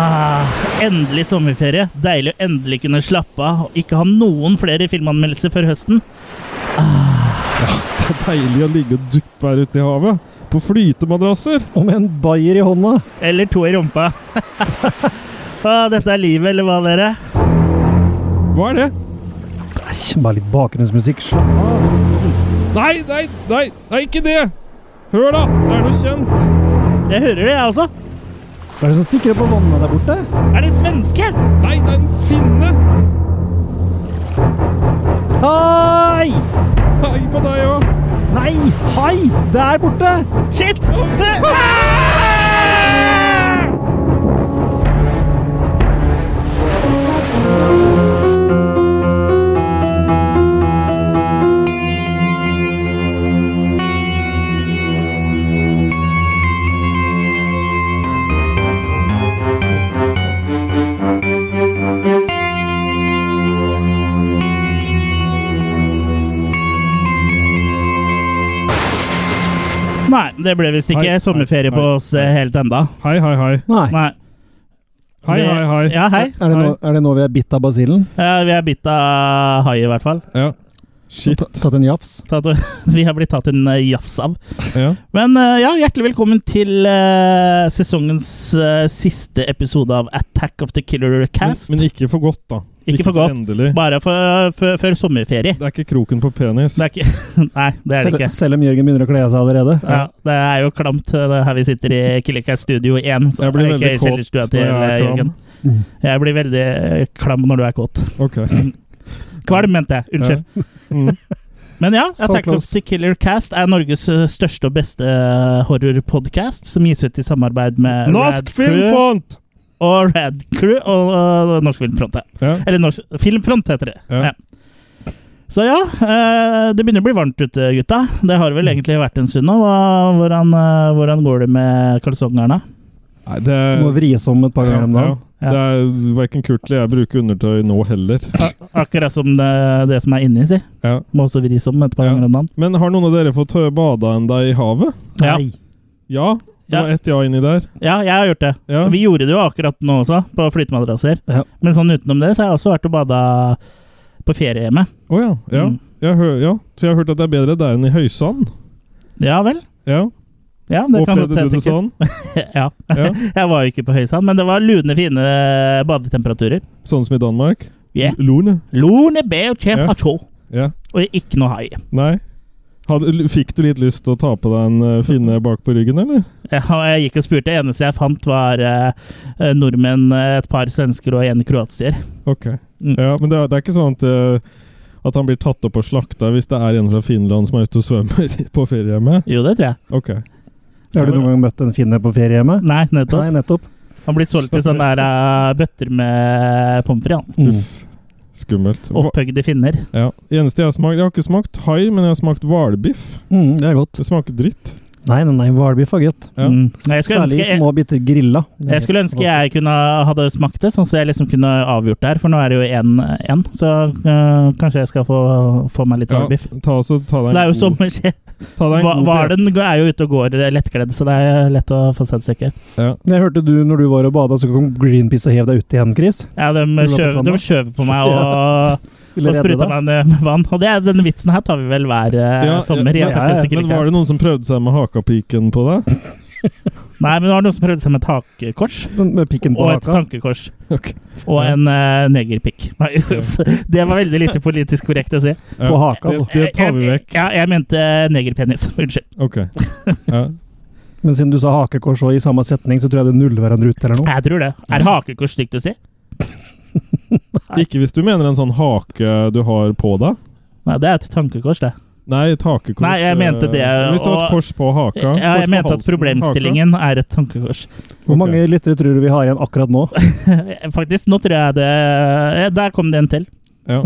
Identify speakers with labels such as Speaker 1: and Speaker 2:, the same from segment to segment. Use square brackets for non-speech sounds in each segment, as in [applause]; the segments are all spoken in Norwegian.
Speaker 1: Ah, Endelig sommerferie. Deilig å endelig kunne slappe av og ikke ha noen flere filmanmeldelser før høsten.
Speaker 2: Det er deilig å ligge og duppe her ute i havet. På flytemadrasser.
Speaker 3: Og med en bayer i hånda.
Speaker 1: Eller to i rumpa. [laughs] Ah, Dette er livet, eller hva, dere?
Speaker 2: Hva er det?
Speaker 3: Æsj, Bare litt bakgrunnsmusikk. Slapp.
Speaker 2: Nei, nei, nei, nei, ikke det! Hør, da! Det er noe kjent.
Speaker 1: Jeg hører det, jeg også.
Speaker 3: Hva er det som stikker opp av vannet der borte?
Speaker 1: Er det svenske?
Speaker 2: Nei, det er en finne!
Speaker 3: Hei!
Speaker 2: Hei på deg òg!
Speaker 3: Nei! Hei! Der borte!
Speaker 1: Shit! Ah! Nei, det ble visst ikke
Speaker 2: Nei, nei,
Speaker 1: sommerferie på
Speaker 2: nei,
Speaker 1: oss eh, helt enda.
Speaker 2: Hei, hei, hei.
Speaker 3: Nei.
Speaker 1: Nei.
Speaker 2: Hei,
Speaker 1: Vi-
Speaker 2: hei, hei.
Speaker 1: Ja, hei.
Speaker 3: Er, det nå, er det nå vi er bitt av basillen?
Speaker 1: Ja, vi er bitt av hai, i hvert fall.
Speaker 2: Ja. Shit.
Speaker 3: Ta- Tatt en jafs?
Speaker 1: Tatt, [laughs] vi har blitt tatt en eh, jafs av.
Speaker 2: Ja.
Speaker 1: Men eh, ja, hjertelig velkommen til eh, sesongens eh, siste episode av Attack of the Killer
Speaker 2: Men,
Speaker 1: Cast.
Speaker 2: men ikke for godt, da.
Speaker 1: Ikke for godt.
Speaker 2: Endelig.
Speaker 1: Bare for- før- før sommerferie.
Speaker 2: Det er ikke kroken på penis.
Speaker 1: Det er ikke [laughs] Nei, det er det
Speaker 3: Selv,
Speaker 1: ikke.
Speaker 3: selv om Jørgen begynner å kle av seg allerede?
Speaker 1: Ja, det er jo klamt eh, det er her vi sitter i Killercast Studio 1. Så
Speaker 2: Jeg blir
Speaker 1: er det
Speaker 2: veldig
Speaker 1: ikke
Speaker 2: kåt
Speaker 1: kjellerstua
Speaker 2: når
Speaker 1: til
Speaker 2: jeg
Speaker 1: eh,
Speaker 2: er
Speaker 1: Jørgen.
Speaker 2: klam.
Speaker 3: Mm.
Speaker 1: Jeg blir veldig eh, klam når du er kåt.
Speaker 2: Ok.
Speaker 1: Kvalm, mente jeg. [laughs] Unnskyld. [laughs]
Speaker 2: Mm.
Speaker 1: Men ja,
Speaker 3: Så
Speaker 1: Attack of
Speaker 3: close.
Speaker 1: the Killer Cast er Norges eh, største og beste horrorpodkast, som gis ut i samarbeid med
Speaker 2: Norsk
Speaker 1: Rad Crew
Speaker 2: filmfont!
Speaker 1: og Rad Crew og, og Norsk Filmfront. ja.
Speaker 2: Ja.
Speaker 1: Eller norsk, Filmfront heter det.
Speaker 2: Ja.
Speaker 1: Ja. Så ja, eh, det begynner å bli varmt ute, gutta. Det har
Speaker 2: Mm.
Speaker 1: vel egentlig vært en stund nå. Hva- Hvordan, eh, hvordan går det med kalsongene?
Speaker 2: Nei, det
Speaker 3: Du
Speaker 2: er
Speaker 3: må vries om et par ganger om dagen.
Speaker 2: Ja. Det er verken kult eller jeg bruker undertøy nå heller.
Speaker 1: Akkurat som det, det som er inni, si.
Speaker 2: Ja.
Speaker 1: Må også vris om et par
Speaker 2: Ja.
Speaker 1: ganger om dagen.
Speaker 2: Men har noen av dere fått bada enda i havet?
Speaker 1: Ja.
Speaker 3: Nei.
Speaker 2: Ja? Det
Speaker 1: Ja.
Speaker 2: var ett ja inni der.
Speaker 1: Ja, jeg har gjort det.
Speaker 2: Ja.
Speaker 1: Vi gjorde det jo akkurat nå også, på flytemadrasser.
Speaker 3: Ja.
Speaker 1: Men sånn utenom det, så har jeg også vært og bada på feriehjemmet.
Speaker 2: Å ja. Ja.
Speaker 1: Mm.
Speaker 2: Jeg hø ja. Så jeg har hørt at det er bedre der enn i høysand.
Speaker 1: Ja vel?
Speaker 2: Ja.
Speaker 1: Ja, det kan godt
Speaker 2: Opplevde du det
Speaker 1: tenkes. [laughs]
Speaker 2: sånn?
Speaker 1: ja.
Speaker 2: Ja.
Speaker 1: Jeg var jo ikke på høysand, men det var lune, fine badetemperaturer.
Speaker 2: Sånn som i Danmark?
Speaker 1: Yeah.
Speaker 2: Lone?
Speaker 1: Lune beo
Speaker 2: Ja.
Speaker 1: temperatur.
Speaker 2: Ja.
Speaker 1: Og ikke noe hai.
Speaker 2: Nei. Hadde, fikk du litt lyst til å ta på deg en eh, finne bak på ryggen, eller?
Speaker 1: Ja, og jeg gikk og spurte. Det eneste jeg fant, var eh, eh, nordmenn, eh, et par svensker og en kroatier.
Speaker 2: Ok.
Speaker 1: Mm.
Speaker 2: Ja, men det er, det er ikke sånn at, eh, at han blir tatt opp og slakta hvis det er en fra Finland som er ute og svømmer [laughs] på feriehjemmet?
Speaker 1: Jo, det tror jeg.
Speaker 2: Ok.
Speaker 3: Har du noen gang møtt en finne på feriehjemmet?
Speaker 1: Nei, nettopp.
Speaker 3: Nei, nettopp.
Speaker 1: Han blir solgt i sånne der, eh, bøtter med pommes frites. han.
Speaker 3: Mm.
Speaker 2: Uff. Skummelt. Hva-
Speaker 1: Opphøgde finner.
Speaker 2: Ja. Eneste jeg har smakt Jeg har ikke smakt hai, men jeg har smakt hvalbiff.
Speaker 3: Mm, det er godt.
Speaker 2: Det smaker dritt.
Speaker 3: Nei, nei, nei, hvalbiff er godt.
Speaker 2: Ja.
Speaker 1: Mm. Jeg skulle
Speaker 3: Særlig
Speaker 1: ønske
Speaker 3: små biter grilla. Det er
Speaker 1: Jeg skulle ønske
Speaker 3: godt.
Speaker 1: jeg kunne hadde smakt det, sånn så jeg liksom kunne avgjort det her. For nå er det jo én, så øh, kanskje jeg skal få, få meg litt
Speaker 2: Ja,
Speaker 1: hvalbiff.
Speaker 2: ta, så, ta deg en
Speaker 1: Det er jo
Speaker 2: god-
Speaker 1: sommer. [laughs]
Speaker 2: ta deg en god pret-
Speaker 1: Hvalen er jo ute og går lettkledd, så det er lett å få sett stykker.
Speaker 2: Ja.
Speaker 3: Jeg hørte du, når du var og bada, så kom Greenpeace og hev deg ut igjen, Chris.
Speaker 1: Ja, de
Speaker 3: Vil du ha
Speaker 1: skjøv-
Speaker 3: på
Speaker 1: de
Speaker 3: stranda?
Speaker 1: skjøver på
Speaker 2: [laughs]
Speaker 1: meg og,
Speaker 3: Ville
Speaker 1: og
Speaker 3: redde
Speaker 1: spruter
Speaker 3: deg.
Speaker 1: meg ned med vann. Og det er, denne vitsen her tar vi vel hver eh,
Speaker 2: Ja,
Speaker 1: sommer. i
Speaker 2: ja,
Speaker 1: Attack of the
Speaker 2: Men var
Speaker 1: Killer
Speaker 2: det noen som prøvde seg med hakapiken på deg?
Speaker 1: Cast. Nei, men det var noen som prøvde seg med et hakekors.
Speaker 3: Men Med pikken på
Speaker 1: Og et
Speaker 3: haka.
Speaker 1: tankekors.
Speaker 2: [laughs] Ok.
Speaker 1: Og en uh, negerpikk. [laughs] Nei, uff. Det var veldig lite politisk korrekt å si.
Speaker 2: Ja.
Speaker 3: På haka, altså.
Speaker 2: [laughs] Det tar vi
Speaker 1: Jeg-
Speaker 2: vekk.
Speaker 1: Ja, jeg mente eh, negerpenis. [laughs] Unnskyld.
Speaker 2: Ok. Ja.
Speaker 3: Men siden du sa hakekors og i samme setning, så tror jeg det nuller hverandre ut eller noe.
Speaker 1: Jeg tror det. Er hakekors stygt å si? Nei.
Speaker 2: Ikke hvis du mener en sånn hake du har på deg.
Speaker 1: Nei, det er et tankekors, det.
Speaker 2: Nei, takekors.
Speaker 1: Nei, jeg mente det,
Speaker 2: eh, Hvis du har
Speaker 1: og-
Speaker 2: et kors på haka
Speaker 1: Ja,
Speaker 2: kors
Speaker 1: jeg
Speaker 2: på
Speaker 1: mente at
Speaker 2: halsen,
Speaker 1: problemstillingen er et tankekors.
Speaker 2: haka.
Speaker 3: Hvor
Speaker 2: Ok.
Speaker 3: mange lyttere tror du vi har igjen akkurat nå?
Speaker 1: [coughs] Faktisk, nå tror jeg det eh, Der kom det en til.
Speaker 2: ja.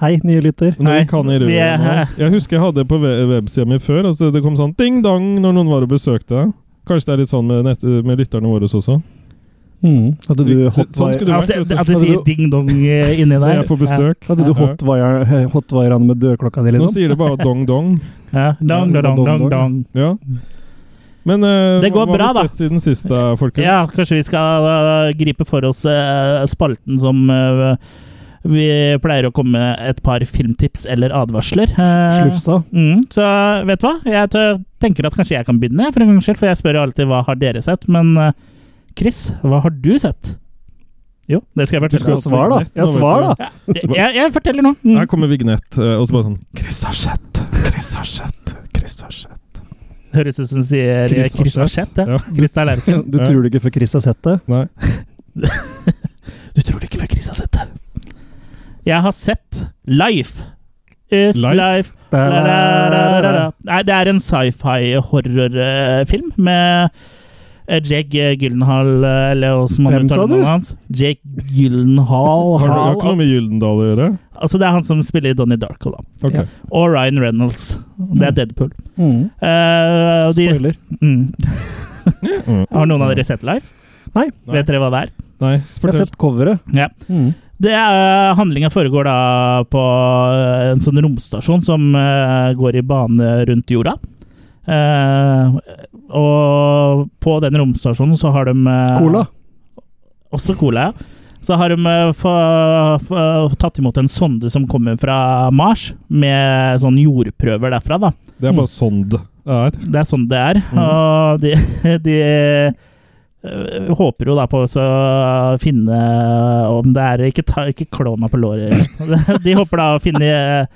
Speaker 3: Hei, nye lytter.
Speaker 2: Men
Speaker 1: Nei,
Speaker 2: vi kan i røret
Speaker 1: vi er-
Speaker 2: nå. Jeg husker jeg hadde på ve- websida mi før. Altså det kom sånn ding-dong når noen var og besøkte deg. Kanskje det er litt sånn med, nett, med lytterne våre også.
Speaker 3: Mm. Hadde du
Speaker 2: Sånn
Speaker 3: hotwire-
Speaker 2: skulle du-
Speaker 1: At det, at det sier ding-dong inni
Speaker 2: [laughs] Når
Speaker 1: der.
Speaker 2: jeg får besøk.
Speaker 3: hadde du hotwire- hotwire-ene med dørklokka di,
Speaker 2: Nå
Speaker 3: liksom?
Speaker 2: sier det bare dong-dong.
Speaker 1: Ja. Ja. Dong, dong, dong, dong, dong.
Speaker 2: Ja. Men eh,
Speaker 1: Det går
Speaker 2: hva
Speaker 1: bra,
Speaker 2: har vi
Speaker 1: da.
Speaker 2: sett siden sist, da, folkens?
Speaker 1: Ja, kanskje vi skal øh, gripe for oss øh, spalten som øh, vi pleier å komme med et par filmtips eller advarsler. Eh,
Speaker 3: Slufsa.
Speaker 1: Mm, så vet du hva? Jeg tør- tenker at kanskje jeg kan begynne, jeg, for en gangs skyld. For jeg spør jo alltid hva har dere sett. Men eh, Chris, hva har du sett? Jo, det skal jeg
Speaker 2: Du
Speaker 1: fortelle.
Speaker 2: skal-
Speaker 3: Ja, svar, da! Ja, svar, da!
Speaker 1: Ja, det- jeg, jeg forteller nå. Mm.
Speaker 2: Her kommer vignett, eh, og så bare sånn
Speaker 4: Chris har sett. Chris har sett. Chris har sett.
Speaker 1: Høres ut som hun sier eh,
Speaker 2: Chris
Speaker 1: Chris
Speaker 2: har
Speaker 1: har sett. Ja.
Speaker 2: Ja.
Speaker 1: Chris er
Speaker 3: [laughs]
Speaker 1: lærk.
Speaker 3: Du tror det ikke før Chris har sett det?
Speaker 2: Nei.
Speaker 1: Du tror det ikke før Chris har sett det. Jeg har sett Life. Is
Speaker 2: Life?
Speaker 1: life. La, la, la, la, la. Nei, det er en sci-fi-horrorfilm med eh, Jake Gyllenhaal eh, eller hva som han
Speaker 3: Hvem
Speaker 1: uttaler
Speaker 3: sa du?
Speaker 1: navnet Hans. Jake Gyllenhaal.
Speaker 2: Har det har ikke noe
Speaker 1: Hall.
Speaker 2: med Gyldendal å gjøre?
Speaker 1: Altså, det er han som spiller i Donnie Darko, da.
Speaker 2: Ok.
Speaker 3: Ja.
Speaker 1: Og Ryan Reynolds. Det er Deadpool.
Speaker 3: Mm.
Speaker 1: Eh, og de,
Speaker 3: Spoiler.
Speaker 1: mm.
Speaker 2: Mm.
Speaker 1: Har noen av dere sett Life?
Speaker 3: Nei.
Speaker 1: Vet dere hva det er?
Speaker 2: Nei,
Speaker 3: Jeg har
Speaker 2: fortell.
Speaker 3: sett coveret.
Speaker 1: Ja.
Speaker 3: Mm.
Speaker 1: Det er, handlinga foregår da på eh, en sånn romstasjon som eh, går i bane rundt jorda. Eh, og på den romstasjonen så har de eh,
Speaker 3: Cola.
Speaker 1: Også cola, ja. Så har de eh, få, få, tatt imot en sonde som kommer fra Mars, med sånn jordprøver derfra, da.
Speaker 2: Det er bare sånn det er.
Speaker 1: Det er sånn det er.
Speaker 2: Mhm.
Speaker 1: Og de, de [laughs] øh, håper jo da på å så finne om det er Ikke, ta, ikke klå meg på låret. [laughs] De håper da å finne øh,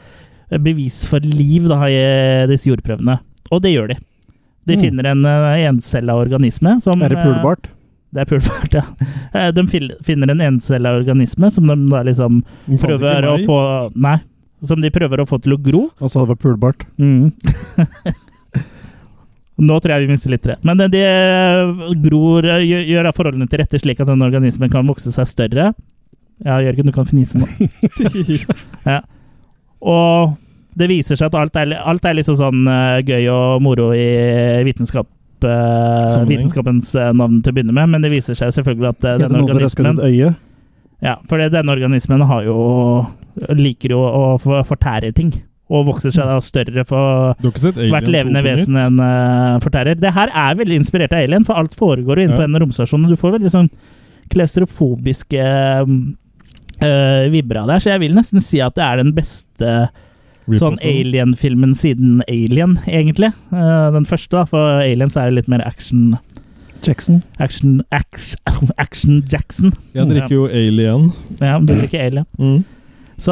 Speaker 1: bevis for liv da, i eh, disse jordprøvene. Og det gjør de. De
Speaker 3: Mhm.
Speaker 1: finner en øh, encella organisme som
Speaker 3: Er det
Speaker 1: øh,
Speaker 3: pulebart?
Speaker 1: det er pulbart, [laughs] ja. Eh, De fil- finner en encella organisme som de da liksom
Speaker 2: Den fant
Speaker 1: prøver å
Speaker 2: ikke meg.
Speaker 1: få Nei. Som de prøver å få til å gro.
Speaker 3: Og så hadde Altså, det vært pulebart.
Speaker 1: Mm. [laughs] Nå tror jeg vi mister litt tre. Men det, det gror gjør- Gjør da forholdene til rette slik at denne organismen kan vokse seg større. Ja, Jørgen, du kan fnise
Speaker 3: [laughs]
Speaker 1: nå. ja. Og det viser seg at alt er, alt er liksom sånn eh, gøy og moro i vitenskap, eh,
Speaker 2: Sammenheng.
Speaker 1: vitenskapens eh, navn til å begynne med, men det viser seg selvfølgelig at eh,
Speaker 3: Heter
Speaker 1: denne
Speaker 3: noe for røsket
Speaker 1: organismen
Speaker 3: et øye?
Speaker 1: ja, for det- denne organismen har jo Liker jo å få- fortære ting. Og vokser seg da større for
Speaker 2: Du har ikke sett Alien
Speaker 1: hvert levende
Speaker 2: 2 på nytt?
Speaker 1: vesen en eh, fortærer. Det her er veldig inspirert av Alien, for alt foregår jo inne på
Speaker 2: Ja.
Speaker 1: en romstasjon. og Du får veldig sånn klaustrofobiske eh, vibber av det her, så jeg vil nesten si at det er den beste sånn
Speaker 2: Rip-offen.
Speaker 1: Alien-filmen siden Alien, egentlig. Eh, den første, da, for Aliens er jo litt mer action
Speaker 3: Jackson.
Speaker 1: Action, action, [laughs] action Jackson.
Speaker 2: Jeg drikker jo Alien.
Speaker 1: Ja, du liker Alien.
Speaker 2: Mm.
Speaker 1: Så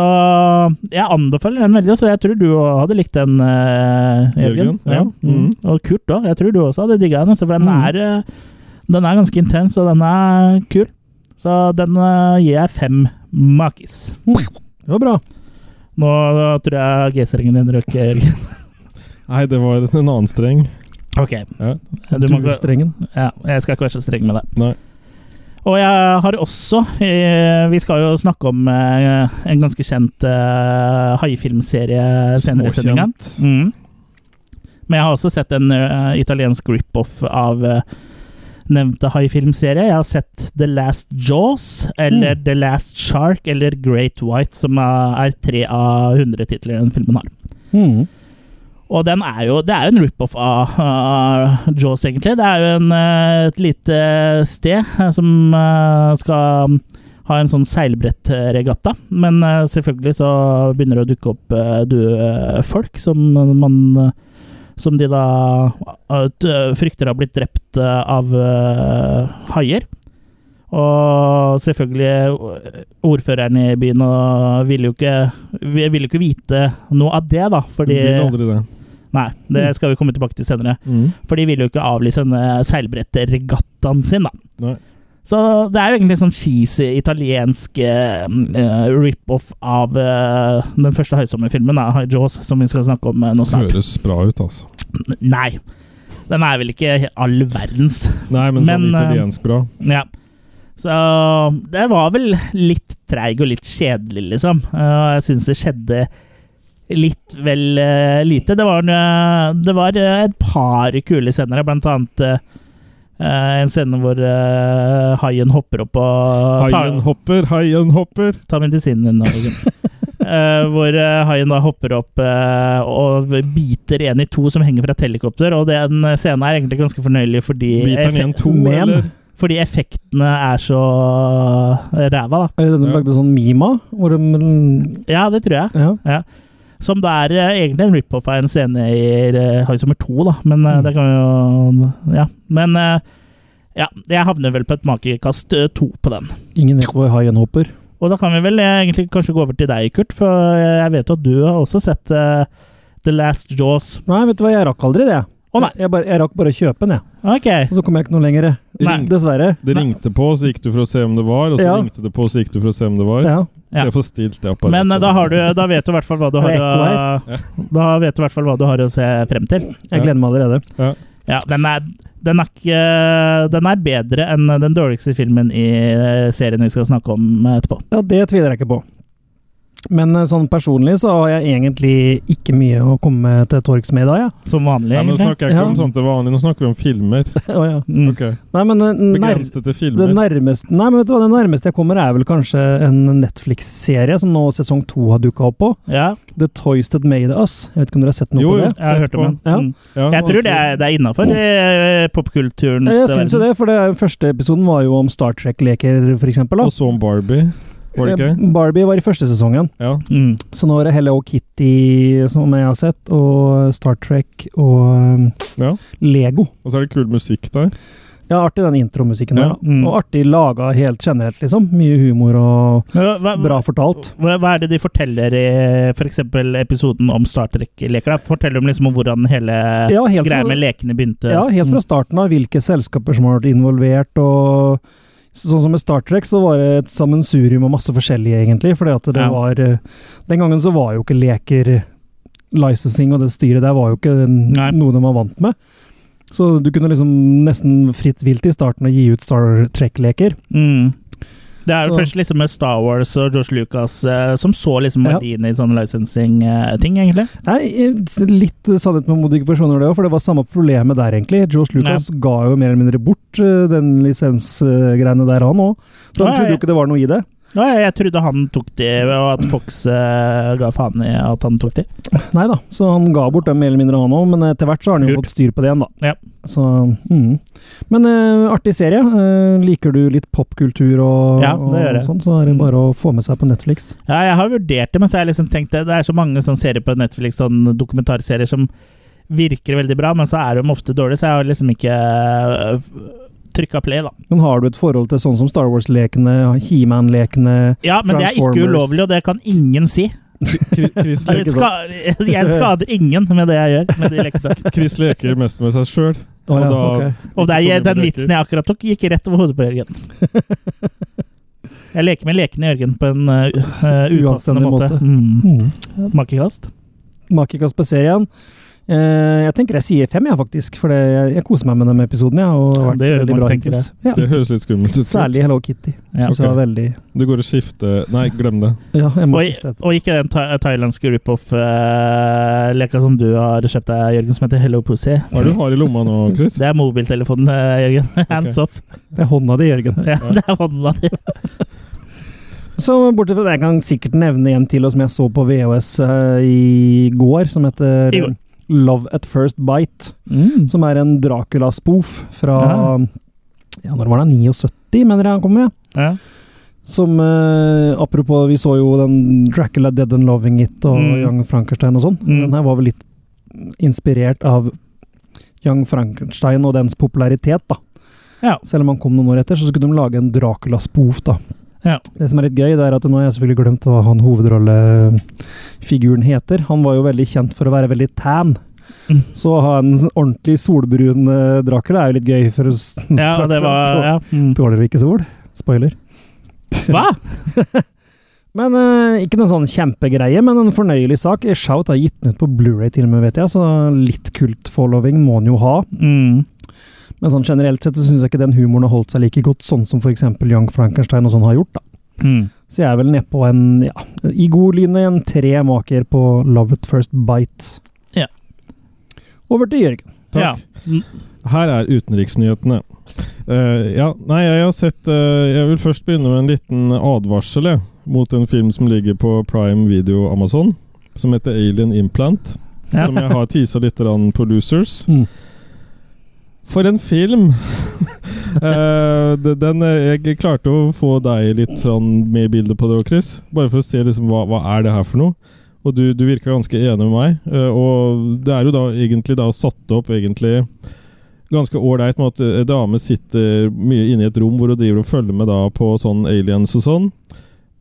Speaker 1: jeg anbefaler den veldig, så jeg tror du også hadde likt den, eh, Jørgen.
Speaker 2: Jørgen, ja.
Speaker 1: Mm.
Speaker 2: Mm.
Speaker 1: Og Kurt òg. Jeg tror du også hadde digga den, altså, for den,
Speaker 3: Mm.
Speaker 1: er, eh, den er ganske intens, og den er kul. Så den eh, gir jeg fem makis.
Speaker 3: Det var bra.
Speaker 1: Nå tror jeg G-strengen din røk, Jørgen.
Speaker 2: Nei, det var en annen streng.
Speaker 1: [laughs] Ok.
Speaker 2: Ja.
Speaker 1: Du må, ikke-
Speaker 3: Turstrengen.
Speaker 1: ja, jeg skal ikke være så streng med deg.
Speaker 2: Nei.
Speaker 1: Og jeg har også eh, Vi skal jo snakke om eh, en ganske kjent eh, haifilmserie senere i sendinga. Mm. Men jeg har også sett en eh, italiensk rip-off av eh, nevnte haifilmserie. Jeg har sett The Last Jaws, eller The Last Shark, eller Great White, som eh, er tre av 100 titler den filmen har.
Speaker 3: Mm.
Speaker 1: Og den er jo, det er jo en rip-off av, av Jaws, egentlig. Det er jo en, eh, et lite sted eh, som eh, skal ha en sånn seilbrettregatta. Men eh, selvfølgelig så begynner det å dukke opp eh, døde folk som man eh, Som de da eh, t- frykter har blitt drept eh, av eh, haier. Og selvfølgelig, eh, ordføreren i byen og ville jo ikke, ville jo ikke vite noe av det, da.
Speaker 2: Fordi...
Speaker 1: Fordi
Speaker 2: Vil aldri det.
Speaker 1: Nei, det skal vi komme tilbake til senere.
Speaker 2: Mm.
Speaker 1: For de vil jo ikke avlyse denne seilbrettregattaen sin, da.
Speaker 2: Nei.
Speaker 1: Så det er jo egentlig sånn cheesy italiensk eh, eh, rip-off av eh, den første høysommerfilmen, da, Jaws, som vi skal snakke om eh, nå
Speaker 2: Det
Speaker 1: snart.
Speaker 2: høres bra ut, altså.
Speaker 1: Nei. Den er vel ikke all verdens.
Speaker 2: Nei, men sånn
Speaker 1: Men, eh,
Speaker 2: italiensk bra.
Speaker 1: Ja. Så det var vel litt treig og litt kjedelig, liksom. Eh, Jeg syns det skjedde litt vel eh, lite. Det var, en, eh, det var eh, et par kule scener, blant annet eh, eh, en scene hvor eh, haien hopper opp og
Speaker 2: Haien hopper, haien hopper!
Speaker 1: Ta medisinen din nå, Jørgen. Eh, eh, hvor eh, haien da hopper opp eh, og biter en i to som henger fra et helikopter. Og den scenen er egentlig ganske fornøyelig fordi,
Speaker 2: Biter han
Speaker 1: effe-
Speaker 2: igjen to,
Speaker 3: Men-
Speaker 2: eller?
Speaker 1: fordi effektene er så ræva, da.
Speaker 3: Er det de
Speaker 2: Ja.
Speaker 3: lagde sånn mima? Hvor de,
Speaker 1: Ja, det tror jeg.
Speaker 3: ja.
Speaker 1: Som det er eh, egentlig en rip-off av en scene i eh, High Summer 2, da. Men eh,
Speaker 3: Mm.
Speaker 1: det kan jo Ja. Men eh, ja, jeg havner vel på et makekast eh, to på den.
Speaker 3: Ingen vet hvor haien hopper.
Speaker 1: Og da kan vi vel eh, egentlig kanskje gå over til deg, Kurt, for eh, jeg vet jo at du har også sett eh, The Last Jaws.
Speaker 3: Nei, vet du hva, jeg rakk aldri det.
Speaker 1: Å, nei.
Speaker 3: Jeg, bare, jeg rakk bare å kjøpe den, jeg.
Speaker 1: Ok.
Speaker 3: Og så kom jeg ikke noe lenger.
Speaker 1: Nei.
Speaker 3: Dessverre.
Speaker 2: Det ringte på, så gikk du for å se om det var, og så
Speaker 3: Ja.
Speaker 2: ringte det på, så gikk du for å se om det var.
Speaker 3: Ja.
Speaker 1: Ja.
Speaker 2: Så jeg får stilt det apparatet.
Speaker 1: Men eh, da, har du, da vet du i hvert fall hva du har å, Da vet du i hvert fall hva du har å se frem til.
Speaker 3: Jeg gleder meg allerede.
Speaker 1: Ja, den er, den er, ikke, den er bedre enn den dårligste filmen i eh, serien vi skal snakke om eh, etterpå.
Speaker 3: Ja, Det tviler jeg ikke på. Men eh, sånn personlig så har jeg egentlig ikke mye å komme til torgs med i dag, jeg.
Speaker 1: Som vanlig,
Speaker 2: Nei, men Nå
Speaker 1: egentlig.
Speaker 2: snakker jeg ikke om
Speaker 3: Ja.
Speaker 2: sånt til vanlig, nå snakker vi om
Speaker 3: [laughs]
Speaker 2: filmer. [laughs]
Speaker 3: Å, ja.
Speaker 1: Mm.
Speaker 2: Ok,
Speaker 3: Nei, men eh, nær,
Speaker 2: Begrenset til
Speaker 3: det
Speaker 2: filmer.
Speaker 3: nærmeste Nei, men vet du hva, det nærmeste jeg kommer, er vel kanskje en Netflix-serie som nå sesong to har dukka opp på.
Speaker 1: Ja,
Speaker 3: The Toys That Made Us. Jeg vet ikke om dere har sett noe
Speaker 2: Jo,
Speaker 3: på
Speaker 2: jo.
Speaker 3: det?
Speaker 1: jeg har hørt om den.
Speaker 3: Ja.
Speaker 1: Mm.
Speaker 2: Ja.
Speaker 1: Jeg tror det er, det er innafor eh, popkulturens
Speaker 3: Ja, Jeg syns jo det, for det er, første episoden var jo om Star Trek-leker, for eksempel.
Speaker 2: Og
Speaker 3: Da.
Speaker 2: så om Barbie. Var det ikke?
Speaker 3: Eh, Barbie var i første sesongen.
Speaker 2: Ja.
Speaker 1: Mm.
Speaker 3: Så nå er det Hello Kitty som jeg har sett, og Star Trek og um,
Speaker 2: ja.
Speaker 3: Lego.
Speaker 2: Og så er det kul musikk der.
Speaker 3: Ja, artig den intromusikken
Speaker 2: Ja.
Speaker 3: der. da.
Speaker 1: Mm.
Speaker 3: Og artig laga helt generelt, liksom. Mye humor og
Speaker 1: Men Hva, hva,
Speaker 3: bra fortalt.
Speaker 1: Hva, hva er det de forteller i f.eks. episoden om Star Trek-leker? da? Forteller de liksom om hvordan hele
Speaker 3: Ja, helt
Speaker 1: greia
Speaker 3: fra,
Speaker 1: med lekene begynte?
Speaker 3: ja, helt fra starten av hvilke selskaper som har vært involvert, og Sånn som med Star Trek, så var det et sammensurium av masse forskjellige, egentlig. fordi at det
Speaker 1: Ja.
Speaker 3: var eh, Den gangen så var jo ikke leker eh, licensing og det styret der var jo ikke den-
Speaker 1: Nei.
Speaker 3: noe de var vant med. Så du kunne liksom nesten fritt vilt i starten å gi ut Star Trek-leker.
Speaker 1: Mm. Det er jo
Speaker 3: Så-
Speaker 1: først liksom med Star Wars og George Lucas eh, som så liksom
Speaker 3: Ja.
Speaker 1: verdien i sånne licensing-ting, egentlig.
Speaker 3: Nei, eh, litt sannhet med modifikasjoner det òg, for det var samme problemet der, egentlig. George Lucas ga jo mer eller mindre bort eh, den lisensgreiene der, han òg.
Speaker 1: Ja,
Speaker 3: For
Speaker 1: ja,
Speaker 3: han trodde
Speaker 1: ja.
Speaker 3: jo ikke det var noe i det.
Speaker 1: Nå, jeg, jeg trodde han tok det, og at Fox eh, ga faen i at han tok det.
Speaker 3: Nei da, så han ga bort dem mer eller mindre, han òg, men etter hvert så har han jo
Speaker 1: Lurt.
Speaker 3: fått styr på det igjen, da.
Speaker 1: Ja.
Speaker 3: Så, mm. Men eh, artig serie. Eh, liker du litt popkultur og,
Speaker 1: Ja, det gjør jeg.
Speaker 3: og sånn, så er det bare å få med seg på Netflix.
Speaker 1: Ja, jeg har vurdert det, men så har jeg liksom tenkt det, det er så mange sånne serier på Netflix, sånne dokumentarserier som virker veldig bra, men så er de ofte dårlige, så jeg har liksom ikke uh, trykka play, da.
Speaker 3: Men har du et forhold til sånn som Star Wars-lekene, He-Man-lekene
Speaker 1: Ja, men det er ikke
Speaker 3: Transformers.
Speaker 1: ulovlig, og det kan ingen si.
Speaker 2: Kri- Chris,
Speaker 3: [laughs]
Speaker 1: Jeg,
Speaker 2: leker,
Speaker 1: ska [laughs] jeg skader ingen med det jeg gjør. med de
Speaker 3: [laughs]
Speaker 1: lekene.
Speaker 2: Chris leker mest med seg sjøl.
Speaker 3: Å
Speaker 2: Og da-
Speaker 3: ok.
Speaker 1: Og det er,
Speaker 2: Ikke så mye
Speaker 1: den
Speaker 2: med
Speaker 1: vitsen jeg akkurat tok, gikk rett over hodet på Jørgen. [laughs] Jeg leker med lekene Jørgen på en uh, uh, upassende
Speaker 3: Uanstendig
Speaker 1: måte.
Speaker 3: måte.
Speaker 1: Mm.
Speaker 3: Mm.
Speaker 1: Makekast.
Speaker 3: Makikast på serien. Eh, jeg tenker jeg sier fem, jeg, faktisk. For det, jeg, jeg koser meg med de episodene. Jeg, og det har vært
Speaker 1: Det gjør
Speaker 3: veldig
Speaker 1: man,
Speaker 3: bra
Speaker 1: tenker
Speaker 3: hittil. Ja.
Speaker 2: Det høres litt skummelt ut.
Speaker 3: Særlig Hello Kitty.
Speaker 1: Ja.
Speaker 3: Synes jeg var veldig
Speaker 2: Du går og skifter Nei, glem det.
Speaker 3: Ja, jeg må
Speaker 1: Og,
Speaker 3: skifte etter.
Speaker 1: og ikke den tha- thailandske rip-off-leka som du har kjøpt deg, Jørgen, som heter Hello Pussy.
Speaker 2: Hva er det du har i lomma nå, Chris?
Speaker 1: Det er mobiltelefonen, eh, Jørgen. [laughs] Hands up.
Speaker 3: Det er hånda di,
Speaker 1: [laughs]
Speaker 3: Jørgen.
Speaker 1: Ja, det er hånda di.
Speaker 3: Så bortsett fra det, jeg kan sikkert nevne en til og som jeg så på VHS eh, i går, som heter
Speaker 1: I går.
Speaker 3: Love at First Bite.
Speaker 2: Mm.
Speaker 3: Som er en Dracula-spoof fra
Speaker 1: Ja.
Speaker 3: Ja, når var det? 79, mener jeg han kom med?
Speaker 1: Ja.
Speaker 3: Som eh, Apropos, vi så jo den Dracula Dead and Loving It og
Speaker 1: Mm.
Speaker 3: Young Frankenstein og sånn.
Speaker 1: Mm.
Speaker 3: Den her var vel litt inspirert av Young Frankenstein og dens popularitet, da.
Speaker 1: Ja.
Speaker 3: Selv om han kom noen år etter, så skulle de lage en Dracula-spoof, da.
Speaker 1: Ja.
Speaker 3: Det som er litt gøy, det er at nå har jeg selvfølgelig glemt hva han hovedrollefiguren heter. Han var jo veldig kjent for å være veldig tan.
Speaker 1: Mm.
Speaker 3: Så å ha en ordentlig solbrun eh, Dracula er jo litt gøy, for å s-
Speaker 1: ja, og det var ja. Mm.
Speaker 3: Tåler ikke sol. Spoiler.
Speaker 1: Hva?
Speaker 3: [laughs] Men eh, ikke noen sånn kjempegreie, men en fornøyelig sak. Shout har gitt den ut på Blu-ray til og med, vet jeg, så litt kult-following må den jo ha.
Speaker 1: Mm.
Speaker 3: Men sånn generelt sett så syns jeg ikke den humoren har holdt seg like godt, sånn som f.eks. Young Frankenstein og sånn har gjort, da.
Speaker 1: Mm.
Speaker 3: Så jeg er vel nedpå en, ja, i god lyne en tre maker på Love at First Bite.
Speaker 1: Ja.
Speaker 3: Over til Jørgen.
Speaker 1: Ja.
Speaker 2: Takk. Her er utenriksnyhetene. Eh, ja, nei, jeg har sett eh, Jeg vil først begynne med en liten advarsel, jeg. mot en film som ligger på Prime Video Amazon, som heter Alien Implant.
Speaker 1: Ja.
Speaker 2: Som jeg har tisa litt grann på Losers.
Speaker 3: Mm.
Speaker 2: For en film! [laughs] Eh, det- den, eh, jeg klarte å få deg litt sånn med i bildet på det, Chris. Bare for å se liksom, hva, hva er det her for noe. Og du, du virka ganske enig med meg. eh, og det er jo da egentlig da satt opp egentlig ganske ålreit med at eh, dame sitter mye inne i et rom hvor hun driver og følger med da på sånn aliens og sånn.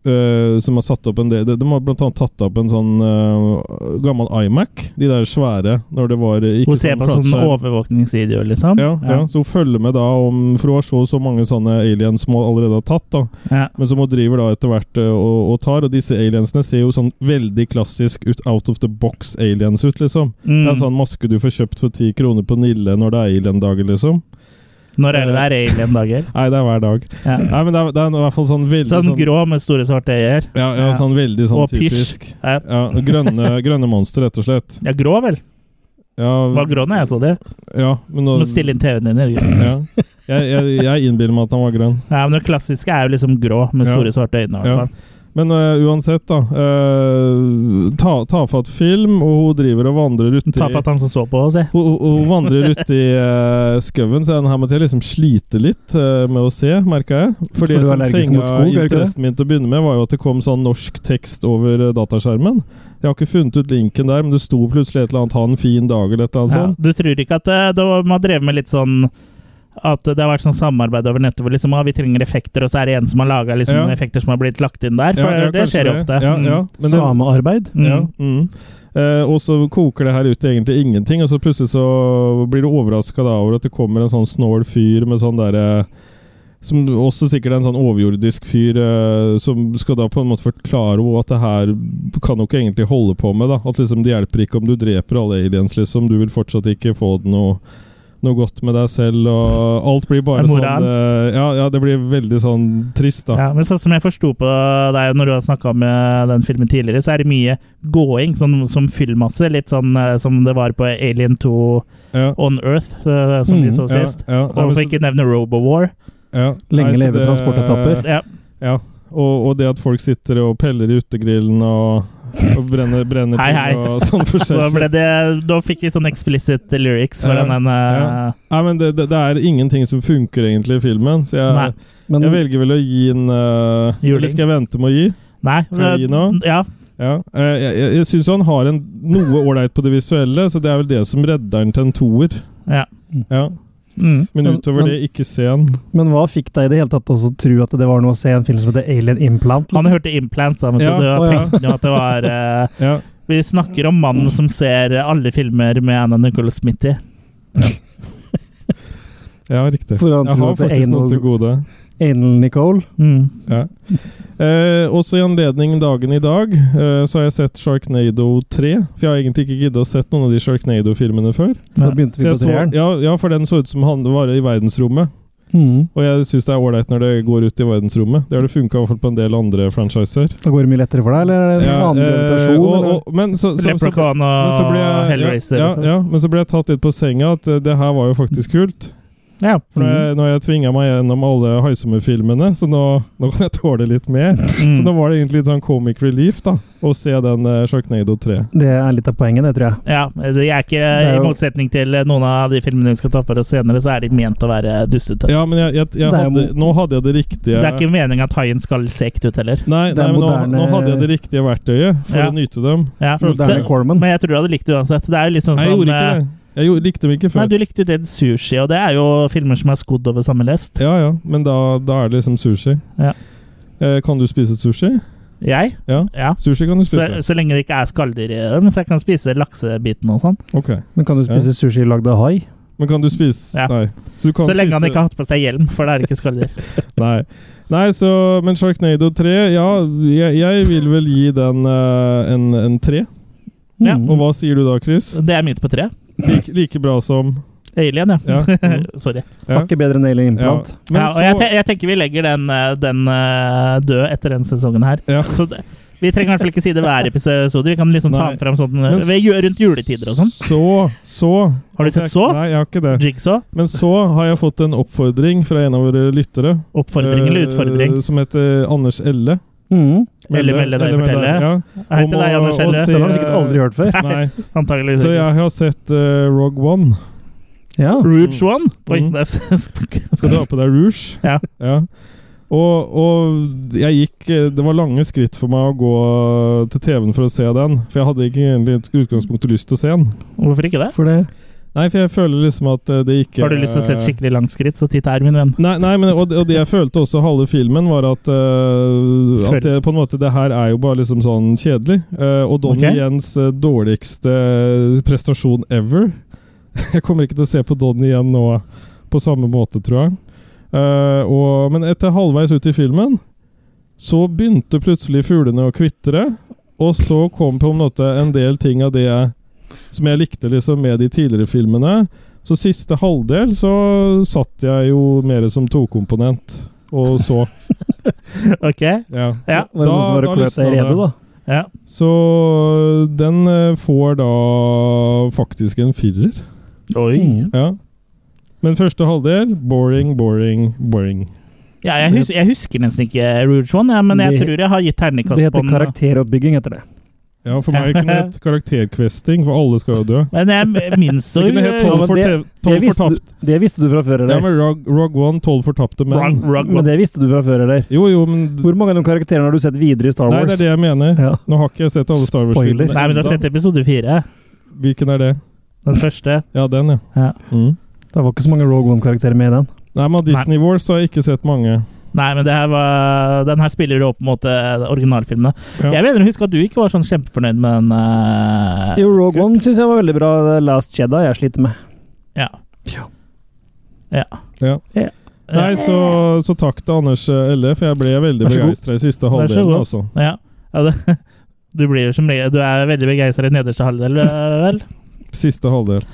Speaker 2: eh, som har satt opp en del De de har blant annet tatt opp en sånn eh, gammel iMac. De der svære når det var eh, ikke
Speaker 1: Hun ser på sånn sånne
Speaker 2: flatskjerm.
Speaker 1: overvåkningsvideoer, liksom.
Speaker 2: Ja, ja. så hun følger med da om For hun har så, så mange sånne aliens som hun allerede har tatt, da.
Speaker 1: Ja.
Speaker 2: Men som hun driver da etter hvert eh, og, og tar. Og disse aliensene ser jo sånn veldig klassisk ut, out of the box aliens ut, liksom.
Speaker 1: Mm.
Speaker 2: Det er en sånn maske du får kjøpt for ti kroner på Nille når det er alien-dager, liksom.
Speaker 1: Når er det der alien-dager?
Speaker 2: Nei, det er hver dag.
Speaker 1: Ja.
Speaker 2: Nei, men det er, det er i hvert fall sånn veldig
Speaker 1: Sånn grå med store, svarte øyer.
Speaker 2: ja, ja,
Speaker 1: ja.
Speaker 2: sånn veldig sånn
Speaker 1: Og
Speaker 2: typisk.
Speaker 1: pysj. Ja.
Speaker 2: Ja, grønne, [laughs] grønne monster, rett og slett.
Speaker 1: ja, grå vel?
Speaker 2: Ja,
Speaker 1: Var grå når jeg så det.
Speaker 2: ja
Speaker 1: Du
Speaker 2: men nå
Speaker 1: må stille inn TV-en din. Jørgen.
Speaker 2: ja. Jeg, jeg, jeg innbiller meg at han var grønn.
Speaker 1: Nei, men det klassiske er jo liksom grå med
Speaker 2: Ja.
Speaker 1: store, svarte øyne. i hvert
Speaker 2: Ja.
Speaker 1: fall.
Speaker 2: Men øh, uansett, da. øh, ta, tafatt film, og hun driver og vandrer uti
Speaker 1: Ta for at han som så på oss, jeg.
Speaker 2: hun, hun- hun vandrer uti uh, skauen, så den her måtte jeg liksom slite litt øh, med å se, merka jeg. liksom For
Speaker 3: For
Speaker 2: det
Speaker 3: du er
Speaker 2: som
Speaker 3: allergisk mot
Speaker 2: fenga
Speaker 3: skog, er det ikke det?
Speaker 2: interessen min til å begynne med, var jo at det kom sånn norsk tekst over øh, dataskjermen. Jeg har ikke funnet ut linken der, men det sto plutselig et eller annet 'ha en fin dag' eller et eller annet
Speaker 1: Ja.
Speaker 2: sånt.
Speaker 1: Du tror ikke at eh, det var- man har drevet med litt sånn at det har vært sånn samarbeid over nettet hvor liksom, ah, vi trenger effekter, og så er det en som har laga liksom,
Speaker 2: Ja.
Speaker 1: noen effekter som har blitt lagt inn der. For
Speaker 2: Ja, ja,
Speaker 1: det
Speaker 2: kanskje
Speaker 1: skjer jo ofte.
Speaker 2: Ja,
Speaker 1: Mm.
Speaker 2: ja. Men det,
Speaker 3: Samearbeid?
Speaker 1: Mm.
Speaker 2: Ja. Mm. Eh, og så koker det her ut til egentlig ingenting, og så plutselig så blir du overraska over at det kommer en sånn snål fyr med sånn derre som også sikkert er en sånn overjordisk fyr eh, som skal da på en måte forklare henne at det her kan hun ikke egentlig holde på med. da At liksom det hjelper ikke om du dreper alle aliens, liksom. Du vil fortsatt ikke få det noe, noe godt med deg selv, og alt blir bare
Speaker 1: Er
Speaker 2: sånn
Speaker 1: moral?
Speaker 2: eh, ja, ja, det blir veldig sånn trist, da.
Speaker 1: Ja, men sånn som jeg forsto på deg når du har snakka om eh, den filmen tidligere, så er det mye gåing, sånn som fyllmasse. Litt sånn eh, som det var på Alien 2
Speaker 2: Ja.
Speaker 1: On Earth, eh, som vi
Speaker 3: Mm,
Speaker 1: så
Speaker 2: Ja,
Speaker 1: sist.
Speaker 2: ja,
Speaker 1: Og Hvorfor ikke nevne Robowar?
Speaker 2: ja.
Speaker 3: Lenge
Speaker 2: Nei, så
Speaker 3: leve
Speaker 2: det-
Speaker 3: transportetapper.
Speaker 1: Ja.
Speaker 2: Ja, og, og det at folk sitter og peller i utegrillen og, og brenner, brenner
Speaker 1: Hei,
Speaker 2: ting
Speaker 1: hei. [laughs]
Speaker 2: og sånn
Speaker 1: Da,
Speaker 2: forskjellig.
Speaker 1: ble det, da fikk vi sånn explicit lyrics for
Speaker 2: Ja,
Speaker 1: den eh,
Speaker 2: Nei, men det, det, det er ingenting som funker egentlig i filmen, så jeg,
Speaker 1: Nei.
Speaker 3: Men
Speaker 2: jeg velger vel å gi en øh,
Speaker 1: Juling.
Speaker 2: Eller skal jeg vente med å gi?
Speaker 1: Nei.
Speaker 2: Kan vi gi nå?
Speaker 1: Ja.
Speaker 2: Ja. eh, jeg jeg, jeg syns han har en noe ålreit på det visuelle, så det er vel det som redder han til en toer.
Speaker 1: ja.
Speaker 2: Ja.
Speaker 1: Mm.
Speaker 2: Men
Speaker 3: Men-
Speaker 2: utover
Speaker 3: men-
Speaker 2: det, ikke se han.
Speaker 3: Men hva fikk deg i det hele tatt også tro at det var noe å se en film som heter Alien Implant?
Speaker 1: Han hørte implants, da, men
Speaker 2: Ja,
Speaker 1: så da
Speaker 3: å, ja.
Speaker 1: tenkte han at det var eh,
Speaker 2: Ja.
Speaker 1: Vi snakker om mannen som ser alle filmer med Anna Nicole Smith i.
Speaker 2: ja, riktig.
Speaker 3: For han
Speaker 2: Jeg
Speaker 3: tror
Speaker 2: har
Speaker 3: at det er
Speaker 2: faktisk noe
Speaker 3: anal-
Speaker 2: til gode.
Speaker 3: Anal Nicole?
Speaker 1: Mm.
Speaker 2: Ja. Eh, også i anledning dagen i dag eh, så har jeg sett Sharknado 3. For jeg har egentlig ikke giddet å sett noen av de Sharknado-filmene før.
Speaker 3: Så
Speaker 1: Ja.
Speaker 3: da begynte
Speaker 2: Så
Speaker 3: vi
Speaker 2: jeg
Speaker 3: på
Speaker 2: så,
Speaker 3: treeren.
Speaker 2: ja, ja, for den så ut som han var i verdensrommet.
Speaker 3: Mm.
Speaker 2: Og jeg syns det er ålreit når det går ut i verdensrommet. Det har det funka på en del andre franchiser.
Speaker 3: Da går det mye lettere for deg, eller er det en
Speaker 2: Ja,
Speaker 3: annen
Speaker 2: eh,
Speaker 3: gravitasjon?
Speaker 2: og,
Speaker 3: eller?
Speaker 2: og, men så, så, så, så,
Speaker 1: Leprechaun
Speaker 2: men så
Speaker 1: og
Speaker 2: ble jeg,
Speaker 1: Hellraiser.
Speaker 2: ja, ja, ja, men så ble jeg tatt litt på senga at eh, det her var jo faktisk kult.
Speaker 1: Ja.
Speaker 2: For
Speaker 3: Mm.
Speaker 2: når jeg, når jeg tvinga meg gjennom alle Haisommer-filmene, så nå, nå kan jeg tåle litt mer. Så nå
Speaker 1: Mm.
Speaker 2: var det egentlig litt sånn comic relief da, å se den eh, Sharknado 3.
Speaker 3: Det er litt av poenget, det, tror jeg.
Speaker 1: ja. Det er ikke,
Speaker 3: er
Speaker 1: I
Speaker 3: jo-
Speaker 1: motsetning til noen av de filmene vi skal ta for oss senere, så er de ment å være dustete.
Speaker 2: Ja, men jeg, jeg, jeg
Speaker 3: Det er
Speaker 2: hadde,
Speaker 3: mo-
Speaker 2: nå hadde jeg det riktige
Speaker 1: Det er ikke meningen at haien skal se ekte ut heller.
Speaker 2: Nei,
Speaker 3: det
Speaker 2: nei
Speaker 3: er
Speaker 2: men nå,
Speaker 3: moderne-
Speaker 2: nå hadde jeg det riktige verktøyet for
Speaker 1: Ja.
Speaker 2: å nyte dem.
Speaker 1: Ja.
Speaker 2: Følte
Speaker 1: Så,
Speaker 3: Moderne Corman.
Speaker 1: men jeg tror du hadde likt det uansett. Det er jo litt sånn
Speaker 2: Nei, jeg
Speaker 1: som
Speaker 2: gjorde ikke
Speaker 1: eh,
Speaker 2: det. Jeg gjorde- likte dem ikke
Speaker 1: Nei,
Speaker 2: før.
Speaker 1: du likte jo Dead Sushi, og det er jo filmer som er skodd over samme lest.
Speaker 2: Ja, ja, men da, da er det liksom sushi.
Speaker 1: Ja.
Speaker 2: Eh, kan du spise sushi?
Speaker 1: Jeg?
Speaker 2: Ja.
Speaker 1: Ja.
Speaker 2: Sushi kan du
Speaker 1: Så,
Speaker 2: spise.
Speaker 1: så lenge det ikke er skalldyr i dem, så jeg kan spise laksebitene og sånn.
Speaker 2: Ok.
Speaker 3: Men kan du spise sushi lagd av hai?
Speaker 2: Men kan du spise
Speaker 1: Ja.
Speaker 2: Nei. Så, du kan
Speaker 1: Så lenge han
Speaker 2: spise-
Speaker 1: ikke har hatt på seg hjelm, for det er ikke skalldyr.
Speaker 2: Nei. Nei, så Men Sharknado 3, ja, jeg, jeg vil vel gi den eh, en, en tre.
Speaker 1: Ja.
Speaker 3: Mm.
Speaker 2: Og hva sier du da, Chris?
Speaker 1: Det er midt på treet.
Speaker 2: Like, like bra som
Speaker 1: Alien, [laughs] ja.
Speaker 2: Ja. Mm.
Speaker 1: Sorry.
Speaker 2: ja.
Speaker 3: Hakket bedre enn Alien Implant.
Speaker 2: Ja. Men
Speaker 1: ja, og
Speaker 2: så,
Speaker 1: jeg, te jeg tenker vi legger den, eh, den eh, død etter den sesongen her.
Speaker 2: Ja.
Speaker 1: Så det, vi trenger i hvert fall ikke si det hver episode. Vi kan liksom ta
Speaker 2: Nei.
Speaker 1: den fram sånn
Speaker 2: Men
Speaker 1: eh, ved, ju- rundt juletider og sånn.
Speaker 2: så, så
Speaker 1: [laughs] Har du sett så?
Speaker 2: Nei, jeg har ikke det.
Speaker 1: Jigsaw.
Speaker 2: Men så har jeg fått en oppfordring fra en av våre lyttere.
Speaker 1: Oppfordring eller
Speaker 2: eh,
Speaker 1: utfordring?
Speaker 2: Som heter Anders Elle.
Speaker 3: Mm.
Speaker 1: Eller Melle, deg fortelle.
Speaker 2: Ja.
Speaker 1: [laughs] Hei til
Speaker 2: Om
Speaker 1: deg,
Speaker 2: å-
Speaker 1: Anders
Speaker 2: å
Speaker 1: Helle.
Speaker 2: se-
Speaker 3: Den har du sikkert aldri hørt før.
Speaker 2: eh,
Speaker 1: [laughs]
Speaker 2: Nei.
Speaker 1: Antakeligvis.
Speaker 2: Så jeg har sett eh, Rogue One.
Speaker 3: Ja.
Speaker 1: Rouge One? Oi,
Speaker 2: Mm.
Speaker 1: det er s- [laughs]
Speaker 2: Skal du ha på deg rouge?
Speaker 1: Ja.
Speaker 2: Og, og jeg gikk eh, Det var lange skritt for meg å gå til TV-en for å se den. For jeg hadde ikke egentlig i utgangspunktet lyst til å se den.
Speaker 1: Hvorfor ikke det?
Speaker 3: For det
Speaker 2: Nei, for jeg føler liksom at eh, det ikke
Speaker 1: Har du lyst til å se et
Speaker 2: eh,
Speaker 1: skikkelig langt skritt, så titt her, min venn.
Speaker 2: Nei, nei men, og, og det jeg følte også halve filmen, var at, eh,
Speaker 1: Føl-
Speaker 2: at det, på en måte, det her er jo bare liksom sånn kjedelig. Eh, og Donnie
Speaker 1: Ok.
Speaker 2: Jens eh, dårligste eh, prestasjon ever. [laughs] Jeg kommer ikke til å se på Donnie igjen nå på samme måte, tror jeg. Eh, og, men etter halvveis ut i filmen så begynte plutselig fuglene å kvitre. Og så kom på en måte en del ting av det jeg, som jeg likte liksom med de tidligere filmene. Så siste halvdel så satt jeg jo mer som tokomponent. Og så
Speaker 1: Ok?
Speaker 2: Ja.
Speaker 1: Ja.
Speaker 3: var det noen som bare kløp deg i redet, da.
Speaker 1: ja.
Speaker 2: Så den eh, får da faktisk en firer.
Speaker 1: Oi.
Speaker 3: Mm.
Speaker 2: Ja. Men første halvdel boring, boring, boring.
Speaker 1: Ja, jeg, hus jeg husker nesten ikke Rouge One, ja, men jeg
Speaker 3: Det-
Speaker 1: tror jeg har gitt terningkast
Speaker 3: Det
Speaker 1: på
Speaker 3: heter
Speaker 1: den. eh.
Speaker 3: karakteroppbygging etter det.
Speaker 2: Ja, for meg kunne det hett karakterkvesting, for alle skal jo dø.
Speaker 1: Men jeg minnes
Speaker 2: Det
Speaker 1: jo
Speaker 2: kunne hett
Speaker 1: eh,
Speaker 3: Ja,
Speaker 2: tolv
Speaker 3: men
Speaker 2: for
Speaker 3: det-
Speaker 2: tev-
Speaker 3: Det
Speaker 2: tolv
Speaker 3: visste,
Speaker 2: fortapt.
Speaker 3: du, det visste du fra før,
Speaker 2: Ja,
Speaker 3: eller?
Speaker 2: men Rogue, Rogue One, tolv fortapte menn.
Speaker 1: Rogue- Rogue
Speaker 3: Men
Speaker 1: One.
Speaker 3: det visste du fra før, eller?
Speaker 2: Jo, jo, men
Speaker 3: Hvor mange av de karakterene har du sett videre i Star
Speaker 2: Nei,
Speaker 3: Wars?
Speaker 2: det er det jeg mener.
Speaker 3: Ja.
Speaker 2: Nå har ikke jeg sett alle Star
Speaker 3: Spoiler.
Speaker 2: Wars-filmene.
Speaker 1: Nei, men du har
Speaker 2: enda.
Speaker 1: sett episode fire.
Speaker 2: Hvilken er det?
Speaker 1: Den første.
Speaker 2: Ja, den, ja.
Speaker 1: Ja.
Speaker 2: Mm.
Speaker 3: Det var ikke så mange Rogue One-karakterer med i den.
Speaker 2: Nei, men av Disney Wars så har jeg ikke sett mange.
Speaker 1: Nei, men det her var, den her spiller jo opp mot eh, originalfilmene.
Speaker 2: Ja.
Speaker 1: Jeg mener å huske at du ikke var sånn kjempefornøyd med den. eh,
Speaker 3: Jo, Rogue One syns jeg var veldig bra. The Last Jedi jeg sliter med.
Speaker 1: Ja.
Speaker 3: Ja.
Speaker 1: Ja.
Speaker 2: Ja.
Speaker 3: Ja.
Speaker 2: Nei, så, så takk til Anders øh, Elle, for jeg ble veldig
Speaker 3: Vær så god.
Speaker 2: begeistra i siste
Speaker 1: Vær så
Speaker 2: halvdelen.
Speaker 1: god.
Speaker 2: Altså.
Speaker 1: Ja. ja det, [laughs] du blir jo som regel Du er veldig begeistra i nederste halvdel, eh,
Speaker 3: [laughs]
Speaker 1: vel?
Speaker 2: Siste halvdel.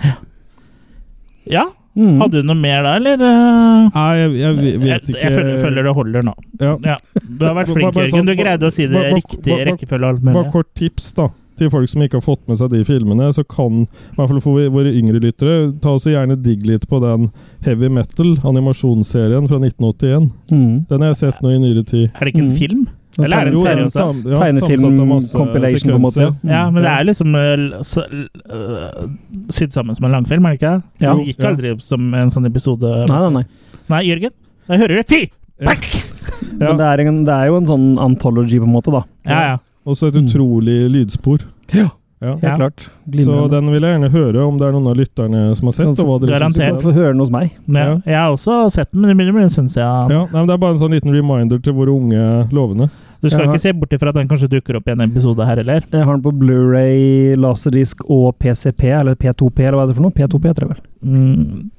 Speaker 1: Ja?
Speaker 3: Mm.
Speaker 1: Hadde du noe mer da, eller? eh?
Speaker 2: Nei, jeg, jeg vet
Speaker 1: Jeg,
Speaker 2: ikke
Speaker 1: jeg føler, føler det holder nå.
Speaker 2: Ja.
Speaker 1: Ja. Du har vært
Speaker 2: Bare-
Speaker 1: flink,
Speaker 2: bare
Speaker 1: Jørgen.
Speaker 2: sånn-
Speaker 1: Du greide å si det
Speaker 2: bare- bare-
Speaker 1: riktig
Speaker 2: bare-
Speaker 1: rekkefølge og alt
Speaker 2: Bare
Speaker 1: mulig.
Speaker 2: kort tips da til folk som ikke har fått med seg de filmene. Så kan i hvert fall for våre yngre lyttere ta også gjerne digg litt på den heavy metal-animasjonsserien fra 1981.
Speaker 3: Mm.
Speaker 2: Den har jeg sett nå i nyere tid.
Speaker 1: Er det ikke en
Speaker 3: Mm.
Speaker 1: film? Eller er det en
Speaker 2: Jo,
Speaker 1: serie
Speaker 2: den
Speaker 1: også?
Speaker 2: sam- ja,
Speaker 3: Tegnefilm-
Speaker 2: samsatt av masse
Speaker 3: compilation, på en måte,
Speaker 2: sekvenser.
Speaker 3: ja.
Speaker 1: Ja, men det
Speaker 2: Ja.
Speaker 1: er liksom eh, l- så, l- øh, sydd sammen som en langfilm, er det ikke det?
Speaker 3: Ja.
Speaker 1: Det gikk aldri opp som en sånn episode.
Speaker 3: Nei, nei, nei.
Speaker 1: Nei, Jørgen, jeg hører det. Fy!
Speaker 2: Ja.
Speaker 1: Back!
Speaker 2: Ja.
Speaker 3: Men det er, en, det er jo en sånn anthology, på en måte, da.
Speaker 1: Ja, ja.
Speaker 2: Også et
Speaker 3: Mm.
Speaker 2: utrolig lydspor.
Speaker 3: Ja.
Speaker 2: Ja.
Speaker 3: Helt klart.
Speaker 2: Så
Speaker 3: Glimrende.
Speaker 2: den vil jeg gjerne høre om det er noen av lytterne som har sett. Og hva dere synes om
Speaker 1: Garantert.
Speaker 3: Du får høre den hos meg.
Speaker 1: ja.
Speaker 2: Ja.
Speaker 1: Jeg har også sett den, men det begynner å bli en stund
Speaker 2: den.
Speaker 1: siden.
Speaker 2: Ja, nei, men det er bare en sånn liten reminder til våre unge lovende.
Speaker 1: Du skal
Speaker 3: Ja.
Speaker 1: ikke se bort ifra at den kanskje dukker opp i en episode her heller.
Speaker 3: Jeg har den på Blu-ray, laserdisk og PCP, eller P2P, eller hva er det for noe? P2P, tror jeg vel.
Speaker 1: Mm.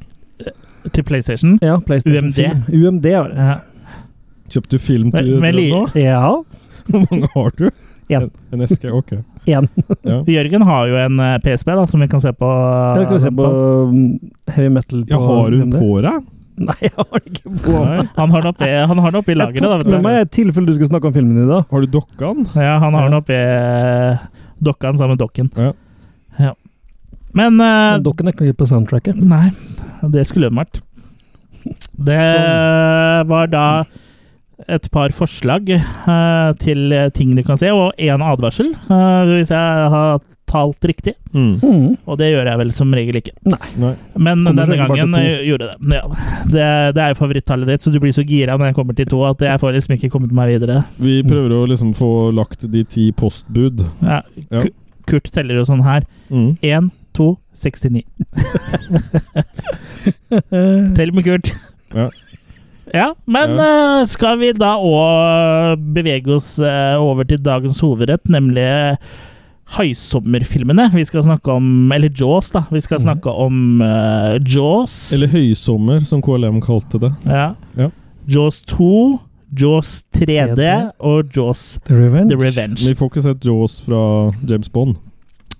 Speaker 1: Til PlayStation.
Speaker 3: Ja, PlayStation
Speaker 1: UMD.
Speaker 3: 4. UMD, ja. vel.
Speaker 1: Ja.
Speaker 2: Kjøpte du film til
Speaker 1: Men- men
Speaker 2: til
Speaker 1: li-
Speaker 2: nå?
Speaker 3: Ja,
Speaker 2: [laughs] Hvor mange har du?
Speaker 3: En.
Speaker 2: En eske? Ok.
Speaker 3: én.
Speaker 2: Ja.
Speaker 1: [laughs] Jørgen har jo en eh, PSP da, som vi kan se på.
Speaker 3: Jeg skal vi se på um, heavy metal på
Speaker 2: Ja, har hun
Speaker 3: UMD.
Speaker 2: på deg?
Speaker 3: Nei, jeg har den ikke på.
Speaker 2: Nei.
Speaker 1: Han har den oppe, han har den oppe i lageret, da, vet
Speaker 3: Nå
Speaker 1: du.
Speaker 3: må jeg i tilfelle du skal snakke om filmen din, da.
Speaker 2: Har du dokka den?
Speaker 1: Ja, han har den oppi dokka sammen med eh, dokken.
Speaker 2: Ja.
Speaker 1: Ja. Men eh,
Speaker 3: Men Dokken er ikke på soundtracket.
Speaker 1: Nei, det skulle de vært. Det var da et par forslag eh, til ting du kan se, og én advarsel, eh, hvis jeg har talt riktig.
Speaker 3: Mm.
Speaker 1: Og det gjør jeg vel som regel ikke.
Speaker 2: Nei.
Speaker 1: Men
Speaker 3: Kommer
Speaker 1: denne
Speaker 3: sjelden bare
Speaker 1: gangen
Speaker 3: til
Speaker 1: eh, gjorde jeg det. Ja. det. Det er jo favorittallet ditt, så du blir så gira når jeg kommer til to at jeg får liksom ikke kommet meg videre.
Speaker 2: Vi prøver å liksom få lagt de ti postbud.
Speaker 1: Ja.
Speaker 2: Ja.
Speaker 1: Ku- Kurt teller jo sånn her.
Speaker 2: Mm.
Speaker 1: Én, to, 69. Tell med Kurt.
Speaker 2: Ja.
Speaker 1: Ja, men eh, skal vi da òg bevege oss eh, over til dagens hovedrett, nemlig Haisommerfilmene. Vi skal snakke om Eller Jaws, da. Vi skal
Speaker 3: Mhm.
Speaker 1: snakke om eh, Jaws.
Speaker 2: Eller høysommer, som KLM kalte det.
Speaker 1: ja.
Speaker 2: Ja.
Speaker 1: Jaws 2, Jaws 3D,
Speaker 3: 3D.
Speaker 1: og Jaws
Speaker 3: The Revenge.
Speaker 1: The Revenge.
Speaker 2: Vi får ikke sett Jaws fra James Bond.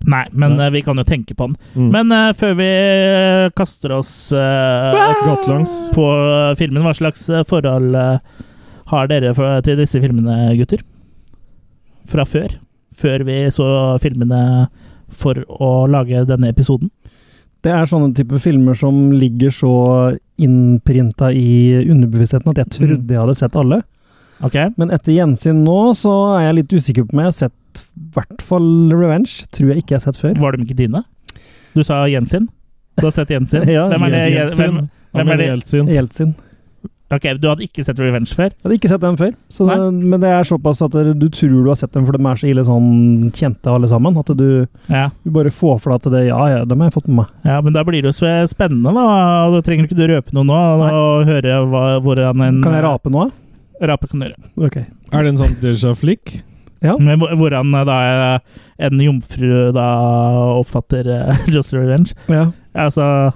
Speaker 1: Nei, men
Speaker 2: Nei.
Speaker 1: eh, vi kan jo tenke på den.
Speaker 2: Mm.
Speaker 1: Men eh, før vi eh, kaster oss eh,
Speaker 2: Gatelangs.
Speaker 1: på eh, filmen, hva slags eh, forhold eh, har dere for, til disse filmene, gutter? Fra før? Før vi så filmene for å lage denne episoden?
Speaker 3: Det er sånne type filmer som
Speaker 1: Mm.
Speaker 3: ligger så innprinta i underbevisstheten at jeg trodde jeg hadde sett alle.
Speaker 1: Ok?
Speaker 3: Men etter gjensyn nå, så er jeg litt usikker på om jeg har sett i hvert fall Revenge. Tror jeg ikke jeg har sett før.
Speaker 1: Var de ikke dine? Du sa Jensin? Du har sett Jensin?
Speaker 3: [laughs] Ja,
Speaker 1: hvem er det? Jen- Hvem?
Speaker 2: Jeltsin. Han
Speaker 1: hvem er
Speaker 2: mener
Speaker 1: det?
Speaker 2: Jeltsin.
Speaker 3: Jeltsin.
Speaker 1: Ok, du hadde ikke sett Revenge før?
Speaker 3: Jeg hadde ikke sett dem før, så det, men det er såpass at du tror du har sett dem, for de er så ille sånn kjente alle sammen. At du,
Speaker 1: Ja.
Speaker 3: du bare får for deg at det Ja, ja, dem har jeg fått med meg.
Speaker 1: ja, men da blir det jo sp- spennende, da. Da trenger du ikke du røpe noe nå,
Speaker 3: Nei.
Speaker 1: og høre hva, hvordan en
Speaker 3: Kan jeg rape nå?
Speaker 1: Rape kan du gjøre.
Speaker 3: Ok.
Speaker 2: Er det en sånn déjà flick?
Speaker 1: Men hvor- hvordan eh, da eh, en jomfru da oppfatter eh, [laughs] Just Revenge?
Speaker 3: Ja.
Speaker 1: Altså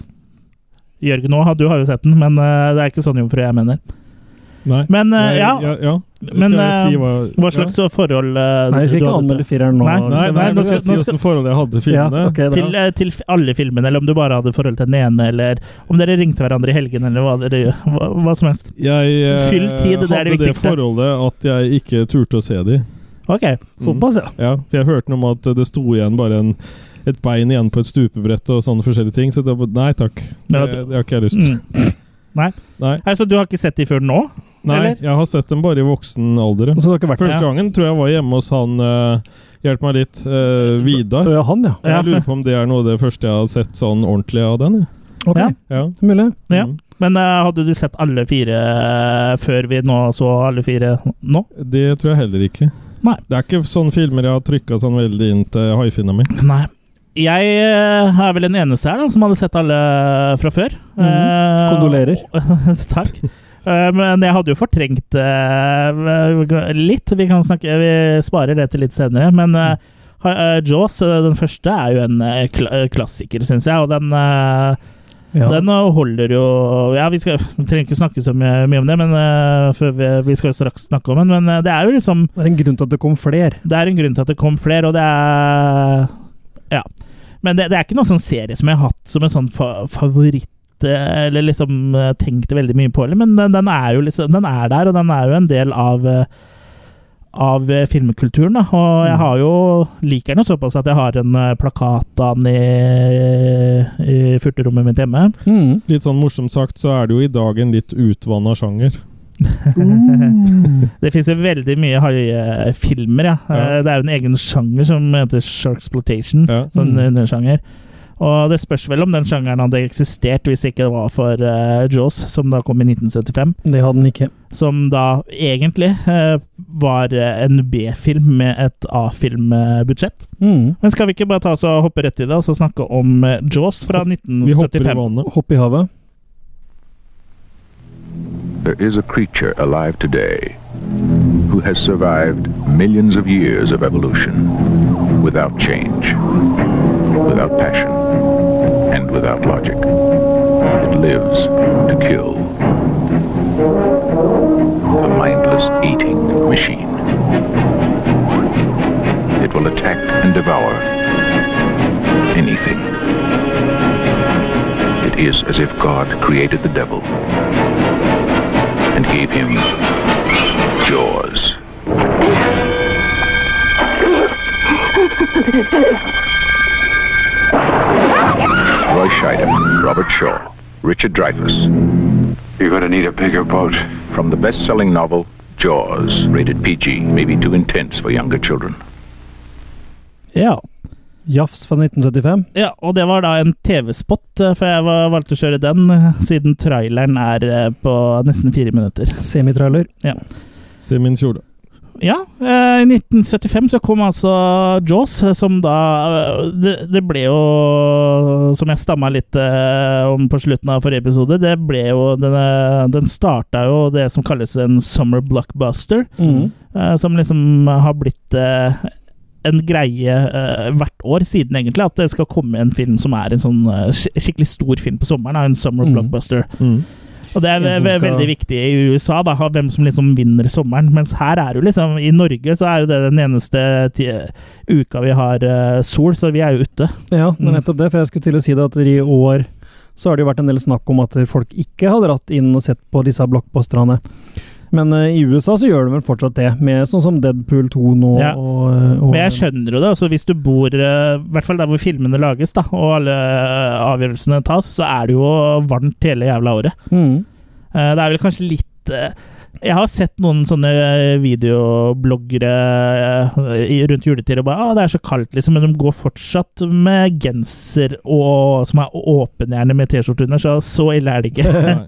Speaker 1: Jørgen òg, du har jo sett den, men eh, det er ikke sånn jomfru jeg mener.
Speaker 2: Nei.
Speaker 1: Men eh,
Speaker 2: Nei,
Speaker 1: ja,
Speaker 2: ja, ja.
Speaker 1: men,
Speaker 2: Skal jeg
Speaker 1: eh,
Speaker 2: si hva,
Speaker 1: hva slags forhold eh,
Speaker 3: Nei,
Speaker 1: du
Speaker 3: vi skal ikke
Speaker 1: hadde til-
Speaker 3: anmelde fireren nå.
Speaker 1: Nei,
Speaker 2: ja. Nei, nei, nå skal jeg si
Speaker 1: nå skal-
Speaker 2: åssen forhold jeg hadde til
Speaker 3: ja,
Speaker 2: filmene.
Speaker 3: ok, da.
Speaker 1: til, eh, til f- alle filmene, eller om du bare hadde forhold til den ene, eller om dere ringte hverandre i helgen, eller hva, dere, hva, hva som helst.
Speaker 2: Jeg eh,
Speaker 1: Fyll tid, det er det
Speaker 2: hadde det
Speaker 1: viktigste.
Speaker 2: forholdet at jeg ikke turte å se de.
Speaker 1: Ok,
Speaker 3: Såpass, ja.
Speaker 2: Ja, for jeg hørte noe om at det sto igjen bare en, et bein igjen på et stupebrett og sånne forskjellige ting. Så det var, nei takk, det,
Speaker 1: Ja, du-
Speaker 2: det har ikke jeg lyst til.
Speaker 1: mm.
Speaker 2: Nei.
Speaker 1: Nei, Så du har ikke sett de før nå?
Speaker 2: nei,
Speaker 1: Eller?
Speaker 2: jeg har sett dem bare i voksen alder.
Speaker 3: Så det Altså, har ikke vært
Speaker 2: Første gangen tror jeg var hjemme hos han eh, Hjelp meg litt. eh, Vidar.
Speaker 3: Øh, Han, ja.
Speaker 1: Ja.
Speaker 2: Jeg lurer på om det er noe av det første jeg har sett sånn ordentlig av den. jeg.
Speaker 3: Ok,
Speaker 1: Ja.
Speaker 2: Ja.
Speaker 3: mulig.
Speaker 1: Ja.
Speaker 2: Mm.
Speaker 1: Men eh, hadde du sett alle fire eh, før vi nå så alle fire nå?
Speaker 2: Det tror jeg heller ikke.
Speaker 1: Nei.
Speaker 2: Det er ikke sånne filmer jeg har trykka sånn veldig inn til haifinna mi.
Speaker 1: Nei. Jeg eh, er vel den eneste her da, som hadde sett alle fra før.
Speaker 3: Mhm.
Speaker 1: Eh,
Speaker 3: Kondolerer.
Speaker 1: [laughs] Takk. Eh, Men jeg hadde jo fortrengt eh, litt. Vi kan snakke Vi sparer det til litt senere. Men eh, ha- eh, Jaws, eh, den første, er jo en eh, kla eh, klassiker, syns jeg. Og den, eh,
Speaker 3: Ja.
Speaker 1: den eh, holder jo Ja, vi, skal, vi trenger ikke snakke så mye, mye om det, men eh, for vi, vi skal jo straks snakke om den. Men eh, det er jo liksom
Speaker 3: Det er en grunn til at det kom flere.
Speaker 1: det er en grunn til at det kom flere, og det er Ja. Men det, det er ikke noen sånn serie som jeg har hatt som en sånn fa favoritt eh, eller liksom eh, tenkte veldig mye på, eller, men den, den er jo liksom Den er der, og den er jo en del av eh, av eh, filmkulturen, da. Og jeg har jo liker den jo såpass at jeg har en eh, plakat av den i, i furterommet mitt hjemme.
Speaker 3: Mm.
Speaker 2: Litt sånn morsomt sagt så er det jo i dag en litt utvanna sjanger.
Speaker 1: [laughs] Det fins jo veldig mye haifilmer, ja. Eh, Det er jo en egen sjanger som heter Sharksploitation.
Speaker 2: Ja.
Speaker 1: Sånn
Speaker 3: Mm.
Speaker 1: undersjanger. Og det spørs vel om den sjangeren hadde eksistert hvis ikke det var for eh, Jaws, som da kom i 1975.
Speaker 3: Det hadde den ikke.
Speaker 1: Som da egentlig eh, var eh, en B-film med et A-filmbudsjett.
Speaker 3: Mm.
Speaker 1: Men skal vi ikke bare ta oss og hoppe rett i det og så snakke om eh, Jaws fra
Speaker 2: Vi hopper i
Speaker 1: 1975?
Speaker 2: vannet.
Speaker 3: Hopp i havet.
Speaker 5: There is a creature alive today who has survived millions of years of evolution without change, without passion, and without logic. It lives to kill. A mindless eating machine. It will attack and devour anything. It is as if God created the devil and gave him jaws. Roy Scheider, Robert Shaw, Richard Dreyfuss. You're going to need a bigger boat. From the best-selling novel, Jaws, rated PG, maybe too intense for younger children.
Speaker 1: Ja.
Speaker 3: Jafs fra 1975.
Speaker 1: ja. Og det var da en TV-spot, eh, for jeg var, valgte å kjøre den eh, siden traileren er eh, på nesten fire minutter.
Speaker 3: Semitrailer.
Speaker 2: Se min kjole.
Speaker 1: Ja, eh, i 1975 så kom altså Jaws, som da eh, Det, det ble jo, som jeg stamma litt eh, om på slutten av forrige episode, det ble jo Den, eh, den starta jo det som kalles en summer blockbuster,
Speaker 3: Mm.
Speaker 1: eh, som liksom har blitt eh, en greie eh, hvert år siden, egentlig, at det skal komme en film som er en sånn eh, skik- skikkelig stor film på sommeren. da, En summer
Speaker 3: Mm.
Speaker 1: blockbuster.
Speaker 2: Mm.
Speaker 1: Og det er ve
Speaker 3: En som
Speaker 1: ve
Speaker 3: skal-
Speaker 1: veldig viktig i USA, da, ha- hvem som liksom vinner sommeren. Mens her er jo liksom I Norge så er jo det den eneste ti uka vi har eh, sol, så vi er jo ute.
Speaker 3: Ja, det er nettopp det. For jeg skulle til å si det at i år så har det jo vært en del snakk om at folk ikke har dratt inn og sett på disse blockbusterne. Men eh, i USA så gjør de vel fortsatt det, med sånn som Deadpool 2 nå
Speaker 1: Ja.
Speaker 3: og, eh, og
Speaker 1: Men jeg skjønner jo det. altså Hvis du bor eh, i hvert fall der hvor filmene lages, da, og alle eh, avgjørelsene tas, så er det jo varmt hele jævla året.
Speaker 3: Mm.
Speaker 1: Eh, Det er vel kanskje litt eh, Jeg har sett noen sånne eh, videobloggere eh, i- rundt juletider og bare 'Å, det er så kaldt', liksom. Men de går fortsatt med genser og, som er åpen gjerne med T-skjorte under, så så ille er det ikke.
Speaker 2: [laughs] Nei.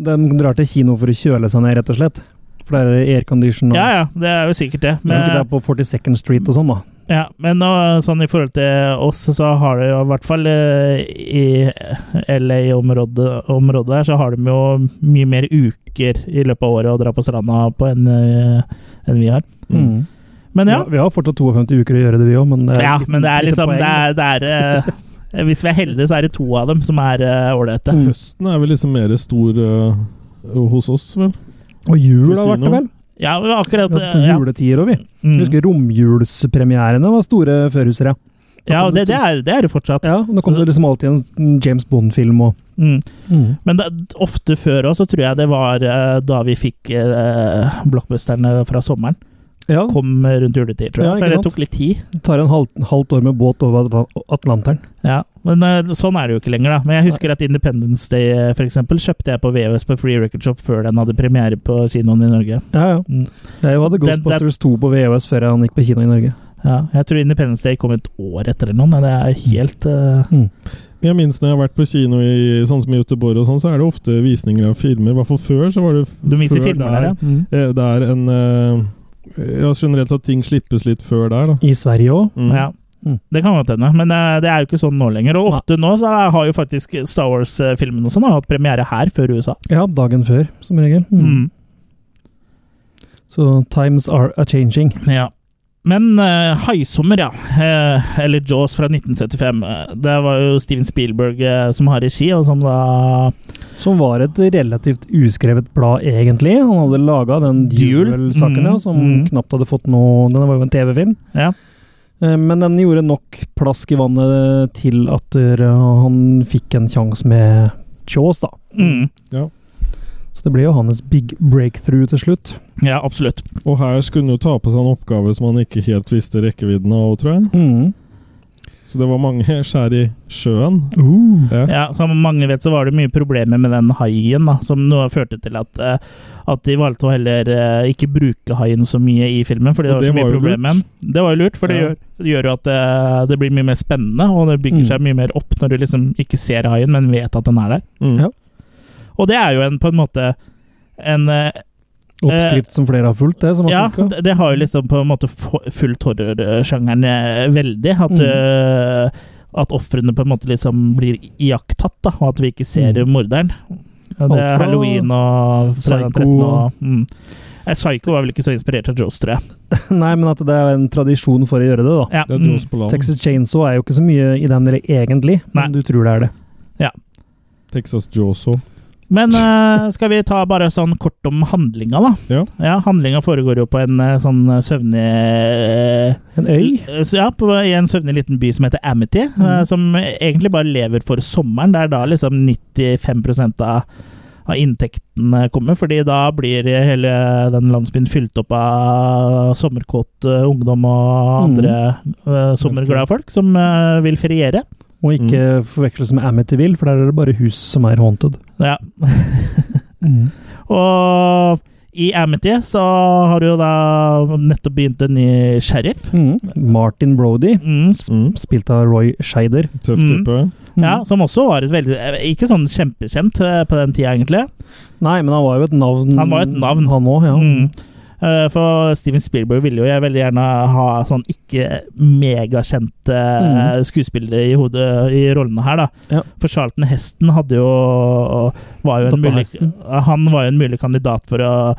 Speaker 3: De drar til kino for å kjøle seg ned, rett og slett. For der er det aircondition og
Speaker 1: Ja ja, det er jo sikkert det.
Speaker 3: Hvis ikke det er
Speaker 1: Men,
Speaker 3: på 42nd Street og sånn, da.
Speaker 1: ja, men nå, sånn i forhold til oss, så har det jo i hvert fall eh, i LA-området området der, så har de jo mye mer uker i løpet av året å dra på stranda på enn eh, enn vi har.
Speaker 2: Mm.
Speaker 1: Men ja.
Speaker 3: Vi- Vi har fortsatt 52 uker å gjøre det, vi òg, men det er
Speaker 1: Ja,
Speaker 3: litt-
Speaker 1: men det er
Speaker 3: litt
Speaker 1: liksom
Speaker 3: Eh, poeng,
Speaker 1: det
Speaker 3: da.
Speaker 1: er, det er, eh, Hvis vi er heldige, så er det to av dem som er eh, ålreite.
Speaker 3: Mm.
Speaker 2: Høsten er vel liksom mer stor øh, hos oss, vel?
Speaker 3: Og jul har vært det, vel?
Speaker 1: ja, men akkurat
Speaker 3: Vi har hatt
Speaker 1: eh, ja.
Speaker 3: juletider òg, vi.
Speaker 1: Mm.
Speaker 3: Jeg husker romjulspremierene var store førhuser, ja.
Speaker 1: ja og det, det, er, det er det fortsatt.
Speaker 3: ja. og Da kom det liksom alltid en James Bond-film og
Speaker 1: Mm. Men da, ofte før òg, så tror jeg det var eh, da vi fikk eh, blockbusterne fra sommeren.
Speaker 3: Ja,
Speaker 1: Kom rundt juletid, tror jeg.
Speaker 3: Ja, ikke
Speaker 1: For det
Speaker 3: sant?
Speaker 1: tok litt tid.
Speaker 3: det tar en halv, halvt år med båt over Atla- Atlanteren.
Speaker 1: Ja, Men eh, sånn er det jo ikke lenger, da. Men jeg husker at Independence Day eh, for eksempel, kjøpte jeg på VHS på Free Record Shop før den hadde premiere på kinoen i Norge.
Speaker 3: Ja, ja.
Speaker 1: Mm.
Speaker 3: Jeg hadde
Speaker 1: Den-
Speaker 3: Ghostbusters 2 på VHS før han gikk på kino i Norge.
Speaker 1: Ja, jeg tror Independence Day kom et år etter eller noe. men Det er helt eh,
Speaker 2: Jeg minnes når jeg har vært på kino i sånn som i Göteborg, og sånn, så er det ofte visninger av filmer. I hvert fall før så var det f-
Speaker 1: Du viser
Speaker 2: før
Speaker 1: filmer der, ja. Mm.
Speaker 2: eh, Det er en øh, Ja, generelt at ting slippes litt før der, da.
Speaker 3: I Sverige òg.
Speaker 2: Mm.
Speaker 1: ja.
Speaker 3: Mm.
Speaker 1: Det kan godt hende, men eh, det er jo ikke sånn nå lenger. Og ofte nå så har jo faktisk Star Wars-filmen og sånn har hatt premiere her før USA.
Speaker 3: Ja, dagen før, som regel. Mm.
Speaker 1: Mm.
Speaker 3: Så times are a changing.
Speaker 1: Ja. Men eh, 'Haisommer', ja. Eh, eller 'Jaws' fra 1975. eh, Det var jo Steven Spielberg eh, som har regi, og som da
Speaker 3: Som var et relativt uskrevet blad, egentlig. Han hadde laga den
Speaker 1: Duel.
Speaker 3: Duel-saken, ja,
Speaker 1: Mhm,
Speaker 3: som
Speaker 1: mhm.
Speaker 3: knapt hadde fått noe Den var jo en TV-film.
Speaker 1: Ja.
Speaker 3: Eh, Men den gjorde nok plask i vannet til at eh, han fikk en sjanse med Jaws, da.
Speaker 1: mm,
Speaker 3: Så det ble jo hans big breakthrough til slutt.
Speaker 1: Ja, absolutt.
Speaker 2: Og her skulle han jo ta på seg en oppgave som han ikke helt visste rekkevidden av, tror jeg.
Speaker 1: Mm.
Speaker 2: Så det var mange [laughs] skjær i sjøen.
Speaker 3: Uh.
Speaker 2: Ja.
Speaker 1: Mm. Ja, Som mange vet, så var det mye problemer med den haien, da, som nå førte til at, eh, at de valgte å heller eh, ikke bruke haien så mye i filmen, fordi det
Speaker 2: Og
Speaker 1: var
Speaker 2: det
Speaker 1: så mye
Speaker 2: var jo
Speaker 1: problemer med den. Det var jo lurt, for det,
Speaker 2: Ja.
Speaker 1: gjør, det gjør jo at det, det blir mye mer spennende, og det bygger
Speaker 3: Mm.
Speaker 1: seg mye mer opp når du liksom ikke ser haien, men vet at den er der.
Speaker 2: Mm.
Speaker 3: Ja.
Speaker 1: Og det er jo en, på en måte en eh,
Speaker 3: Oppskrift som flere har fulgt, det. Som har
Speaker 1: Ja,
Speaker 3: funket.
Speaker 1: det- det har jo liksom på en måte fo- fulgt horrorsjangeren eh, veldig. At,
Speaker 3: Mm.
Speaker 1: eh, at ofrene på en måte liksom blir iakttatt, da, og at vi ikke ser
Speaker 3: Mm.
Speaker 1: morderen. Ja, det
Speaker 3: Alt
Speaker 1: er
Speaker 3: fra
Speaker 1: halloween og Fredag den
Speaker 3: Psycho.
Speaker 1: 13. Og, mm. Eh, Psycho var vel ikke så inspirert av Jaws, tror jeg.
Speaker 3: [laughs] Nei, men at det er en tradisjon for å gjøre det, da.
Speaker 1: Ja,
Speaker 2: Det er Jaws
Speaker 1: mm.
Speaker 2: på land.
Speaker 3: Texas Chainsaw er jo ikke så mye i den re- egentlig,
Speaker 1: Nei.
Speaker 3: men du tror det er det.
Speaker 2: Texas Jaws òg.
Speaker 1: Men eh, skal vi ta bare sånn kort om handlinga, da?
Speaker 2: Ja.
Speaker 1: Handlinga foregår jo på en eh, sånn eh, søvnig eh,
Speaker 3: En øy?
Speaker 1: Eh, Så ja, på, I en søvnig liten by som heter Amity, eh,
Speaker 3: Mm.
Speaker 1: som egentlig bare lever for sommeren. Det er da liksom 95 av, av inntektene kommer, fordi da blir hele den landsbyen fylt opp av sommerkåt eh, ungdom og andre eh, sommerglade folk som eh, vil feriere.
Speaker 3: Og ikke
Speaker 1: Mm.
Speaker 3: forveksles med Amityville, for der er det bare hus som er haunted.
Speaker 1: Ja. Mm. Og i Amity så har du jo da nettopp begynt en ny sheriff,
Speaker 3: Mm. Martin Brody,
Speaker 1: mm,
Speaker 2: Mm.
Speaker 3: spilt av Roy Scheider.
Speaker 2: Tøff
Speaker 1: Mm.
Speaker 2: type.
Speaker 3: Mm.
Speaker 1: ja, som også var et veldig Ikke sånn kjempekjent eh, på den tida, egentlig.
Speaker 3: Nei, men han var jo et navn.
Speaker 1: Han var et navn.
Speaker 3: Han òg, ja.
Speaker 1: Mm. Eh, For Steven Spielberg ville jo jeg veldig gjerne ha sånn ikke megakjente eh, skuespillere i hodet i rollene her, da.
Speaker 3: Mm. Ja.
Speaker 1: For Charlton Heston hadde jo var jo en
Speaker 3: Pappa
Speaker 1: mulig, eh,
Speaker 3: Heston.
Speaker 1: Han var jo en mulig kandidat for å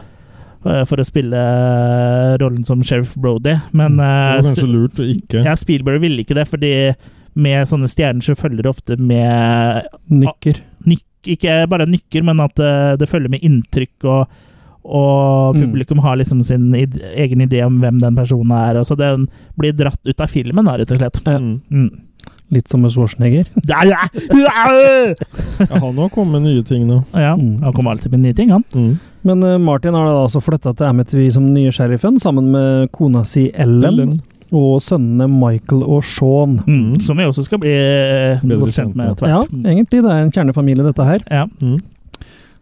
Speaker 1: eh, for å spille eh, rollen som Sheriff Brody,
Speaker 3: Mm.
Speaker 1: men
Speaker 2: Det
Speaker 1: eh,
Speaker 2: var kanskje lurt å ikke.
Speaker 1: ja, Spielberg ville ikke det, fordi med sånne stjerner så følger det ofte med
Speaker 3: Nykker.
Speaker 1: nykk- ikke bare nykker, men at eh, det følger med inntrykk, og, og
Speaker 3: Mm.
Speaker 1: publikum har liksom sin id egen idé om hvem den personen er. Og så den blir dratt ut av filmen, da, rett og slett.
Speaker 3: Ja.
Speaker 2: Mm.
Speaker 1: Mm. [laughs]
Speaker 3: Litt som med Schwarzenegger.
Speaker 1: Ja, ja. ja,
Speaker 2: Ja, han òg kom med nye ting nå.
Speaker 3: Mm.
Speaker 1: Han kommer alltid med nye ting, han.
Speaker 2: Mm.
Speaker 3: Men eh, Martin har da altså flytta til Amityville som nye sheriffen, sammen med kona si Ellen,
Speaker 2: Ellen.
Speaker 3: og sønnene Michael og Sean.
Speaker 1: Mm. Som vi også skal bli eh,
Speaker 2: Bedre
Speaker 1: godt kjent
Speaker 2: kjent
Speaker 1: med
Speaker 2: med.
Speaker 1: etter
Speaker 3: Ja,
Speaker 1: hvert. Mm.
Speaker 3: egentlig. Det er en kjernefamilie, dette her.
Speaker 1: Ja.
Speaker 2: Mm.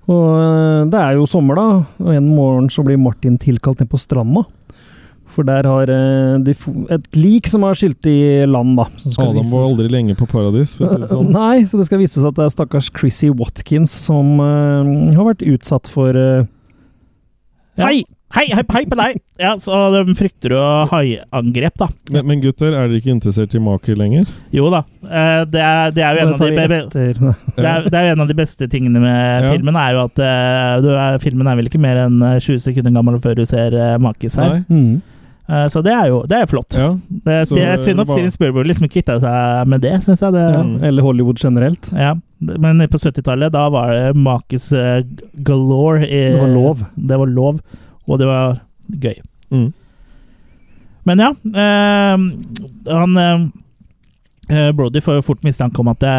Speaker 3: Og eh, det er jo sommer, da, og en morgen så blir Martin tilkalt ned på stranda. For der har eh, de fo- et lik som er skylt i land, da. Som skal
Speaker 2: Adam
Speaker 3: vises-
Speaker 2: var aldri lenge på paradis, for å
Speaker 1: [laughs]
Speaker 2: si det sånn.
Speaker 3: [laughs] Nei, så det skal vise seg at det er stakkars Chrissy Watkins som eh, har vært utsatt for eh,
Speaker 1: Ja.
Speaker 3: Hei!
Speaker 1: Hei, hei, hei på deg! Ja, Så de frykter jo haiangrep, da.
Speaker 2: Men, men gutter, er dere ikke interessert i maker lenger?
Speaker 1: Jo da. eh, Det er, det er jo en av
Speaker 3: Det
Speaker 1: de
Speaker 3: tar vi
Speaker 1: be-
Speaker 3: etter. [laughs]
Speaker 1: Det er, det er jo en av de beste tingene med
Speaker 2: Ja.
Speaker 1: filmen, er jo at eh, du er, filmen er vel ikke mer enn eh, 20 sekunder gammel før du ser eh, Makis her.
Speaker 2: Nei?
Speaker 3: Mm.
Speaker 1: Eh, så det er jo det er flott.
Speaker 2: Ja.
Speaker 1: Det,
Speaker 2: Så
Speaker 1: det er synd
Speaker 2: det
Speaker 1: at
Speaker 2: var-
Speaker 1: Steven Spielberg liksom kvitta seg med det, syns jeg. Det,
Speaker 3: Ja,
Speaker 1: ja.
Speaker 2: Mm.
Speaker 3: eller Hollywood generelt.
Speaker 1: Men på 70-tallet, da var det Makis eh, galore. i-
Speaker 3: Det var lov.
Speaker 1: Det var lov, og det var gøy.
Speaker 2: Mm.
Speaker 1: Men ja, eh, han eh, Brody får jo fort mistanke om at det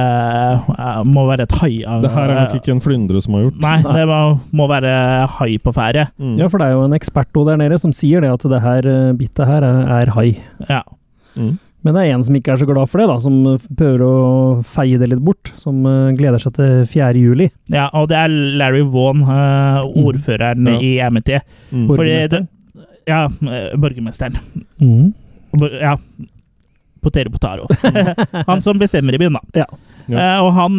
Speaker 1: eh, må være et hai...
Speaker 2: Det her er nok ikke en flyndre som har gjort.
Speaker 1: Nei, det må, må være hai på ferde.
Speaker 2: Mm.
Speaker 3: Ja, for det er jo en ekspert der nede som sier det at det her eh, bittet her er, er hai.
Speaker 1: Ja.
Speaker 2: Mm.
Speaker 3: Men det er en som ikke er så glad for det, da, som eh, prøver å feie det litt bort. Som eh, gleder seg til 4. juli.
Speaker 1: ja, og det er Larry Vaughan, eh, ordføreren
Speaker 2: Mm. Ja.
Speaker 1: i Amity.
Speaker 2: Mm.
Speaker 1: Fordi
Speaker 3: Borgermesteren.
Speaker 1: Ja, eh, borgermesteren.
Speaker 3: Mm.
Speaker 1: Bor- Ja. Potere potaro. [laughs] han som bestemmer i byen, da.
Speaker 3: Ja.
Speaker 2: Mm. Ja.
Speaker 1: Eh, og han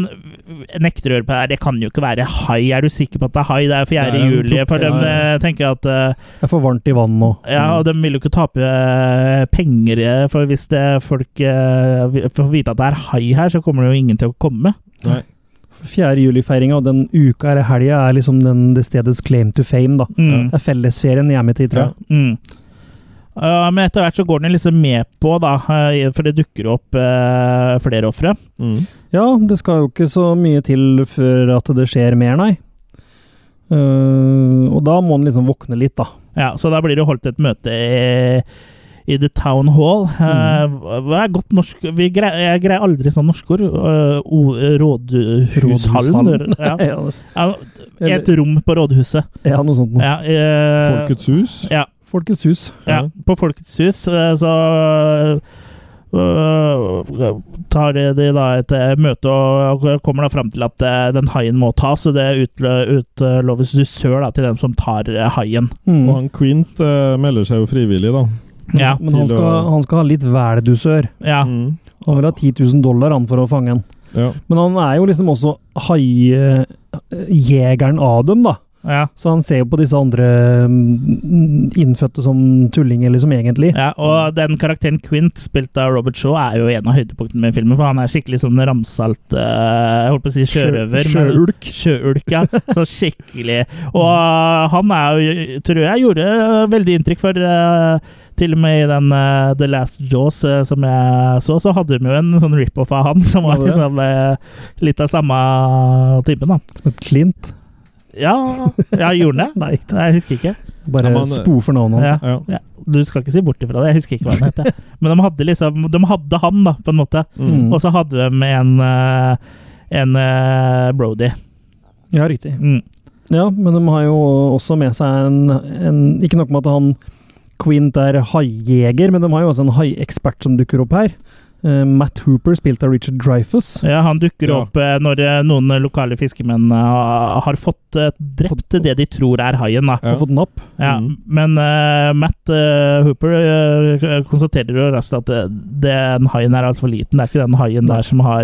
Speaker 1: nekter å høre på det her. Det kan jo ikke være hai. Er du sikker på at det er hai? Det er 4.
Speaker 2: Det er en
Speaker 1: juli. For de
Speaker 2: prop- ja, ja.
Speaker 1: eh,
Speaker 2: Mm.
Speaker 1: tenker at eh,
Speaker 3: Det er for varmt i vannet nå.
Speaker 1: Ja, og de vil jo ikke tape eh, penger, eh, for hvis det folk eh, vi- får vite at det er hai her, så kommer det jo ingen til å komme.
Speaker 3: 4. juli-feiringa og den uka eller helga er liksom den, det stedets claim to fame, da.
Speaker 1: Mm.
Speaker 3: Det er fellesferien hjemme til, tror jeg.
Speaker 1: Mm. Eh, men etter hvert så går den liksom med på, da, eh, for det dukker opp eh, flere ofre.
Speaker 2: Mm.
Speaker 3: Ja. det skal jo ikke så mye til før at det skjer mer, nei. Eh, og da må en liksom våkne litt, da.
Speaker 1: Ja, så da blir det holdt et møte i, i The Town Hall. Eh, Hva er godt norsk Vi greier, Jeg greier aldri sånn norske ord. Eh, o- Rådhushallen?
Speaker 3: Rådhushallen.
Speaker 1: Ja.
Speaker 3: [laughs] Ja,
Speaker 1: [laughs]
Speaker 3: det-
Speaker 1: Ja, et rom på rådhuset.
Speaker 3: ja, noe sånt noe.
Speaker 1: Ja, eh,
Speaker 2: Folkets hus?
Speaker 1: Ja,
Speaker 3: Folkets hus.
Speaker 1: ja,
Speaker 2: Ja.
Speaker 1: på Folkets hus eh, så øh, tar de de da et eh, møte og og kommer da fram til at eh, den haien må tas, og det utlø- utloves dusør da, til dem som tar eh, haien.
Speaker 3: Mm.
Speaker 2: Og han Quint eh, melder seg jo frivillig, da.
Speaker 1: Ja.
Speaker 3: Men han
Speaker 2: Til
Speaker 3: skal,
Speaker 2: å-
Speaker 3: han skal ha litt vældusør.
Speaker 1: ja.
Speaker 2: Mm.
Speaker 3: Han vil ha 10 000 dollar han for å fange han.
Speaker 2: Ja.
Speaker 3: Men han er jo liksom også haijegeren av dem, da.
Speaker 1: ja.
Speaker 3: Så han ser jo på disse andre mm, innfødte som tullinger, liksom, egentlig.
Speaker 1: Ja, og den karakteren Quint, spilt av Robert Shaw, er jo en av høydepunktene med filmen. For han er skikkelig sånn ramsalt eh, Jeg holdt på å si sjørøver. men-
Speaker 3: Sjøulk.
Speaker 1: Sjøulk, ja. Så skikkelig. Og eh, han er jo, tror jeg, gjorde eh, veldig inntrykk for eh, til og med i den eh, The Last Jaws eh, som jeg så, så hadde de jo en sånn rip-off av han, [laughs] som var
Speaker 3: Hadde det?
Speaker 1: liksom eh, litt av samme typen, da.
Speaker 3: Som et klint.
Speaker 1: Ja, ja gjorde han det?
Speaker 3: Nei,
Speaker 1: Nei, Jeg husker ikke.
Speaker 2: Ja,
Speaker 3: bare
Speaker 2: men-
Speaker 3: spofer navnet hans.
Speaker 1: eh, Ja.
Speaker 2: Ja.
Speaker 1: Ja, du skal ikke si bort ifra det, jeg husker ikke hva han het. jeg. Men de hadde liksom De hadde han, da, på en måte.
Speaker 2: Mm.
Speaker 1: Og så hadde de en eh, en eh, Brody.
Speaker 3: Ja. riktig.
Speaker 1: Mm.
Speaker 3: Ja, men de har jo også med seg en, en Ikke nok med at han Quint er haijeger, men de har jo også en haiekspert som dukker opp her. Eh, Matt Hooper, spilt av Richard Dreyfus.
Speaker 1: Ja, han dukker
Speaker 2: Ja.
Speaker 1: opp eh, når eh, noen lokale fiskemenn eh, har fått eh, drept det de tror er haien. da.
Speaker 3: Har
Speaker 2: Ja.
Speaker 3: fått napp.
Speaker 1: Ja,
Speaker 2: Mhm.
Speaker 1: Men eh, Matt eh, Hooper eh, konstaterer jo raskt at eh, den haien er altfor liten. Det er ikke den haien der som har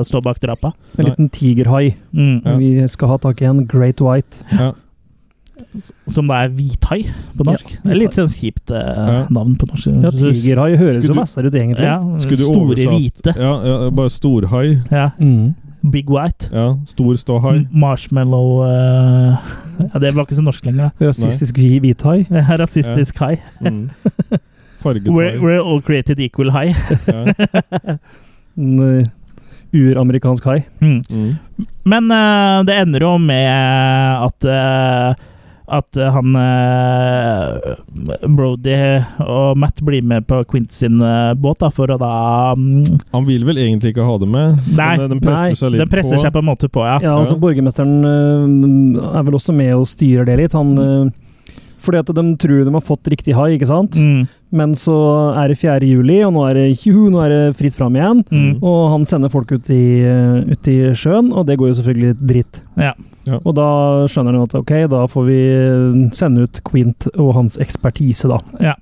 Speaker 1: eh, står bak drapa.
Speaker 2: Nei.
Speaker 3: En liten tigerhai.
Speaker 1: Mm.
Speaker 2: Ja.
Speaker 3: Vi skal ha tak i en Great White.
Speaker 2: Ja.
Speaker 1: Som da er hvithai på norsk.
Speaker 3: Ja,
Speaker 1: Det er Litt sånn kjipt eh,
Speaker 2: Ja.
Speaker 1: navn på norsk.
Speaker 3: Ja, tigerhai høres
Speaker 2: Skulle
Speaker 3: jo
Speaker 2: du-
Speaker 3: vassere ut, egentlig.
Speaker 1: Ja,
Speaker 2: Skulle du
Speaker 1: store
Speaker 2: oversatt-
Speaker 1: hvite.
Speaker 2: Ja, ja, bare storhai.
Speaker 1: Ja,
Speaker 3: Mm.
Speaker 1: Big White.
Speaker 2: Ja, stor ståhai.
Speaker 1: M- Marshmallow eh, [laughs] ja, Det var ikke så norsk lenger, da.
Speaker 3: Rasistisk hvi- hvithai.
Speaker 1: Ja, Rasistisk hai.
Speaker 2: Mm. Farget
Speaker 1: We're,
Speaker 2: hai.
Speaker 1: we're all created equal hai.
Speaker 2: Ja.
Speaker 3: En eh, uramerikansk hai.
Speaker 1: Mm.
Speaker 2: Mm.
Speaker 1: Men eh, det ender jo med at eh, at eh, han eh, Brody og Matt blir med på Quint sin eh, båt da, for å da mm,
Speaker 2: Han vil vel egentlig ikke ha det med,
Speaker 1: Nei,
Speaker 2: men eh, den presser
Speaker 3: nei,
Speaker 2: seg litt
Speaker 1: Den presser seg på en måte på, ja.
Speaker 3: Ja,
Speaker 2: Ja.
Speaker 3: altså Borgermesteren eh, er vel også med og styrer det litt. Han eh, Fordi at de tror de har fått riktig hai, ikke sant?
Speaker 1: Mm.
Speaker 3: Men så er det 4. juli, og nå er det, [laughs] juhu, nå er det fritt fram igjen.
Speaker 1: Mm.
Speaker 3: Og han sender folk ut i, eh, ut i sjøen, og det går jo selvfølgelig dritt.
Speaker 1: Ja.
Speaker 2: Ja.
Speaker 3: Og da skjønner han at ok, da får vi eh, sende ut Quint og hans ekspertise, da.
Speaker 1: Ja.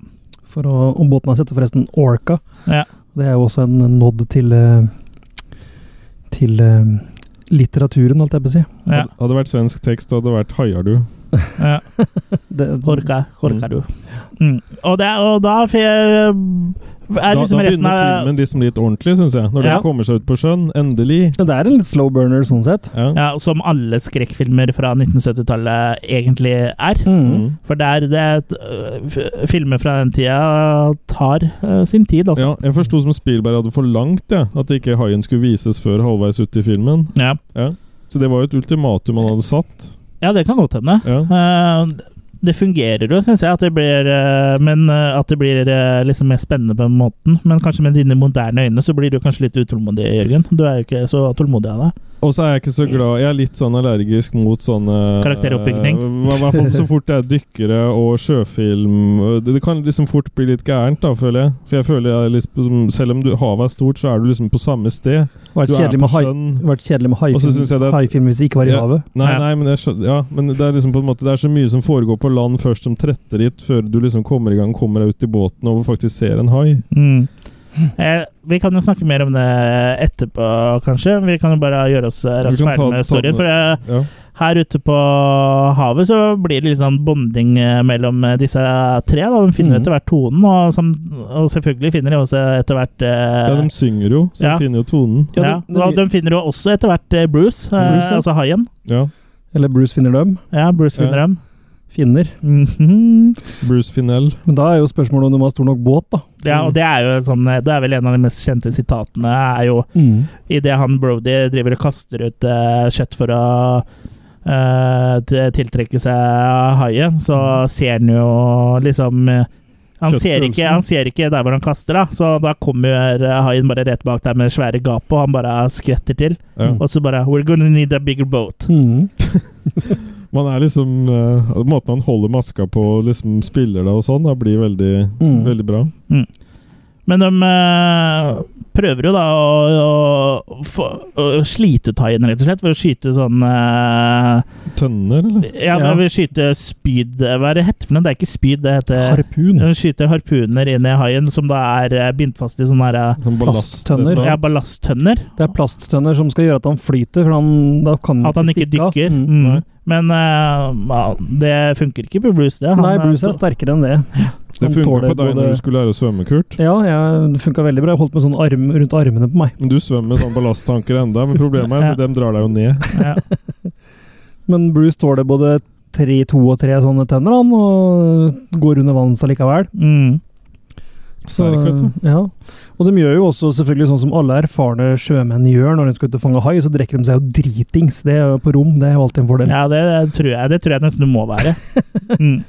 Speaker 3: For å, og båten hans heter forresten Orca.
Speaker 1: Ja.
Speaker 3: Det er jo også en nådd til eh, til eh, litteraturen, holdt jeg på å si.
Speaker 1: Ja.
Speaker 2: Hadde det vært svensk tekst, hadde det vært 'haiar du'.
Speaker 1: ja.
Speaker 3: Det,
Speaker 1: Horka, horka du. Mm. Og, det, er- og da f- er
Speaker 2: Da, da
Speaker 1: liksom resten
Speaker 2: begynner
Speaker 1: av
Speaker 2: filmen liksom litt ordentlig, syns jeg. Når
Speaker 1: Ja.
Speaker 2: de kommer seg ut på sjøen. Endelig.
Speaker 3: Ja, det er en litt slow burner, sånn sett.
Speaker 2: Ja.
Speaker 1: ja, Som alle skrekkfilmer fra 1970-tallet egentlig er.
Speaker 3: Mm.
Speaker 2: Mm.
Speaker 1: For det er det er et, øh, f- Filmer fra den tida tar øh, sin tid, altså.
Speaker 2: Ja, jeg forsto som Spielberg hadde forlangt ja, at ikke haien skulle vises før halvveis ut i filmen.
Speaker 1: Ja.
Speaker 2: Så det var jo et ultimatum han hadde satt.
Speaker 1: ja, det kan godt hende.
Speaker 2: Ja.
Speaker 1: Eh, det fungerer jo, syns jeg, at det blir eh, Men eh, at det blir eh, liksom mer spennende på den måten. Men kanskje med dine moderne øyne så blir du kanskje litt utålmodig, Jørgen. Du er jo ikke så tålmodig av deg.
Speaker 2: Og så er jeg ikke så glad Jeg er litt sånn allergisk mot sånne
Speaker 1: Karakteroppbygning.
Speaker 2: Eh, hva- hva for- så fort det er dykkere og sjøfilm eh, det, det kan liksom fort bli litt gærent, da, føler jeg. For jeg føler jeg er liksom, Selv om du, havet er stort, så er du liksom på samme sted.
Speaker 3: Vært
Speaker 2: Du er
Speaker 3: kjedelig
Speaker 2: på
Speaker 3: med hai.
Speaker 2: sjøen.
Speaker 3: Vært kjedelig med
Speaker 2: Og så synes jeg
Speaker 3: haifilm
Speaker 2: det at-
Speaker 3: haifilm hvis det ikke var i
Speaker 2: Ja.
Speaker 3: havet.
Speaker 2: Nei,
Speaker 1: Ja.
Speaker 2: nei, men jeg skjønner Ja, men det er liksom på en måte Det er så mye som foregår på land først, som tretter dit, før du liksom kommer i gang, kommer deg ut i båten og faktisk ser en hai.
Speaker 1: Mm. Eh, vi kan jo snakke mer om det etterpå, kanskje. Vi kan jo bare gjøre oss eh, raskt
Speaker 2: Vi kan ta-
Speaker 1: ferdig med
Speaker 2: ta den-
Speaker 1: storyen. For eh,
Speaker 2: Ja.
Speaker 1: her ute på havet så blir det litt sånn bonding eh, mellom eh, disse tre. Da. De finner
Speaker 3: Mhm.
Speaker 1: etter hvert tonen, og, som, og selvfølgelig finner de også etter hvert eh,
Speaker 2: ja, de synger jo, så
Speaker 1: ja.
Speaker 2: de finner jo tonen.
Speaker 3: Ja,
Speaker 1: Ja,
Speaker 3: det- det-
Speaker 1: og de finner jo også etter hvert eh, Bruce, eh,
Speaker 3: Bruce, ja.
Speaker 1: altså haien.
Speaker 2: Ja.
Speaker 3: Eller Bruce finner dem.
Speaker 1: Ja, Bruce
Speaker 2: Ja.
Speaker 1: finner dem.
Speaker 3: Finner.
Speaker 1: Mhm.
Speaker 2: Bruce Finnell.
Speaker 3: Men da er jo spørsmålet om de har stor nok båt, da.
Speaker 1: Ja, og det er jo sånn eh, Det er vel en av de mest kjente sitatene. er jo Idet han Brody driver og kaster ut eh, kjøtt for å eh, t- tiltrekke seg haien, så ser han jo liksom eh, han ser, ikke,
Speaker 2: Kjøttfølelsen.
Speaker 1: han ser ikke der hvor han kaster, da så da kommer eh, haien bare rett bak der med svære gap, og han bare skvetter til.
Speaker 2: Ja.
Speaker 1: Og så bare We're gonna need a bigger boat.
Speaker 3: Mhm.
Speaker 2: Man er liksom eh, Måten han holder maska på og liksom spiller det og sånn, da blir veldig,
Speaker 3: Mm.
Speaker 2: veldig bra.
Speaker 1: Men de eh, prøver jo da å, å, få- å slite ut haien, rett og slett, ved å skyte sånn eh,
Speaker 2: Tønner, eller?
Speaker 1: Ja,
Speaker 3: Ja.
Speaker 1: ved å skyte spyd Hva er det hett for noe? Det er ikke spyd, det heter
Speaker 3: Harpun.
Speaker 1: De skyter harpuner inn i haien, som da er eh, bindt fast i sånne her, eh,
Speaker 2: Sånn
Speaker 3: Plasttønner.
Speaker 1: ja, ballasttønner.
Speaker 3: Det er plasttønner som skal gjøre at han flyter, for han, da kan han
Speaker 1: At han ikke
Speaker 3: stikke Mm. av.
Speaker 1: dykker.
Speaker 3: Mhm.
Speaker 1: Mm. Men eh, ja, det funker ikke på Bruce, det. Han,
Speaker 3: Nei,
Speaker 1: eh,
Speaker 3: Bruce er sterkere enn det.
Speaker 2: Det
Speaker 3: Han
Speaker 2: funka
Speaker 3: tåler
Speaker 2: på deg
Speaker 3: både-
Speaker 2: når du skulle lære å svømme, Kurt.
Speaker 3: Ja, jeg, det funka veldig bra. Jeg holdt med sånn arm rundt armene på meg.
Speaker 2: Men du svømmer med sånn ballasttanker enda, men problemet er at dem drar deg jo ned.
Speaker 1: ja.
Speaker 3: Men Bruce tåler både tre, to og tre sånne tønner, han, og går under vanns allikevel.
Speaker 1: mm.
Speaker 3: Så,
Speaker 2: Sterk, vet du.
Speaker 3: ja. Og de gjør jo også selvfølgelig sånn som alle erfarne sjømenn gjør når de skal ut og fange hai, så drikker de seg jo dritings. Det er jo på rom, det er jo alltid en fordel.
Speaker 1: ja, det tror jeg Det tror jeg nesten du må være. Mm.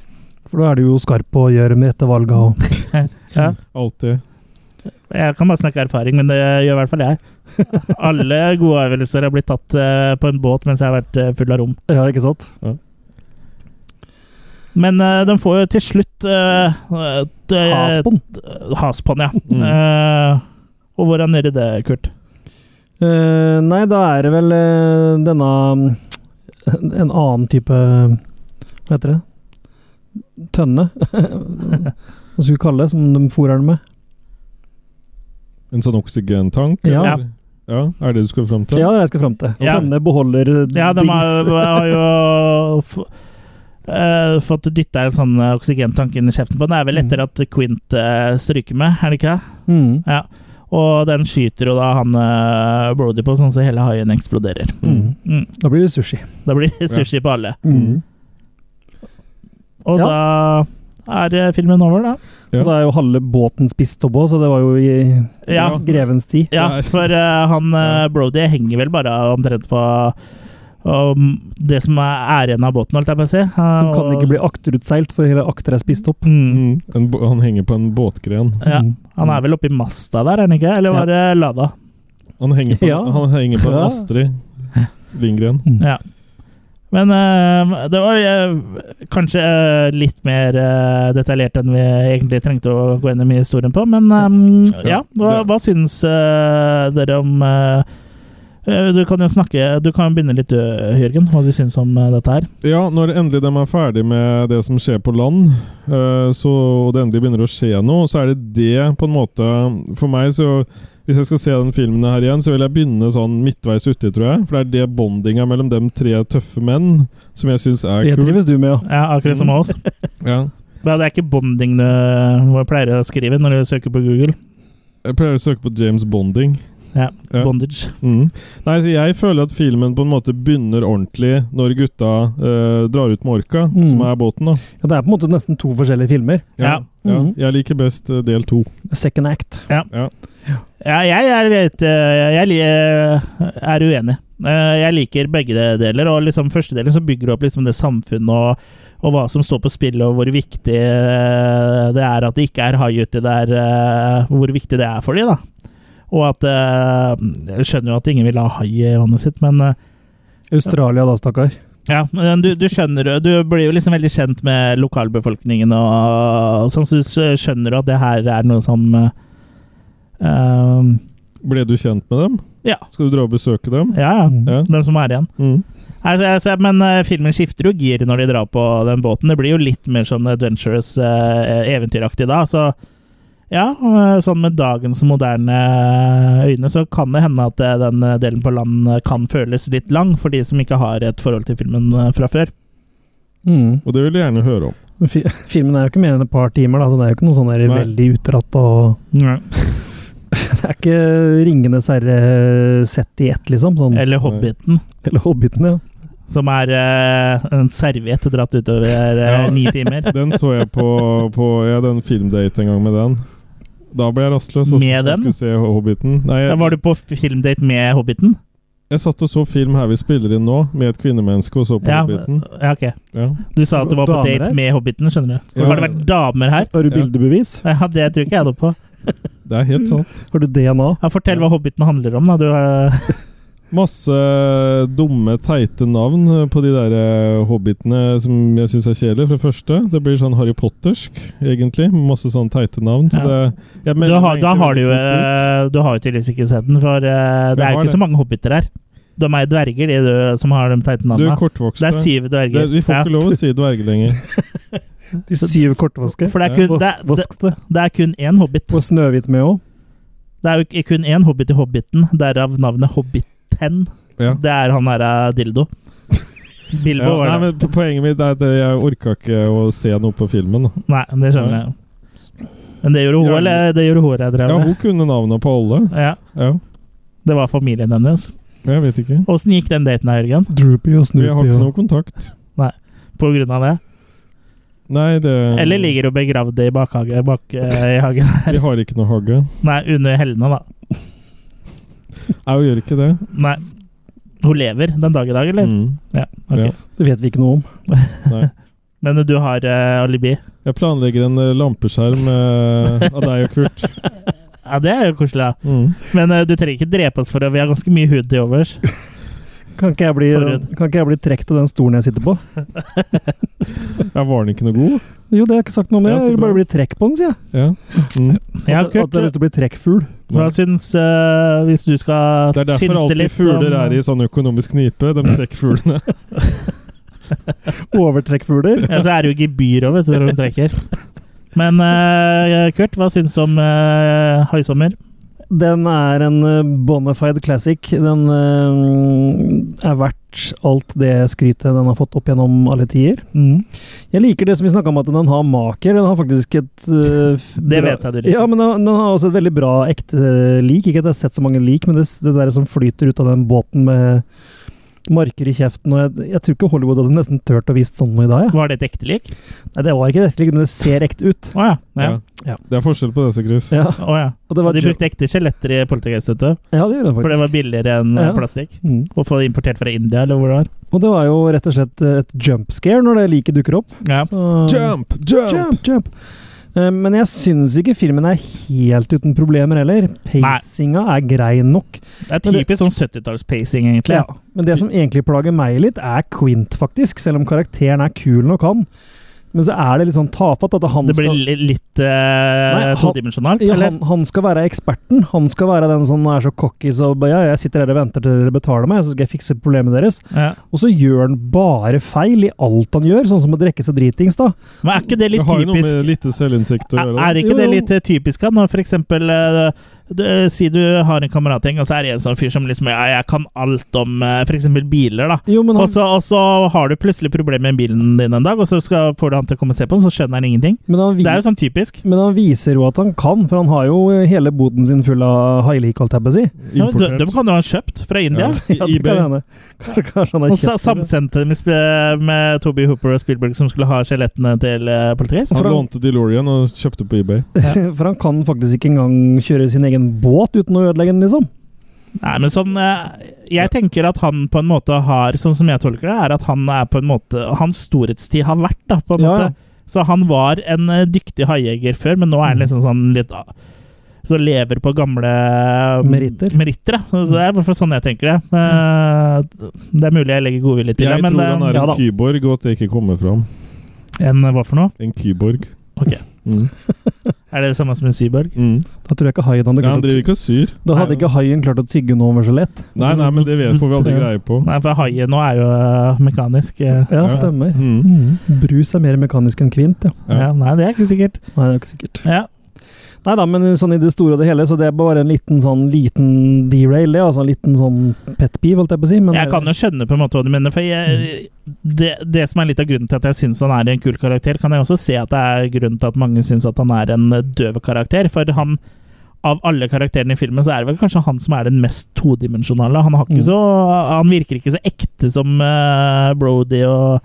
Speaker 3: For da er du jo skarp og gjør de rette valga. Og.
Speaker 1: [laughs]
Speaker 2: Alltid.
Speaker 1: Jeg kan bare snakke erfaring, men det gjør i hvert fall jeg. Alle gode avgjørelser har blitt tatt eh, på en båt mens jeg har vært eh, full av rom.
Speaker 3: Ja, ikke sant?
Speaker 1: Men eh, de får jo til slutt eh, et, eh,
Speaker 3: Haspon.
Speaker 1: et- Haspon, ja.
Speaker 2: Mm.
Speaker 1: Eh, og hvordan gjør de det, Kurt?
Speaker 3: Eh, nei, da er det vel eh, denne mm, En annen type Hva heter det? Tønne? [laughs] Hva skal vi kalle det? Som de fôrer den med?
Speaker 2: En sånn oksygentank?
Speaker 3: Ja.
Speaker 2: eller? ja. Er det du skal fram til?
Speaker 3: Ja, det er det jeg skal fram til.
Speaker 1: Ja.
Speaker 3: Tønne beholder
Speaker 1: Ja, de har,
Speaker 3: dings.
Speaker 1: har jo f eh, fått dytta en sånn eh, oksygentank inn i kjeften på den. Det er vel etter at Quint eh, stryker med, er det ikke det?
Speaker 3: Mm.
Speaker 1: Og den skyter jo da han eh, Brody på, sånn så hele haien eksploderer.
Speaker 3: Mm.
Speaker 1: Mm.
Speaker 3: Da blir det sushi.
Speaker 1: Da blir det sushi på alle.
Speaker 2: Mm.
Speaker 1: Og
Speaker 3: Ja.
Speaker 1: da er eh, filmen over, da.
Speaker 2: Ja.
Speaker 3: Og da er jo halve båten spist opp òg, så det var jo i
Speaker 1: Ja,
Speaker 2: Ja.
Speaker 3: grevens tid.
Speaker 1: ja
Speaker 2: Det er-
Speaker 1: for eh, han eh, Brody henger vel bare omtrent på um, det som er er igjen av båten, holdt jeg på å si. Eh,
Speaker 3: Den kan
Speaker 1: og-
Speaker 3: ikke bli akterutseilt, for hele akter er spist opp.
Speaker 1: Mm.
Speaker 2: Mm. En, bo- han henger på en båtgren.
Speaker 1: Ja,
Speaker 3: Mm.
Speaker 1: han er vel oppe i masta der, er han ikke? Eller var det Lada?
Speaker 2: Han henger på,
Speaker 3: Ja.
Speaker 2: han henger på en
Speaker 3: Ja.
Speaker 2: Astrid Lindgren.
Speaker 1: Ja. Men eh, det var eh, kanskje eh, litt mer eh, detaljert enn vi egentlig trengte å gå gjennom i historien på. Men eh, ja,
Speaker 2: Ja,
Speaker 1: hva,
Speaker 2: det-
Speaker 1: hva syns eh, dere om eh, eh, Du kan jo snakke Du kan jo begynne litt, eh, Jørgen, hva du syns om eh, dette her.
Speaker 2: Ja, når endelig de er ferdig med det som skjer på land, eh, så, og det endelig begynner å skje noe, så er det det på en måte For meg, så Hvis jeg skal se den filmen her igjen, så vil jeg begynne sånn midtveis uti, tror jeg. For det er det bondinga mellom de tre tøffe menn som jeg syns er
Speaker 3: Det
Speaker 2: kult.
Speaker 3: trives du med, ja.
Speaker 1: Ja, akkurat som oss.
Speaker 2: Ja.
Speaker 1: Mm. [laughs] Ja, det er ikke bonding du eh, hva jeg pleier å skrive når du søker på Google.
Speaker 2: Jeg pleier å søke på James Bonding.
Speaker 1: Ja,
Speaker 2: Ja.
Speaker 1: Bondage.
Speaker 2: Mm. Nei, så Jeg føler at filmen på en måte begynner ordentlig når gutta eh, drar ut med orka,
Speaker 3: Mm.
Speaker 2: som er båten. da.
Speaker 3: ja. Det er på en måte nesten to forskjellige filmer.
Speaker 1: Ja. Mm.
Speaker 2: Ja.
Speaker 3: Mhm.
Speaker 2: Jeg liker best eh, del to.
Speaker 3: Second act.
Speaker 1: Ja, jeg er litt eh, Jeg li- er uenig. Eh, Jeg liker begge de- deler. Og liksom første delen så bygger du opp liksom det samfunnet og, og hva som står på spill, og hvor viktig eh, det er at det ikke er hai uti der. eh, Hvor viktig det er for de da. Og at eh, Jeg skjønner jo at ingen vil ha hai i vannet sitt, men eh,
Speaker 3: Australia da, stakkar.
Speaker 1: ja, men du, du skjønner jo- Du blir jo liksom veldig kjent med lokalbefolkningen og, og sånn, så du s- skjønner jo at det her er noe som eh, eh,
Speaker 2: Ble du kjent med dem?
Speaker 1: Ja.
Speaker 2: Skal du dra og besøke dem?
Speaker 1: Ja, ja.
Speaker 3: Mhm.
Speaker 2: Ja.
Speaker 1: Den som er igjen.
Speaker 2: Mm.
Speaker 1: Altså, altså, men eh, filmen skifter jo gir når de drar på den båten. Det blir jo litt mer sånn adventurous, eh, eventyraktig da. Så ja, eh, sånn med dagens moderne eh, øyne, så kan det hende at eh, den eh, delen på land eh, kan føles litt lang for de som ikke har et forhold til filmen eh, fra før.
Speaker 3: Mhm.
Speaker 2: Og det vil jeg gjerne høre om.
Speaker 3: Men fi- [laughs] Filmen er jo ikke mer enn et par timer, da, så det er jo ikke noe sånn der
Speaker 2: Nei.
Speaker 3: veldig utdratt og [laughs] Det er ikke Ringenes herre sett i ett, liksom. Sånn.
Speaker 1: Eller Hobbiten,
Speaker 3: Eller Hobbiten, ja.
Speaker 1: som er eh, en serviett dratt utover eh,
Speaker 2: Ja.
Speaker 1: ni timer.
Speaker 2: Den så jeg på,
Speaker 1: [laughs]
Speaker 2: på Jeg hadde en filmdate en gang med den. Da ble jeg rastløs. og så-
Speaker 1: Med den?
Speaker 2: Jeg skulle se Hobbiten. Nei,
Speaker 1: Ja,
Speaker 2: jeg,
Speaker 1: Var du på filmdate med Hobbiten?
Speaker 2: jeg satt og så film her vi spiller inn nå, med et kvinnemenneske, og så på
Speaker 1: Ja,
Speaker 2: Hobbiten.
Speaker 1: ja, ok.
Speaker 2: Ja.
Speaker 1: Du sa at du var på
Speaker 3: Damer
Speaker 1: date
Speaker 3: her?
Speaker 1: med Hobbiten, skjønner du.
Speaker 2: Ja.
Speaker 1: Har det vært damer her?
Speaker 3: Har du
Speaker 2: Ja.
Speaker 3: bildebevis?
Speaker 1: Ja, Det tror ikke jeg noe på.
Speaker 2: Det er
Speaker 1: Mm.
Speaker 2: helt sant.
Speaker 3: Har du DNA?
Speaker 1: Ja, fortell hva Hobbiten handler om. da. Du, eh,
Speaker 2: Masse dumme, teite navn eh, på de der eh, hobbitene som jeg syns er kjedelige, for det første. Det blir sånn Harry Pottersk, egentlig. Masse sånn teite navn. Så
Speaker 1: Ja.
Speaker 2: det, jeg
Speaker 1: du
Speaker 2: melder
Speaker 1: har,
Speaker 2: meg
Speaker 1: da
Speaker 2: egentlig
Speaker 1: har du jo
Speaker 2: veldig fort ut.
Speaker 1: eh, Du har jo tydeligvis ikke sett den, for eh, det
Speaker 2: Jeg
Speaker 1: er jo
Speaker 2: har
Speaker 1: ikke så
Speaker 2: det.
Speaker 1: mange hobbiter her. De er dverger, de du, som har de teite
Speaker 2: Du er
Speaker 1: navnene.
Speaker 2: kortvokst.
Speaker 1: Det er
Speaker 2: da.
Speaker 1: syv
Speaker 2: Det,
Speaker 1: dverger.
Speaker 2: vi får
Speaker 1: Ja.
Speaker 2: ikke lov å si
Speaker 1: [laughs]
Speaker 2: dverg lenger.
Speaker 3: De syv kortvaske?
Speaker 1: For det er, kun, det,
Speaker 3: Vas-
Speaker 1: er- det,
Speaker 3: Vask det.
Speaker 1: det er kun én hobbit.
Speaker 3: Og Snøhvit med òg.
Speaker 1: Det er jo ikke- kun én hobbit i Hobbiten, derav navnet Hobbiten.
Speaker 2: Ja.
Speaker 1: Det er han der eh,
Speaker 2: [laughs]
Speaker 1: dildo. Bilbo,
Speaker 2: Ja,
Speaker 1: var
Speaker 2: nei,
Speaker 1: det.
Speaker 2: men po- poenget mitt er at jeg orka ikke å se noe på filmen. da.
Speaker 1: Nei, det skjønner jeg. Men det gjorde hun,
Speaker 2: Ja.
Speaker 1: eller? Det gjorde hun, jeg drev
Speaker 2: Ja,
Speaker 1: med.
Speaker 2: Hun kunne navnet på alle.
Speaker 1: Ja,
Speaker 2: Ja,
Speaker 1: det var familien hennes.
Speaker 2: Jeg vet ikke.
Speaker 1: Åssen gikk den daten, her, Jørgen?
Speaker 3: Droopy og
Speaker 2: Vi har
Speaker 3: Snoopy
Speaker 2: ikke
Speaker 3: og
Speaker 2: noe kontakt.
Speaker 1: På grunn av det?
Speaker 2: Nei, det
Speaker 1: Eller ligger hun begravd i bakhage, bak eh, i hagen? [laughs]
Speaker 2: Vi har ikke noe hage.
Speaker 1: Nei, under hellene, da.
Speaker 2: Nei, hun gjør ikke det.
Speaker 1: Nei. Hun lever den dag i dag, eller?
Speaker 2: Mm.
Speaker 1: Ja, ok.
Speaker 2: Ja.
Speaker 3: Det vet vi ikke noe om.
Speaker 2: Mm. Nei.
Speaker 1: Men du har eh, alibi?
Speaker 2: Jeg planlegger en eh, lampeskjerm eh, av deg og
Speaker 1: [laughs]
Speaker 2: Kurt.
Speaker 1: Ja, det er jo koselig, da.
Speaker 2: Mm.
Speaker 1: Men eh, du trenger ikke drepe oss for det. Vi har ganske mye hud til
Speaker 2: [laughs]
Speaker 1: overs.
Speaker 3: Kan ikke jeg bli,
Speaker 1: Forhud.
Speaker 3: kan ikke jeg bli trukket av den stolen jeg sitter på?
Speaker 2: Ja, var den ikke noe god?
Speaker 3: Jo, det har jeg ikke sagt noe om.
Speaker 2: Ja,
Speaker 3: Jeg
Speaker 2: så
Speaker 3: vil bare
Speaker 2: bra.
Speaker 3: bli trekk på den, sier jeg.
Speaker 2: Ja. Mm.
Speaker 1: Ja,
Speaker 3: At- At
Speaker 1: Kurt,
Speaker 3: jeg har lyst til å bli trekkfugl. [laughs]
Speaker 1: hva syns eh, Hvis du skal
Speaker 2: Det er derfor
Speaker 1: synse
Speaker 2: alltid
Speaker 1: litt
Speaker 2: fugler er i sånn økonomisk knipe, de trekkfuglene.
Speaker 3: Overtrekkfugler.
Speaker 1: [laughs] Ja, så er det jo gebyr òg, vet du, når de trekker. Men eh, Kurt, hva syns du om uh, Haisommer?
Speaker 3: Den er en eh, bona fide classic. Den eh, er verdt alt det skrytet den har fått opp gjennom alle tider.
Speaker 1: Mm.
Speaker 3: Jeg liker det som vi snakka om, at den har maker. Den har faktisk et eh, f-
Speaker 1: [laughs] Det
Speaker 3: bra-
Speaker 1: vet jeg du liker.
Speaker 3: Ja, men den, den har også et veldig bra ekte lik. Ikke at jeg har sett så mange lik, men det, s- det der som flyter ut av den båten med marker i kjeften og jeg, jeg tror ikke Hollywood hadde nesten turt å vise sånn noe i dag. Ja.
Speaker 1: Var det et ekte lik?
Speaker 3: Nei, det var ikke et ekte lik, men det ser ekte ut.
Speaker 1: Å ja. ja.
Speaker 2: Ja. Det er forskjell på disse, Chris.
Speaker 3: Ja,
Speaker 1: Å ja.
Speaker 3: og det
Speaker 1: Og
Speaker 3: var
Speaker 1: de brukte ekte skjeletter i Poltergeist, vet du.
Speaker 3: Ja, det gjorde den
Speaker 1: For det
Speaker 3: faktisk.
Speaker 1: var billigere enn eh,
Speaker 3: Ja.
Speaker 1: plastikk.
Speaker 3: Mm.
Speaker 1: Å få det importert fra India, eller hvor det var.
Speaker 3: Og eh, det var jo rett og slett et jump scare når det liket dukker opp.
Speaker 1: Ja.
Speaker 3: Så-
Speaker 2: Jump! Jump!
Speaker 3: Jump, jump. Eh, Men jeg syns ikke filmen er helt uten problemer heller. Pacinga er grei nok.
Speaker 1: Det er
Speaker 3: Men det-
Speaker 1: typisk sånn 70-talls-pacing, egentlig.
Speaker 3: Ja. Men det som egentlig plager meg litt, er Quint, faktisk. Selv om karakteren er kul nok, han. Men så er det litt sånn tafatt at han
Speaker 1: Det blir
Speaker 3: skal
Speaker 1: li- litt eh,
Speaker 3: han-
Speaker 1: todimensjonalt,
Speaker 3: ja,
Speaker 1: eller?
Speaker 3: han, han skal være eksperten. Han skal være den som er så cocky så bare, ja, jeg sitter her og venter til dere betaler meg, så skal jeg fikse problemet deres.
Speaker 1: Ja.
Speaker 3: Og så gjør han bare feil i alt han gjør, sånn som å drikke seg dritings, da.
Speaker 1: Men er ikke det
Speaker 2: Det
Speaker 1: litt
Speaker 2: har jo noe
Speaker 1: typisk?
Speaker 2: med lite selvinnsikt å
Speaker 1: Er,
Speaker 2: gjøre.
Speaker 1: er
Speaker 3: Jo,
Speaker 1: ikke det
Speaker 3: jo.
Speaker 1: litt eh, typisk da, når for eksempel eh, du, Si du har en kameratgjeng, og så er det en sånn fyr som liksom Ja, jeg kan alt om eh, for eksempel biler, da.
Speaker 3: Jo, men
Speaker 1: Og
Speaker 3: han,
Speaker 1: så, og så har du plutselig problemer med bilen din en dag, og så skal, får du han til å komme og se på den, så skjønner han ingenting.
Speaker 3: men, han
Speaker 1: Det er jo
Speaker 3: vi,
Speaker 1: sånn typisk.
Speaker 3: men han viser jo at han kan, for han har jo hele boden sin full av high-leak, holdt jeg på å si.
Speaker 1: Ja, men
Speaker 2: Importert.
Speaker 1: de, de kan jo ha kjøpt fra India.
Speaker 3: [laughs] Ja, det kan
Speaker 2: eBay.
Speaker 3: hende. Kanskje, kanskje han har
Speaker 1: Og sa-
Speaker 3: kjøpt det.
Speaker 1: samsendte dem med, sp- med Toby Hooper og Spielberg, som skulle ha skjelettene til eh, politiet.
Speaker 2: Han
Speaker 3: for han-
Speaker 2: lånte DeLorean og kjøpte på eBay.
Speaker 3: [laughs] For han kan faktisk ikke engang kjøre sin egen båt uten å ødelegge den, liksom.
Speaker 1: Nei, men sånn eh, Jeg tenker at han på en måte har Sånn som jeg tolker det, er at han er på en måte Hans storhetstid har vært, da, på en
Speaker 3: Ja,
Speaker 1: måte.
Speaker 3: ja.
Speaker 1: Så han var en eh, dyktig haijeger før, men nå er han
Speaker 3: Mm.
Speaker 1: liksom sånn litt ah, Så lever på gamle eh,
Speaker 3: Meritter.
Speaker 1: meritter ja. Så det er i hvert fall sånn jeg tenker det. Eh, Det er mulig jeg legger godvilje til
Speaker 2: Jeg
Speaker 1: det, men
Speaker 2: tror han
Speaker 1: eh,
Speaker 2: er
Speaker 3: ja
Speaker 2: en
Speaker 3: da.
Speaker 2: kyborg, og at det ikke kommer fram.
Speaker 1: En eh, hva for noe?
Speaker 2: En kyborg.
Speaker 1: Ok.
Speaker 2: Mm.
Speaker 1: Er det det samme som en syborg?
Speaker 2: Mm.
Speaker 3: Da tror jeg ikke haien hadde
Speaker 2: Nei, han
Speaker 3: klart å
Speaker 2: driver ikke og syr.
Speaker 3: Da hadde ikke haien klart å tygge noe over så lett.
Speaker 2: Nei, nei, men det vet får vi aldri greie på.
Speaker 1: Nei, for haien nå er jo eh, mekanisk. eh,
Speaker 3: Ja,
Speaker 2: Ja.
Speaker 3: stemmer.
Speaker 2: Mm.
Speaker 3: Mm. Brus er mer mekanisk enn kvint, ja.
Speaker 2: Ja.
Speaker 1: Ja, nei, det er ikke sikkert.
Speaker 3: Nei, det er jo ikke sikkert.
Speaker 1: Ja.
Speaker 3: Nei da, men sånn i det store og det hele, så det er bare en liten sånn liten derail, det. Altså en liten sånn pet peeve, holdt jeg på å si. Men Mm.
Speaker 1: Jeg kan jo skjønne på en måte hva du mener, for jeg, det, det som er litt av grunnen til at jeg syns han er en kul karakter, kan jeg også se at det er grunnen til at mange syns at han er en eh, døv karakter. For han, av alle karakterene i filmen, så er det vel kanskje han som er den mest todimensjonale. Han, har ikke
Speaker 3: Mm.
Speaker 1: så, han virker ikke så ekte som eh, Brody og,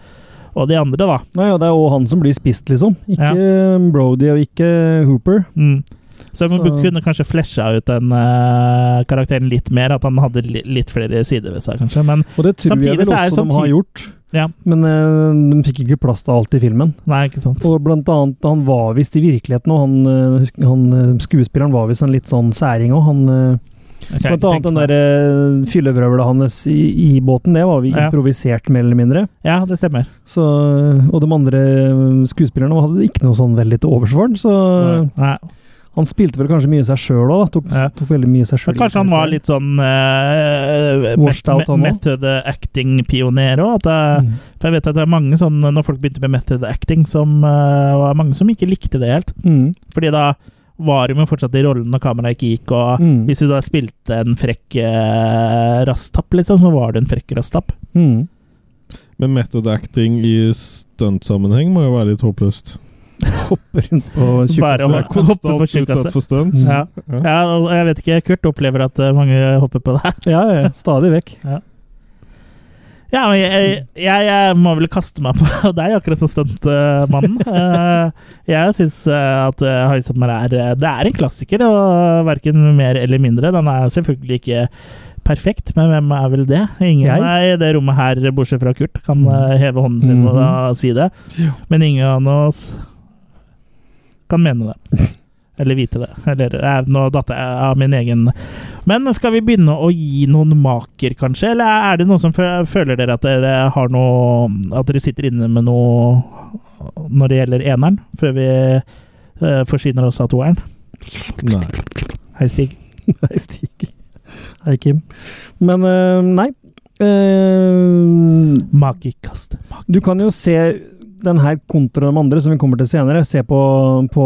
Speaker 1: og de andre, da.
Speaker 3: Nei, ja, det er jo han som blir spist, liksom. Ikke Brody og ikke Hooper.
Speaker 1: Mm. Så jeg
Speaker 3: Så-
Speaker 1: kunne kanskje flesja ut den eh, karakteren litt mer, at han hadde li litt flere sider ved seg, kanskje. Men
Speaker 3: Og det tror
Speaker 1: Samtidig
Speaker 3: jeg vel
Speaker 1: så er det
Speaker 3: også
Speaker 1: sånn
Speaker 3: de har
Speaker 1: typ-
Speaker 3: gjort.
Speaker 1: Ja.
Speaker 3: Men eh, de fikk ikke plass til alt i filmen.
Speaker 1: nei, ikke sant.
Speaker 3: Og blant annet, han var visst i virkeligheten, og han, eh, husk- han eh, skuespilleren var visst en litt sånn særing òg. Han eh,
Speaker 1: Jeg kan
Speaker 3: Blant
Speaker 1: ikke tenke
Speaker 3: annet den
Speaker 1: meg-
Speaker 3: der eh, fyllevrøvla hans i, i båten, det var vi
Speaker 1: Ja.
Speaker 3: improvisert mer eller mindre.
Speaker 1: Ja, det stemmer.
Speaker 3: Så, og de andre eh, skuespillerne hadde ikke noe sånn veldig til overs for han, så
Speaker 1: Nei.
Speaker 3: han spilte vel kanskje mye seg sjøl òg, tok,
Speaker 1: Ja.
Speaker 3: tok veldig mye seg
Speaker 1: Men
Speaker 3: sjøl.
Speaker 1: kanskje han var litt sånn eh,
Speaker 3: Washed
Speaker 1: met-
Speaker 3: out, han også. Mm.
Speaker 1: method acting-pioner òg. eh, For jeg vet at det er mange sånn Når folk begynte med method acting, som eh, var mange som ikke likte det helt.
Speaker 3: mm.
Speaker 1: Fordi da var de jo fortsatt i rollen når kameraet ikke gikk, og
Speaker 3: Mm.
Speaker 1: hvis du da spilte en frekk uh, rasstapp, liksom, så var du en frekk rasstapp.
Speaker 3: Mm.
Speaker 2: Men method acting i stuntsammenheng må jo være litt håpløst.
Speaker 3: Hoppe rundt på
Speaker 1: Bare å
Speaker 2: Så jeg
Speaker 3: tjukkasen.
Speaker 2: er
Speaker 1: hoppe på
Speaker 2: konstant
Speaker 1: tjukkasse.
Speaker 2: utsatt for
Speaker 3: Mm.
Speaker 2: stunts.
Speaker 1: Ja. ja, og jeg vet ikke. Kurt opplever at eh, mange hopper på det her.
Speaker 3: Ja, ja, stadig vekk.
Speaker 1: [laughs] Ja, men jeg, jeg, jeg må vel kaste meg på [laughs] deg, akkurat som [laughs] stuntmannen. Eh, jeg syns at eh, 'Haisommer' er eh, Det er en klassiker, og verken mer eller mindre. Den er selvfølgelig ikke perfekt, men hvem er vel det? Ingen
Speaker 3: Jeg?
Speaker 1: er i det rommet her, bortsett fra Kurt, kan eh, heve hånden sin og da si det.
Speaker 4: Ja.
Speaker 1: Men ingen av oss kan mene det. Eller vite det. Eller eh, nå datt jeg av min egen Men skal vi begynne å gi noen maker, kanskje? Eller er det noen som fø- føler dere at dere har noe At dere sitter inne med noe når det gjelder eneren, før vi eh, forsyner oss av toeren?
Speaker 2: Nei.
Speaker 1: Hei, Stig.
Speaker 3: [laughs] Nei, Stig. Hei, Kim. Men eh, nei. Eh,
Speaker 1: Makekast.
Speaker 3: Du kan jo se den her kontra de andre, som vi kommer til senere. Se på, på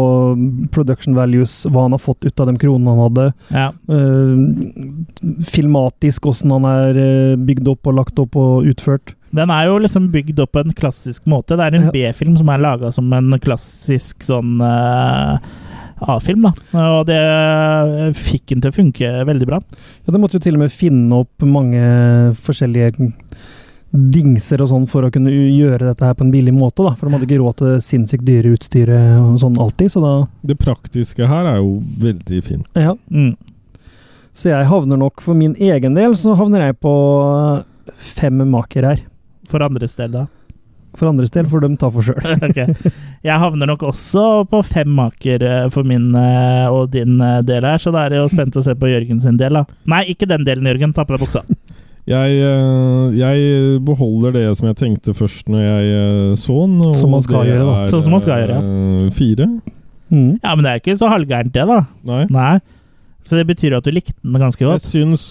Speaker 3: production values, hva han har fått ut av de kronene han hadde.
Speaker 1: Ja.
Speaker 3: eh, filmatisk, åssen han er eh, bygd opp og lagt opp og utført.
Speaker 1: Den er jo liksom bygd opp på en klassisk måte. Det er en
Speaker 3: Ja.
Speaker 1: B-film som er laga som en klassisk sånn eh, A-film, da. Og det fikk den til å funke veldig bra.
Speaker 3: Ja, det måtte jo til og med finne opp mange forskjellige dingser og sånn for å kunne u- gjøre dette her på en billig måte, da. For de hadde ikke råd til sinnssykt dyre utstyret og sånn alltid, så da
Speaker 2: Det praktiske her er jo veldig fint.
Speaker 3: ja.
Speaker 1: Mm.
Speaker 3: Så jeg havner nok, for min egen del, så havner jeg på eh, fem maker her.
Speaker 1: For andres del, da. [laughs]
Speaker 3: for andres del, for de tar for sjøl.
Speaker 1: Ok. Jeg havner nok også på fem maker eh, for min eh, og din eh, del her, så da er jeg jo spent å se på Jørgen sin del, da. Nei, ikke den delen, Jørgen. Ta på deg buksa.
Speaker 2: Jeg, eh, jeg beholder det som jeg tenkte først når jeg eh, så den. og
Speaker 3: Som man skal
Speaker 2: det
Speaker 3: gjøre, da.
Speaker 2: er,
Speaker 1: Sånn som man skal gjøre,
Speaker 2: eh, Fire?
Speaker 3: Mm.
Speaker 1: Ja, men det er ikke så halvgærent, det, da.
Speaker 2: Nei.
Speaker 1: Nei. Så det betyr at du likte den ganske
Speaker 2: Jeg
Speaker 1: godt.
Speaker 2: syns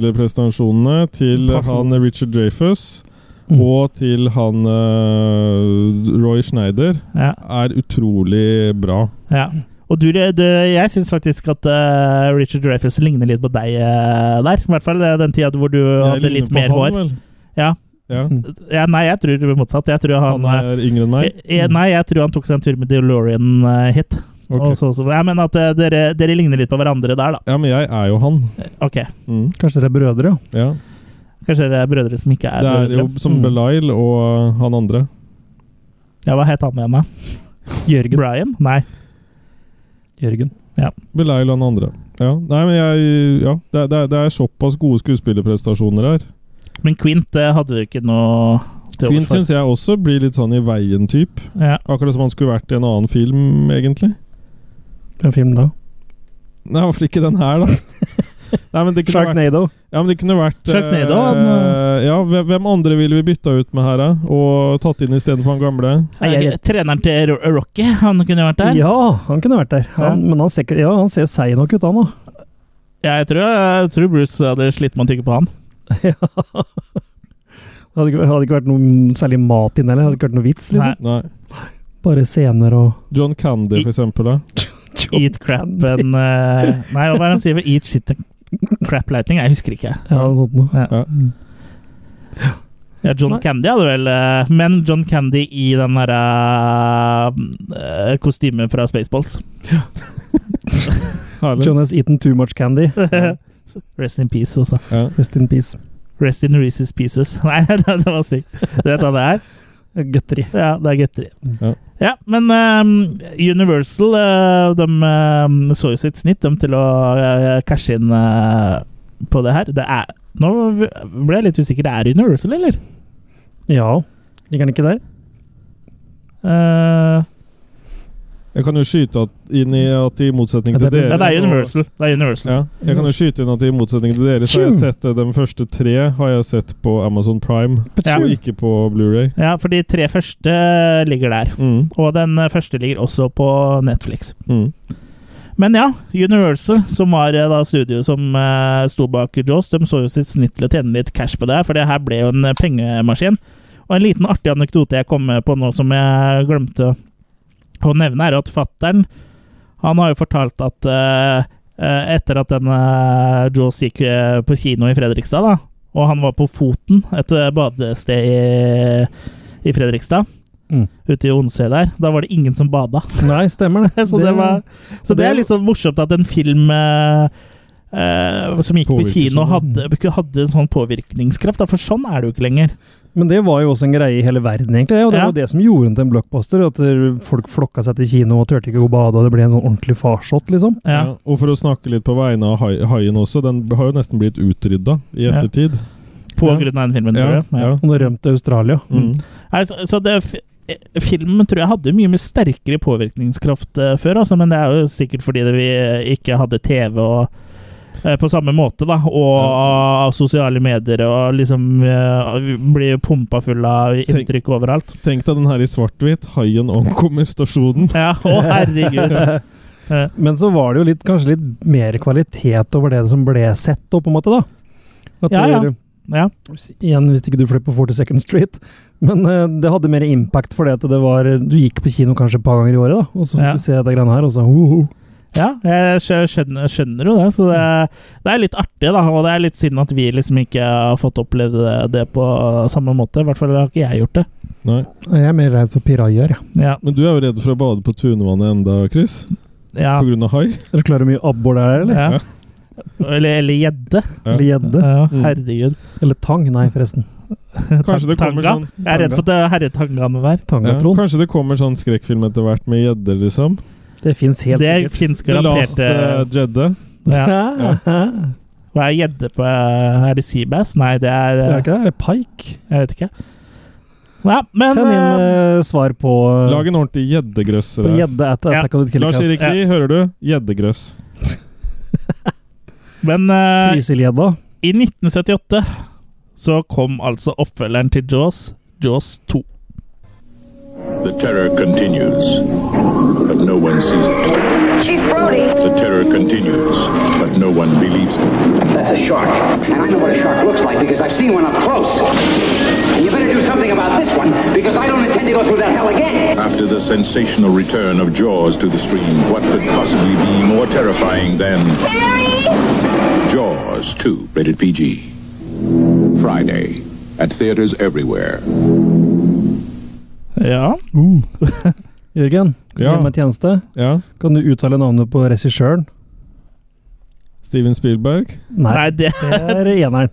Speaker 2: skuespillerprestasjonene til
Speaker 1: Takk.
Speaker 2: han Richard Dreyfus
Speaker 3: Mm.
Speaker 2: og til han eh, Roy Schneider
Speaker 1: Ja,
Speaker 2: er utrolig bra.
Speaker 1: ja. Og du, du jeg syns faktisk at eh, Richard Dreyfus ligner litt på deg eh, der. I hvert fall eh, den tida hvor du
Speaker 2: Jeg
Speaker 1: hadde
Speaker 2: ligner
Speaker 1: litt
Speaker 2: på
Speaker 1: mer
Speaker 2: han,
Speaker 1: hår.
Speaker 2: vel?
Speaker 1: Ja.
Speaker 2: Ja.
Speaker 3: Mm.
Speaker 1: ja. Nei, jeg tror det var motsatt. Jeg tror han,
Speaker 2: Han er yngre
Speaker 1: eh,
Speaker 2: enn meg?
Speaker 1: eh, Nei, jeg tror han tok seg en tur med DeLorean eh, hit.
Speaker 2: Ok.
Speaker 1: Og så, så, ja, men at eh, dere, dere ligner litt på hverandre der, da.
Speaker 2: Ja, men jeg er jo han.
Speaker 1: Ok.
Speaker 2: Mm.
Speaker 3: Kanskje dere er brødre, ja.
Speaker 2: Ja.
Speaker 1: Kanskje dere er brødre som ikke er
Speaker 2: Det er
Speaker 1: brødre.
Speaker 2: jo som
Speaker 3: Mm.
Speaker 2: Belial og eh, han andre.
Speaker 1: Ja, hva het han igjen, da?
Speaker 3: Jørgen.
Speaker 1: Brian? Nei.
Speaker 3: Jørgen.
Speaker 2: Belial og han andre. Ja, Nei, men jeg, ja det, er- det, er- det er såpass gode skuespillerprestasjoner her.
Speaker 1: Men Quint eh, hadde du ikke noe til overs
Speaker 2: Quint
Speaker 1: for.
Speaker 2: syns jeg også blir litt sånn i veien-type.
Speaker 1: Ja.
Speaker 2: Akkurat som han skulle vært i en annen film, egentlig.
Speaker 3: Den filmen da.
Speaker 2: Nei, hvorfor ikke den
Speaker 1: [laughs]
Speaker 2: her, da? Nei, men det kunne vært,
Speaker 3: Sharknado.
Speaker 2: ja, men det kunne vært eh,
Speaker 1: Sharknado, han, eh.
Speaker 2: Ja, hvem hvem andre ville vi bytta ut med her, da? Og tatt inn istedenfor han gamle?
Speaker 1: Er det ikke- Treneren til Ro- Rocky, han kunne vært der.
Speaker 3: Ja, han kunne vært der. Han, Men han ser, ikke- ja, han ser seig nok ut, han da.
Speaker 1: Ja, jeg, tror, jeg tror Bruce hadde slitt med å tygge på han.
Speaker 3: Ja. Det hadde ikke, hadde ikke vært noe særlig mat inni heller. Hadde ikke vært noe vits, liksom.
Speaker 1: Nei,
Speaker 2: Nei.
Speaker 3: Bare scener og
Speaker 2: John Candy, for eksempel. Da.
Speaker 1: eat crap
Speaker 3: [laughs]
Speaker 1: and eh, Nei, hva er det han sier? Eat shit and crap lighting? Jeg husker ikke.
Speaker 3: Ja, noe sånt noe.
Speaker 1: Ja.
Speaker 2: Ja.
Speaker 1: Ja, John
Speaker 3: Nei.
Speaker 1: Candy hadde vel eh, Men John Candy i den derre eh, kostymet fra Spaceballs.
Speaker 2: Herlig.
Speaker 3: John has eaten too much candy.
Speaker 1: [laughs] Rest in peace, altså.
Speaker 2: Ja.
Speaker 3: Rest in peace.
Speaker 1: Rest in Reese's Pieces. [laughs] Nei, det, det var sykt. Du vet hva det er?
Speaker 3: Godteri.
Speaker 1: Ja, det er gutteri.
Speaker 2: Ja.
Speaker 1: Ja, men eh, Universal eh, de eh, så jo sitt snitt de, til å eh, cashe inn eh, på det her. Det er, nå ble jeg litt usikker. Det er Universal, eller?
Speaker 3: Ja. Ligger den ikke der?
Speaker 1: Eh,
Speaker 2: Jeg kan jo skyte at, inn i at i motsetning
Speaker 3: Ja,
Speaker 2: til
Speaker 3: det
Speaker 2: dere
Speaker 3: er-
Speaker 1: ja, det er
Speaker 2: så-
Speaker 1: Universal. Det er Universal.
Speaker 2: Ja, jeg kan jo skyte inn at i motsetning til dere, så har jeg
Speaker 3: Tjum.
Speaker 2: sett eh, de første tre har jeg sett på Amazon Prime,
Speaker 1: Ja.
Speaker 2: og ikke på Blu-ray.
Speaker 1: Ja, for de tre første eh, ligger der.
Speaker 2: Mm,
Speaker 1: Og den eh, første ligger også på Netflix.
Speaker 2: mm.
Speaker 1: Men ja, Universal, som var eh, da studio som eh, sto bak Jaws, de så jo sitt snitt til å tjene litt cash på det her, for det her ble jo en eh, pengemaskin. Og en liten artig anekdote jeg kom på nå som jeg glemte å nevne, er at fattern han har jo fortalt at eh, eh, etter at denne Jaws gikk eh, på kino i Fredrikstad, da, og han var på Foten, et eh, badested i, i Fredrikstad,
Speaker 3: Mm.
Speaker 1: ute i Onsøy der, da var det ingen som bada.
Speaker 3: Nei, stemmer det.
Speaker 1: [laughs] Så det, var, så det er
Speaker 3: det-
Speaker 1: litt sånn morsomt at en film eh, eh, som gikk på
Speaker 2: Påvirker
Speaker 1: kino,
Speaker 3: sånn.
Speaker 1: hadde, hadde en sånn påvirkningskraft. Da, for sånn er det jo ikke lenger.
Speaker 3: Men det var jo også en greie i hele verden, egentlig. Og det
Speaker 1: Ja.
Speaker 3: var jo det som gjorde den til en blockbuster. At eh, folk flokka seg til kino og turte ikke å bade, og det ble en sånn ordentlig farsott, liksom.
Speaker 1: Ja.
Speaker 2: Ja, og for å snakke litt på vegne av hai- haien også, den har jo nesten blitt utrydda i
Speaker 1: Ja.
Speaker 2: ettertid.
Speaker 1: På
Speaker 3: Ja.
Speaker 1: grunn av den filmen, tror
Speaker 2: Ja,
Speaker 1: jeg. Ja.
Speaker 2: ja.
Speaker 3: Og det rømte Australia.
Speaker 2: Mm.
Speaker 1: Nei, så så det, f- eh, filmen tror jeg hadde mye mye sterkere påvirkningskraft eh, før, altså, men det er jo sikkert fordi det vi eh, ikke hadde TV og eh, på samme måte, da. Og av sosiale medier og liksom eh, blir pumpa full av inntrykk overalt.
Speaker 2: [laughs] Tenk deg den her i svart-hvitt. Haien [laughs] omkommer stasjonen.
Speaker 1: Ja, å herregud.
Speaker 3: [laughs]
Speaker 1: Ja.
Speaker 3: Men så var det jo litt, kanskje litt mer kvalitet over det som ble sett, da, på en måte, da. At
Speaker 1: Ja, ja.
Speaker 3: det-
Speaker 1: Ja.
Speaker 3: Igjen, hvis ikke du fløy på 42nd Street. Men eh, det hadde mer impact fordi at det var eh, Du gikk på kino kanskje et par ganger i året, da. Og så
Speaker 1: Ja.
Speaker 3: fikk du se dette greiene her, og så ho, ho.
Speaker 1: Ja, jeg skjø- skjønner, skjønner jo det. Så det, det er litt artig, da. Og det er litt synd at vi liksom ikke har fått opplevd det, det på samme måte. I hvert fall har ikke jeg gjort det.
Speaker 2: Nei.
Speaker 3: Jeg er mer redd for pirajaer, jeg.
Speaker 1: Ja,
Speaker 2: Men du er jo redd for å bade på Tunvannet enda, Chris?
Speaker 1: ja,
Speaker 2: På grunn av hai?
Speaker 3: Er du klar over hvor mye abbor det er, eller?
Speaker 1: ja. Eller eller gjedde.
Speaker 2: Ja.
Speaker 3: Eller gjedde?
Speaker 1: Ja, herregud.
Speaker 3: Eller tang? Nei, forresten.
Speaker 2: Kanskje det kommer
Speaker 1: Tanga?
Speaker 2: sånn
Speaker 1: Jeg er redd for at det er herretanga med hver.
Speaker 2: ja,
Speaker 3: Tangatron.
Speaker 2: Kanskje det kommer sånn skrekkfilm etter hvert med gjedder, liksom?
Speaker 3: Det fins helt
Speaker 1: Det
Speaker 3: sikkert.
Speaker 1: fins
Speaker 2: The Last
Speaker 1: garantert
Speaker 2: eh,
Speaker 1: eh,
Speaker 2: Jedde.
Speaker 1: ja.
Speaker 3: [laughs] Ja.
Speaker 1: Hva er gjedde på Er det Seabass? Nei, det er
Speaker 3: Det
Speaker 1: eh,
Speaker 3: er ikke det? Er det pike?
Speaker 1: Jeg vet ikke. Ja, men
Speaker 3: Send inn
Speaker 1: eh,
Speaker 3: eh, svar på
Speaker 2: Lag en ordentlig gjeddegrøsser.
Speaker 3: på
Speaker 2: her.
Speaker 3: gjedde at
Speaker 1: Ja.
Speaker 3: Attack of the Killer
Speaker 2: Lars
Speaker 3: Cast.
Speaker 2: Erik Lie, hører du? Gjeddegrøss.
Speaker 1: Men eh,
Speaker 3: Trysilgjedda.
Speaker 1: i 1978 så kom altså oppfølgeren til Jaws, Jaws 2.
Speaker 5: The terror continues, but no one sees it.
Speaker 6: Chief Brody.
Speaker 5: The terror continues, but no one believes it.
Speaker 7: That's a Uh, shark. And I know what a shark looks like because I've seen one up close. And you better do something about this one because I don't intend to go through that hell again.
Speaker 5: After the sensational return of Jaws to the screen, what could possibly be more terrifying than Jaws 2, rated PG? Friday, at theaters everywhere.
Speaker 1: Ja.
Speaker 3: Jørgen, kan du
Speaker 2: Ja.
Speaker 3: gi meg tjeneste?
Speaker 2: Ja.
Speaker 3: Kan du uttale navnet på regissøren?
Speaker 2: Steven Spielberg.
Speaker 1: Nei, det
Speaker 3: Det er eneren.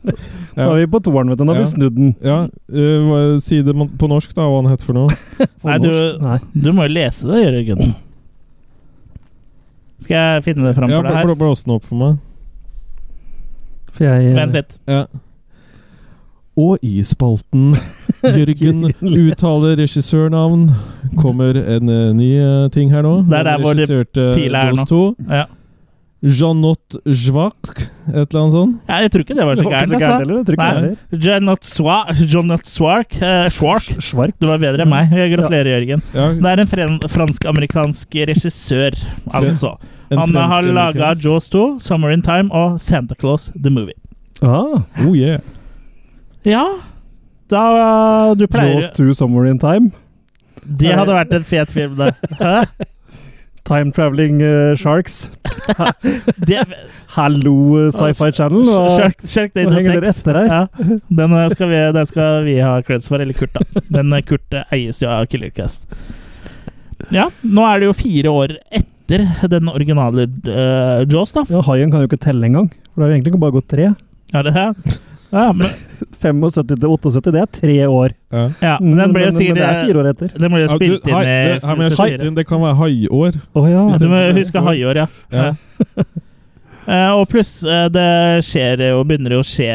Speaker 3: Da
Speaker 2: Ja.
Speaker 3: er vi på toeren, vet du. Nå har
Speaker 2: Ja.
Speaker 3: vi snudd den.
Speaker 2: Ja, eh, hva- Si det mon- på norsk, da, hva han heter for noe.
Speaker 3: På
Speaker 1: Nei, du-
Speaker 3: norsk. Nei.
Speaker 1: [laughs] Du må jo lese det, Jørgen. Skal jeg finne det fram
Speaker 2: Ja,
Speaker 1: for deg
Speaker 2: bl-
Speaker 1: her?
Speaker 2: bl- Blås den opp for meg.
Speaker 3: For jeg
Speaker 1: Vent litt.
Speaker 2: Ja. Og i
Speaker 1: [laughs]
Speaker 2: spalten Jørgen uttaler regissørnavn. Kommer en eh, ny eh, ting her nå.
Speaker 1: Det er der hvor det
Speaker 2: Regisserte
Speaker 1: pila er nå.
Speaker 2: Jaws 2.
Speaker 1: Ja.
Speaker 2: Janot Jvak, et eller annet sånt.
Speaker 1: Ja, jeg tror ikke det var
Speaker 3: Det
Speaker 1: så
Speaker 3: var ikke
Speaker 1: gærent. altså.
Speaker 3: så gærent heller. det tror ikke jeg
Speaker 1: Nei.
Speaker 3: heller.
Speaker 1: Jonot Swark eh, Schwark.
Speaker 3: Schwark.
Speaker 1: Du var bedre enn meg. Jeg gratulerer, Jørgen.
Speaker 2: Ja,
Speaker 1: Det er en fren- fransk-amerikansk regissør, altså.
Speaker 2: en
Speaker 1: Han
Speaker 2: fransk
Speaker 1: har laga
Speaker 2: amerikansk.
Speaker 1: Jaws 2, Summer in Time og Santa Claus The Movie.
Speaker 3: Ah,
Speaker 2: Oh yeah.
Speaker 1: Ja da Du pleier
Speaker 3: Jaws 2 Somewhere in Time.
Speaker 1: Det hadde vært en fet film, det. Hæ?
Speaker 3: Time Traveling eh, Sharks.
Speaker 1: det
Speaker 3: Hallo eh, Sci-Fi Channel. Og,
Speaker 1: Shark, Shark Day
Speaker 3: nå henger dere
Speaker 1: 06.
Speaker 3: etter her.
Speaker 1: Ja, den, eh, skal vi, den skal vi ha creds for, eller Kurt, da. Men eh, Kurt eh, eies jo av Killercast. Ja, nå er det jo fire år etter den originale eh, Jaws, da.
Speaker 3: ja, Haien kan jo ikke telle engang. For det har jo egentlig bare gått tre.
Speaker 1: Ja, det her. Ja, men,
Speaker 3: 75 til 78, det er tre år.
Speaker 2: Ja.
Speaker 1: ja, men den ble jo
Speaker 3: men det er
Speaker 1: sikkert eh,
Speaker 3: fire år etter.
Speaker 1: Den ble jo
Speaker 2: Ja, du,
Speaker 1: spilt inn eh,
Speaker 2: hai-
Speaker 1: i
Speaker 2: det, her må jeg skyte
Speaker 1: 74.
Speaker 2: inn, det kan være haiår.
Speaker 3: Å ja.
Speaker 1: Ja, Du må huske haiår, ja. [laughs]
Speaker 2: Ja.
Speaker 1: Eh, og pluss, eh, det skjer jo begynner jo å skje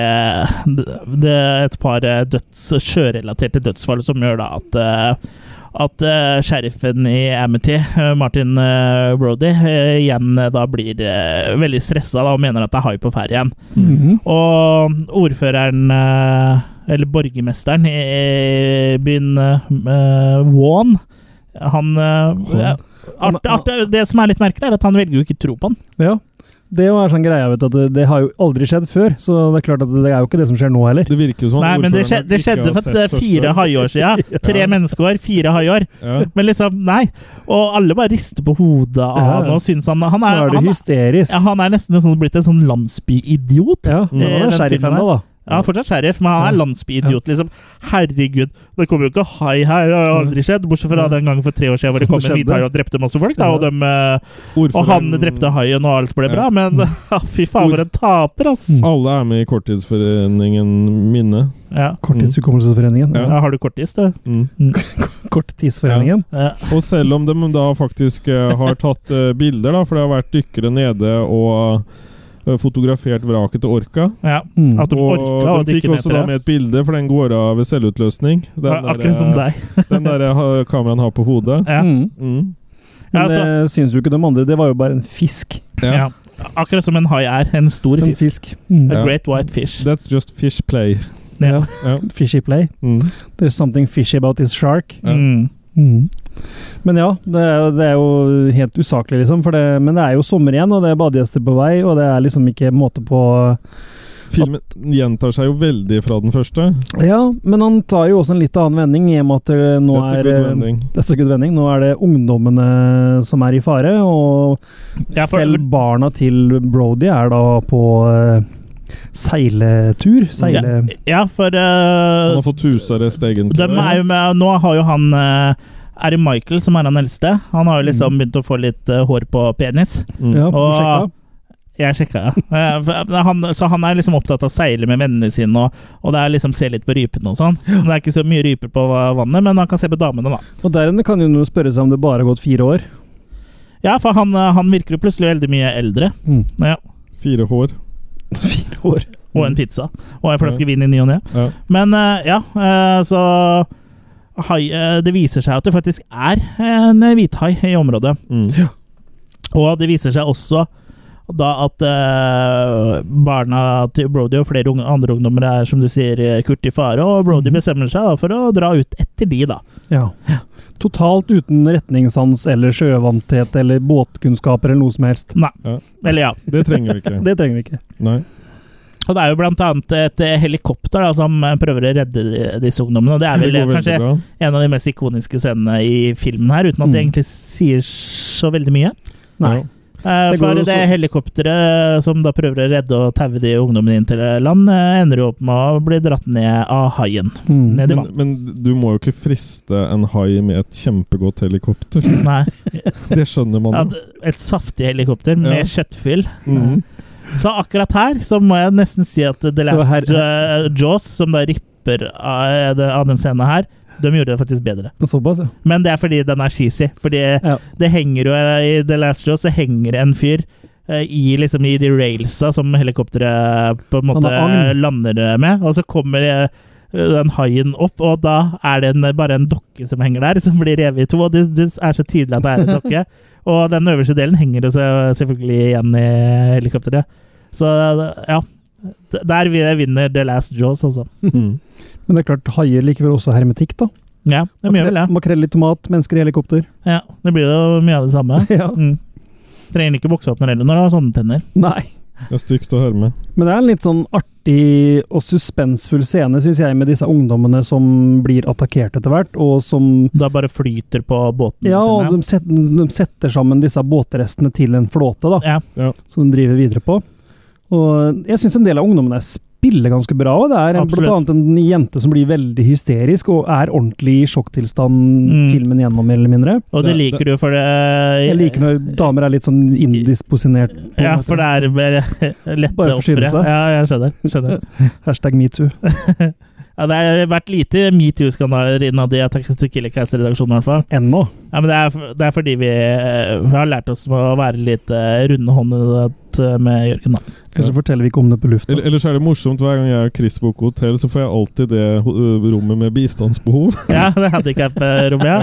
Speaker 1: det- det er et par eh, døds, sjørelaterte dødsfall som gjør da at eh, at eh, sheriffen i Amity, eh, Martin eh, Brody, eh, igjen eh, da blir eh, veldig stressa da, og mener at det er hai på ferde igjen.
Speaker 3: Mhm.
Speaker 1: Og ordføreren, eh, eller borgermesteren i i byen eh, Vaughan Han eh,
Speaker 3: Vaughan.
Speaker 1: art, art, Det som er litt merkelig, er at han velger jo ikke tro på han.
Speaker 3: Ja. Det er jo en sånn greie, vet du, at det, det har jo aldri skjedd før. Så det er klart at det er jo ikke det som skjer nå heller.
Speaker 2: Det virker jo som
Speaker 1: Nei,
Speaker 2: han
Speaker 1: men det
Speaker 2: ordføreren
Speaker 1: skjedde, det
Speaker 2: ikke
Speaker 1: skjedde
Speaker 2: har
Speaker 1: for
Speaker 2: sett
Speaker 1: et, fire
Speaker 2: første-
Speaker 1: haiår
Speaker 2: [laughs]
Speaker 1: siden. Tre
Speaker 2: Ja.
Speaker 1: menneskeår, fire haiår.
Speaker 2: Ja.
Speaker 1: Men liksom, nei. Og alle bare rister på hodet av
Speaker 3: Ja, ja.
Speaker 1: han og syns han han
Speaker 3: Nå
Speaker 1: er,
Speaker 3: er det
Speaker 1: han,
Speaker 3: hysterisk.
Speaker 1: ja, han er nesten en sånn, blitt en sånn landsbyidiot.
Speaker 3: Ja, men
Speaker 1: Eh,
Speaker 3: han
Speaker 1: den
Speaker 3: er sheriff
Speaker 1: filmen
Speaker 3: ennå, da.
Speaker 1: Ja, han er fortsatt sheriff, men han er
Speaker 3: Ja.
Speaker 1: landsbyidiot, liksom. Herregud, det kommer jo ikke hai her, det har jo aldri skjedd. Bortsett fra
Speaker 3: Ja.
Speaker 1: den gangen for tre år siden hvor det
Speaker 3: Som
Speaker 1: kom
Speaker 3: det
Speaker 1: en hvit
Speaker 3: skjedde.
Speaker 1: hai og drepte masse folk, da, og, dem, eh, og han
Speaker 2: Ordføreren-
Speaker 1: drepte haien, og alt ble
Speaker 2: Ja. Mm.
Speaker 1: bra, men [laughs] ja, fy faen, for en taper, ass!
Speaker 2: Alle er med i Korttidsforeningen Minne.
Speaker 1: Ja.
Speaker 3: Korttidshukommelsesforeningen.
Speaker 2: Ja.
Speaker 1: Ja, har du kortis, du?
Speaker 2: Mm.
Speaker 3: Korttidsforeningen.
Speaker 1: Ja.
Speaker 2: Og selv om de da faktisk eh, har tatt eh, bilder, da, for det har vært dykkere nede og eh, fotografert vraket til Orca.
Speaker 1: ja.
Speaker 3: Mm.
Speaker 1: At de orka å
Speaker 2: og de fikk
Speaker 1: dykke ned
Speaker 2: også da
Speaker 1: til det.
Speaker 2: med et bilde, for den går av ved selvutløsning.
Speaker 1: Ja,
Speaker 2: Den der,
Speaker 1: Akkurat som
Speaker 2: eh,
Speaker 1: deg.
Speaker 2: den der eh, ha- kameraen har på
Speaker 1: [laughs]
Speaker 2: hodet.
Speaker 1: Ja.
Speaker 3: Mm.
Speaker 2: Mm.
Speaker 1: Ja,
Speaker 3: Men
Speaker 1: altså-
Speaker 3: det syns jo ikke de andre. Det var jo bare en fisk.
Speaker 2: Ja.
Speaker 1: Ja. Akkurat som en hai er. En stor
Speaker 3: En
Speaker 1: fisk.
Speaker 3: fisk. Mm.
Speaker 1: A
Speaker 2: Ja.
Speaker 1: great white fish.
Speaker 2: That's just fish play.
Speaker 1: Ja.
Speaker 2: Ja.
Speaker 3: Fishy play.
Speaker 2: Mm. Eh,
Speaker 3: There's something fishy about this shark.
Speaker 2: Ja.
Speaker 1: Mm.
Speaker 3: Men ja, det er, jo- det er jo helt usaklig, liksom. For det, men det er jo sommer igjen, og det er badegjester på vei, og det er liksom ikke måte på
Speaker 2: Filmen gjentar seg jo veldig fra den første.
Speaker 3: Ja, men han tar jo også en litt annen vending, i og med at det nå
Speaker 2: That's a
Speaker 1: eh,
Speaker 3: er eh,
Speaker 2: good ending.
Speaker 3: That's a good vending. Nå er det ungdommene som er i fare, og
Speaker 1: Ja, for,
Speaker 3: selv barna til Brody er da på eh, seiletur. Seile...
Speaker 1: ja, for eh,
Speaker 2: Han har fått husarrest, egentlig.
Speaker 1: dem er jo med, Nå har jo han eh, er det Michael som er han eldste? Han har jo liksom begynt å få litt eh, hår på penis.
Speaker 2: Mm.
Speaker 3: Ja,
Speaker 1: Og-
Speaker 3: sjekka.
Speaker 1: Jeg sjekka, ja. Eh, for han, så han er liksom opptatt av å seile med vennene sine og, og det er liksom se litt på rypene og sånn. Det er ikke så mye ryper på vannet, men han kan se på damene, da.
Speaker 3: Og der inne kan jo noen spørre seg om det bare har gått fire år.
Speaker 1: Ja, for han, eh, han virker jo plutselig veldig mye eldre.
Speaker 3: Mm.
Speaker 1: Ja.
Speaker 2: Fire hår.
Speaker 3: [laughs] Fire år.
Speaker 1: Og en pizza. Og en flaske vin i ny og ne.
Speaker 2: Ja.
Speaker 1: Men eh, ja, eh, så hai, eh, det viser seg at det faktisk er en hvithai i området.
Speaker 2: Mm.
Speaker 1: Og det viser seg også da at eh, barna til Brody og flere unge, andre ungdommer er som du sier, eh, kurt i fare, og Brody
Speaker 3: Mhm.
Speaker 1: bestemmer seg da, for å dra ut etter de, da.
Speaker 3: Ja. Totalt uten retningssans eller sjøvanthet eller båtkunnskaper eller noe som helst.
Speaker 1: Eller ja.
Speaker 2: Det
Speaker 1: [laughs]
Speaker 2: trenger vi ikke.
Speaker 3: Det trenger vi ikke.
Speaker 2: Nei.
Speaker 1: Og det er jo blant annet et eh, helikopter da, som eh, prøver å redde de- disse ungdommene. Og det er
Speaker 2: Det
Speaker 1: vel eh,
Speaker 2: går veldig
Speaker 1: kanskje
Speaker 2: bra.
Speaker 1: en av de mest ikoniske scenene i filmen her, uten at det
Speaker 3: Mm.
Speaker 1: egentlig sier så veldig mye.
Speaker 3: Nei.
Speaker 2: Ja.
Speaker 1: Eh,
Speaker 3: Det går
Speaker 1: for
Speaker 3: jo
Speaker 1: det
Speaker 3: så-
Speaker 1: helikopteret som da prøver å redde og taue de ungdommene inn til land, eh, ender jo opp med å bli dratt ned av haien.
Speaker 3: Mm.
Speaker 1: Ned i
Speaker 2: Men,
Speaker 1: vann.
Speaker 2: men du må jo ikke friste en hai med et kjempegodt
Speaker 1: [laughs]
Speaker 2: helikopter.
Speaker 1: Nei.
Speaker 2: Det skjønner man
Speaker 1: At
Speaker 2: jo.
Speaker 1: et saftig helikopter med
Speaker 2: Ja.
Speaker 1: kjøttfyll.
Speaker 2: Mhm.
Speaker 1: Så akkurat her så må jeg nesten si at The Last
Speaker 3: her-
Speaker 1: eh, Jaws, som da ripper av, den- av den scenen her, de gjorde det faktisk bedre.
Speaker 3: Såpass, ja.
Speaker 1: Men det er fordi den er cheesy. Fordi
Speaker 3: Ja.
Speaker 1: det henger jo eh, i The Last Jaws så henger det en fyr eh, i, liksom, i de railsa som helikopteret på en
Speaker 3: Han
Speaker 1: måte eh,
Speaker 3: har agn.
Speaker 1: lander med, og så kommer eh, den haien opp, og da er det en, bare en dokke som henger der, som blir revet i to. Og det, det er så tydelig at det er en
Speaker 3: [laughs]
Speaker 1: dokke. Og den øverste delen henger jo så- selvfølgelig igjen i helikopteret. Så ja. D- Der vinner The Last Jaws, altså.
Speaker 2: Mhm.
Speaker 3: Men det er klart, haier likevel også hermetikk, da.
Speaker 1: Ja, det gjør vel det.
Speaker 3: Makrell i tomat, mennesker i helikopter.
Speaker 1: Ja, det blir jo mye av det samme.
Speaker 3: [laughs] Ja.
Speaker 1: Mm. Trenger ikke bukse opp når heller når du har sånne tenner.
Speaker 3: Nei.
Speaker 2: Det er stygt å høre med.
Speaker 3: Men det er en litt sånn artig og suspensfull scene, syns jeg, med disse ungdommene som blir attakkert etter hvert, og som
Speaker 1: Da bare flyter på båten
Speaker 3: Ja, altså, og
Speaker 1: sin.
Speaker 3: de setter, de setter sammen disse båtrestene til en flåte, da,
Speaker 1: Ja.
Speaker 3: som de driver videre på. Og jeg syns en del av ungdommene spiller ganske bra. og Det er en, blant
Speaker 1: Absolutt.
Speaker 3: annet en jente som blir veldig hysterisk, og er ordentlig i sjokktilstand
Speaker 1: Mm.
Speaker 3: filmen gjennom, mer eller mindre.
Speaker 1: Og det
Speaker 2: Det-
Speaker 1: liker du, for det eh,
Speaker 3: Jeg liker når damer er litt sånn indisposisjonert. på en
Speaker 1: Ja,
Speaker 3: måte.
Speaker 1: for det er bare [laughs] lette
Speaker 3: Bare forsyne
Speaker 1: ofre.
Speaker 3: seg.
Speaker 1: Ja, jeg skjønner.
Speaker 3: [laughs]
Speaker 1: skjønner.
Speaker 3: Hashtag metoo.
Speaker 1: Ja, det har vært lite metoo-skandaler innad i Attack to Kill a Cast-redaksjonen, i hvert fall.
Speaker 3: Ennå.
Speaker 1: Ja, men det er, det er fordi vi, eh, vi har lært oss å være litt eh, rundhåndet eh, med Jørgen, da.
Speaker 3: Ellers forteller vi ikke om det på lufta.
Speaker 2: Eller- Ellers er det morsomt hver gang jeg og Chris booker hotell, så får jeg alltid det ho- ø, rommet med bistandsbehov.
Speaker 1: Ja, det handikap-rommet,
Speaker 2: [laughs]
Speaker 1: ja.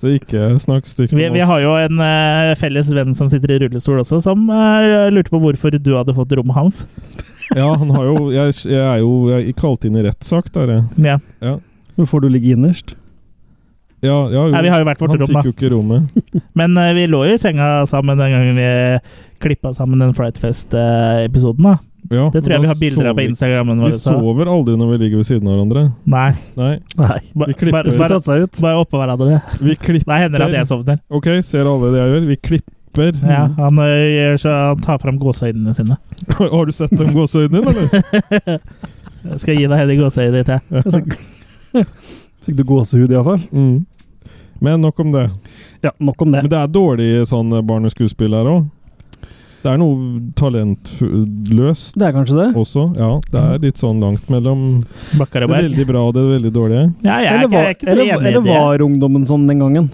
Speaker 2: Så ikke snakk stygt om
Speaker 1: Vi, vi
Speaker 2: oss.
Speaker 1: har jo en eh, felles venn som sitter i rullestol også, som eh, lurte på hvorfor du hadde fått rommet hans.
Speaker 2: Ja, han har jo Jeg, jeg er jo jeg er kalt inn i rettssak, der, jeg.
Speaker 1: Ja.
Speaker 3: Nå får du ligge innerst.
Speaker 2: Ja, ja, jo.
Speaker 1: Nei, vi har jo hvert vårt
Speaker 2: han
Speaker 1: rom,
Speaker 2: fikk jo
Speaker 1: da.
Speaker 2: ikke rommet.
Speaker 1: Men eh, vi lå jo i senga sammen den gangen vi klippa sammen den Frightfest-episoden, da.
Speaker 2: Ja,
Speaker 1: Det tror jeg vi
Speaker 2: men da
Speaker 1: har bilder av
Speaker 2: sover
Speaker 1: på
Speaker 2: vi-
Speaker 1: Instagrammen
Speaker 2: Vi
Speaker 1: vår. Så.
Speaker 2: sover aldri når vi ligger ved siden av hverandre.
Speaker 1: Nei.
Speaker 2: Nei.
Speaker 3: Nei.
Speaker 1: ba-
Speaker 2: Vi klipper.
Speaker 1: Bare,
Speaker 3: Skulle
Speaker 1: bare,
Speaker 3: tatt seg ut.
Speaker 1: bare oppå hverandre.
Speaker 2: Vi klipper
Speaker 1: Da hender det at jeg sovner.
Speaker 2: Ok, ser alle det jeg gjør? Vi klipper.
Speaker 1: Ja, han, eh, gjør så, han tar fram gåseøynene sine.
Speaker 2: [laughs] Har du sett dem gåseøynene dine,
Speaker 1: [laughs]
Speaker 2: eller?
Speaker 1: Jeg skal gi deg de gåseøynene ditt, jeg.
Speaker 3: Fikk du gåsehud, iallfall?
Speaker 2: Mm. Men nok om det.
Speaker 3: Ja, nok om det.
Speaker 2: Men det er dårlig sånn barneskuespill her òg. Det er noe talentløst
Speaker 3: Det er kanskje det?
Speaker 2: også. Ja, det er litt sånn langt mellom
Speaker 1: Bakker
Speaker 2: det
Speaker 1: og bær.
Speaker 2: veldig bra og det veldig dårlige.
Speaker 1: Ja, jeg, er
Speaker 3: Eller
Speaker 1: ikke- jeg er
Speaker 3: var,
Speaker 1: ikke så
Speaker 3: eller,
Speaker 1: enig i
Speaker 3: eller
Speaker 1: det.
Speaker 3: var ungdommen sånn den gangen?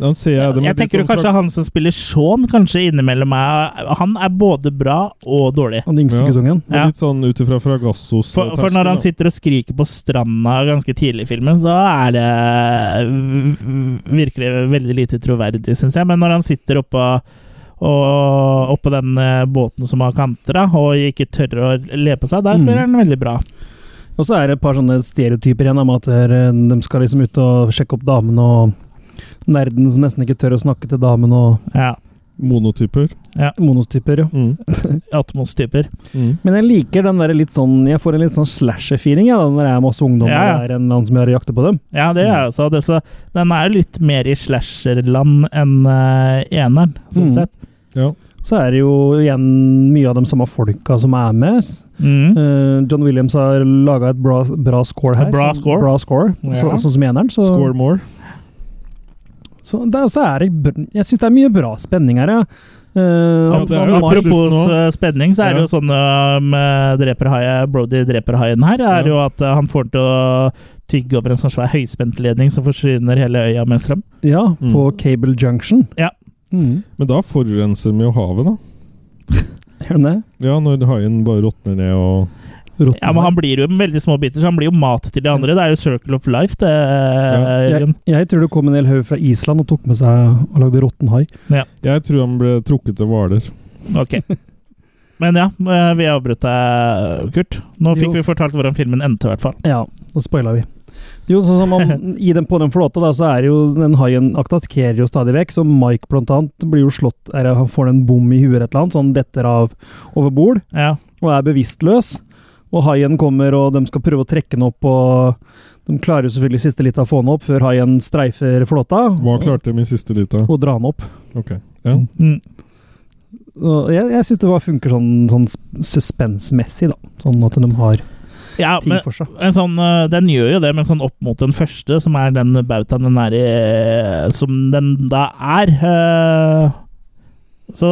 Speaker 2: Da ser jeg det med
Speaker 1: Jeg
Speaker 2: litt
Speaker 1: tenker jo
Speaker 2: sånn
Speaker 1: kanskje han som spiller Shaun, kanskje innimellom er Han er både bra og dårlig.
Speaker 3: Han yngste
Speaker 2: Ja.
Speaker 3: guttungen?
Speaker 2: Men
Speaker 1: Ja.
Speaker 2: Litt sånn ut ifra Fragazos eh,
Speaker 1: For, for når han sitter og skriker på stranda ganske tidlig i filmen, så er det v- virkelig veldig lite troverdig, syns jeg. Men når han sitter oppå og oppå den eh, båten som har kanter, da, og ikke tør å le på seg, der spiller han veldig bra.
Speaker 3: Og så er det et par sånne stereotyper igjen om at eh, de skal liksom ut og sjekke opp damene, og nerden som nesten ikke tør å snakke til damen, og
Speaker 1: Ja.
Speaker 2: Monotyper.
Speaker 3: monostyper, jo.
Speaker 2: Mm.
Speaker 1: Atmos-typer.
Speaker 2: Mm.
Speaker 3: Men jeg liker den der litt sånn Jeg får en litt sånn slasher-feeling jeg, da, når det er masse ungdommer
Speaker 1: Ja, ja.
Speaker 3: og det er en eller annen som gjør jakter på dem.
Speaker 1: Ja, det gjør jeg også. Det, så, den er jo litt mer i slasherland enn eh, eneren, sånn
Speaker 3: Mm.
Speaker 1: sett.
Speaker 2: Ja.
Speaker 3: Så er det jo igjen mye av de samme folka som er med.
Speaker 1: Mm.
Speaker 3: Eh, John Williams har laga et bra, bra score her.
Speaker 1: Bra
Speaker 3: sånn-
Speaker 1: score.
Speaker 3: Bra score
Speaker 1: Ja.
Speaker 3: så, sånn som eneren. Så,
Speaker 2: Score more.
Speaker 3: så, der, så er det br- Jeg syns det er mye bra spenning her, ja. Eh,
Speaker 2: Ja, det er jo
Speaker 3: Mark-
Speaker 1: Apropos
Speaker 2: slutten
Speaker 1: eh, spenning, så er det
Speaker 2: Ja.
Speaker 1: jo sånn um, eh, dreper hai- Brody dreper haien her, er
Speaker 2: Ja.
Speaker 1: jo at eh, han får den til å tygge over en sånn svær høyspentledning som forsyner hele øya med strøm.
Speaker 3: Ja,
Speaker 2: Mm.
Speaker 3: på Cable Junction.
Speaker 1: Ja.
Speaker 3: Mm.
Speaker 2: Men da forurenser vi jo havet, da.
Speaker 3: Gjør den det?
Speaker 2: Ja, når haien bare råtner ned og
Speaker 3: Rotten.
Speaker 1: Ja, men han blir jo i veldig små biter, så han blir jo mat til de andre. Det er jo circle of life, det, eh,
Speaker 3: jeg,
Speaker 1: Jørgen.
Speaker 3: jeg tror det kom en hel haug fra Island og tok med seg og lagde råtten hai.
Speaker 2: Jeg tror han ble trukket til Hvaler.
Speaker 1: Ok. Men ja, eh, vi avbrøt deg, Kurt. Nå fikk
Speaker 3: Jo.
Speaker 1: vi fortalt hvordan filmen endte, i hvert fall.
Speaker 3: Ja, da spoila vi. Jo, sånn som om, i den, På den flåta da, så er jo den haien attackerer jo stadig vekk. Så Mike blant annet blir jo slått er, Han får en bom i huet eller et eller annet, så han detter av over bord
Speaker 1: Ja.
Speaker 3: og er bevisstløs. Og haien kommer, og de skal prøve å trekke den opp. og De klarer jo selvfølgelig siste litt av å få den opp før haien streifer flåta
Speaker 2: Hva klarte de i siste lita?
Speaker 3: og drar den opp.
Speaker 2: Ok. Ja.
Speaker 1: Mm.
Speaker 3: Og jeg jeg syns det bare funker sånn, sånn suspensmessig, da. Sånn at de har
Speaker 1: ja
Speaker 3: ting
Speaker 1: men
Speaker 3: for seg.
Speaker 1: en sånn, eh, den gjør jo det, men sånn opp mot den første, som er den bautaen den er i eh, Som den da er, eh, så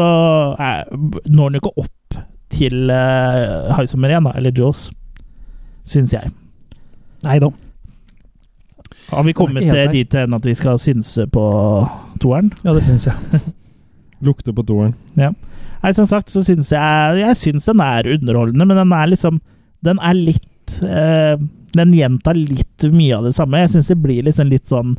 Speaker 1: er, når den jo ikke opp til eh, Highsummer igjen, da, eller Jaws, syns jeg.
Speaker 3: Nei da.
Speaker 1: Har vi kommet
Speaker 3: helt
Speaker 1: eh,
Speaker 3: feil.
Speaker 1: dit hen at vi skal synse på toeren?
Speaker 3: Ja, det syns jeg.
Speaker 2: Lukte på toeren.
Speaker 1: Nei, som sagt så syns jeg Jeg syns den er underholdende, men den er liksom Den er litt eh, Den gjentar litt mye av det samme. Jeg syns det blir liksom litt sånn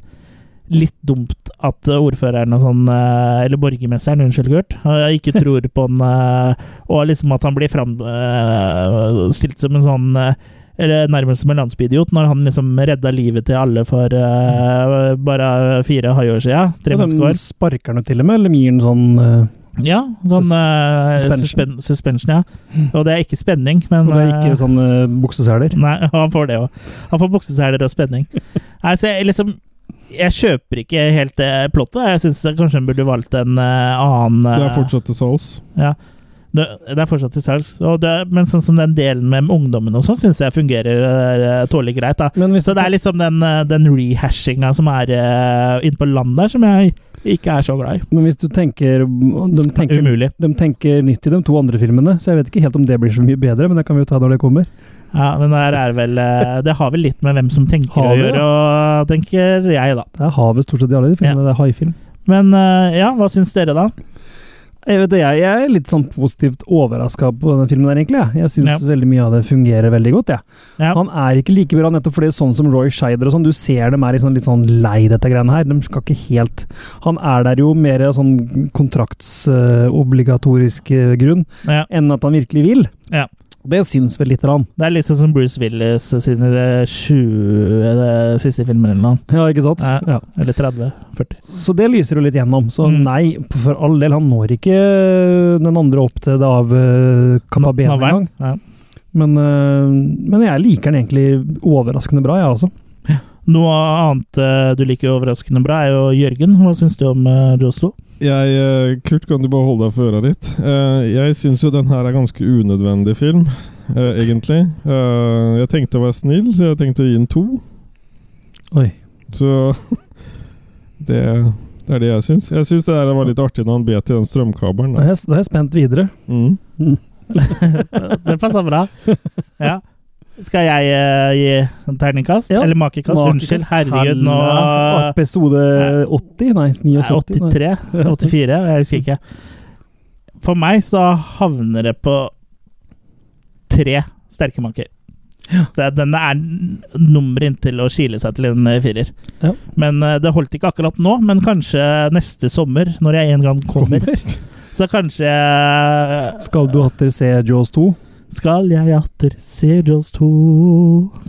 Speaker 1: Litt dumt at ordføreren og sånn eh, Eller borgermesteren, unnskyld, Kurt. eh, Ikke tror på han eh, Og liksom at han blir framstilt som en sånn eh, eller nærmest som en landsbyidiot, når han liksom redda livet til alle for eh, bare fire haiår sia. Tre
Speaker 3: Og
Speaker 1: mennesker.
Speaker 3: de sparker den til og med, eller gir den sånn eh,
Speaker 1: Ja, sånn
Speaker 3: Sus-
Speaker 1: eh,
Speaker 3: suspension. Hmm.
Speaker 1: suspen suspension. Ja. Og det er ikke spenning, men
Speaker 3: Og det er
Speaker 1: eh,
Speaker 3: ikke sånn eh, bukseseler.
Speaker 1: [laughs] Nei, han får det òg. Han får bukseseler og
Speaker 3: [laughs]
Speaker 1: spenning. Nei, så jeg liksom Jeg kjøper ikke helt det plottet. Jeg syns kanskje hun burde valgt en eh, annen
Speaker 2: Det er
Speaker 1: eh,
Speaker 2: fortsatt til salgs.
Speaker 1: det, det er fortsatt til salgs. Og det, men sånn som den delen med ungdommen og sånn, syns jeg fungerer eh, tålelig greit. da
Speaker 3: Men hvis
Speaker 1: Så det er liksom den, eh, den rehashinga som er eh, inne på land der, som jeg ikke er så glad i.
Speaker 3: Men hvis du tenker de, tenker
Speaker 1: Umulig.
Speaker 3: de tenker nytt i de to andre filmene, så jeg vet ikke helt om det blir så mye bedre, men det kan vi jo ta når det kommer.
Speaker 1: Ja, men der er vel, eh, det har vel litt med hvem som tenker
Speaker 3: Har
Speaker 1: å
Speaker 3: det,
Speaker 1: gjøre, og tenker jeg, da.
Speaker 3: Det er havet stort sett i alle de filmene. Det er haifilm.
Speaker 1: Men eh, ja, hva syns dere, da?
Speaker 3: Jeg vet det, jeg, jeg er litt sånn positivt overraska på den filmen der, egentlig. Jeg, jeg syns
Speaker 1: Ja.
Speaker 3: veldig mye av det fungerer veldig godt, jeg.
Speaker 1: Ja.
Speaker 3: Han er ikke like bra nettopp fordi sånn som Roy Scheider og sånn, du ser dem er liksom litt sånn lei dette greiene her. De skal ikke helt Han er der jo mer av sånn kontraktsobligatorisk eh, grunn
Speaker 1: Ja,
Speaker 3: enn at han virkelig vil.
Speaker 1: Ja.
Speaker 3: Det syns vel lite grann. [laughs]
Speaker 1: det er litt sånn som Bruce Willis sine eh, 20 eh, siste filmer eller noe.
Speaker 3: Ja, ikke sant?
Speaker 1: Ja.
Speaker 3: Ja.
Speaker 1: Eller 30. 40.
Speaker 3: Så det lyser jo litt gjennom. Så
Speaker 1: Mm.
Speaker 3: nei, for all del, han når ikke den andre opp til det av Kapabena
Speaker 1: Navlen.
Speaker 3: engang.
Speaker 1: Ja.
Speaker 3: Men, øh, men jeg liker den egentlig overraskende bra, jeg også.
Speaker 1: Noe annet eh, du liker overraskende bra, er jo Jørgen. Hva syns du om uh, Joslo?
Speaker 2: Jeg, eh, Kurt, kan du bare holde deg for øra litt? Eh, Jeg syns jo den her er ganske unødvendig film, eh, egentlig. Eh, Jeg tenkte å være snill, så jeg tenkte å gi den to.
Speaker 3: Oi.
Speaker 2: Så [laughs] det, det er det jeg syns. Jeg syns det her var litt artig når han bet i den strømkabelen.
Speaker 3: Da
Speaker 2: da.
Speaker 3: er jeg, da er jeg spent videre.
Speaker 2: Mm.
Speaker 1: Eh, det passer bra.
Speaker 3: [laughs]
Speaker 1: Ja. Skal jeg eh, gi en terningkast?
Speaker 3: Ja.
Speaker 1: Eller makekast? Unnskyld. Herregud, nå eh,
Speaker 3: Halla. Episode 80? Nei,
Speaker 1: Nei,
Speaker 3: 79. nei.
Speaker 1: 83?
Speaker 3: [laughs]
Speaker 1: 84? Jeg husker ikke. For meg så havner det på tre sterke maker. Så Den er n- nummeret inntil å skile seg til en eh, firer.
Speaker 3: Ja.
Speaker 1: Men eh, det holdt ikke akkurat nå, men kanskje neste sommer, når jeg en gang kommer. Så kanskje
Speaker 3: Skal du atter se Jaws 2?
Speaker 1: Skal jeg atter se Jaws 2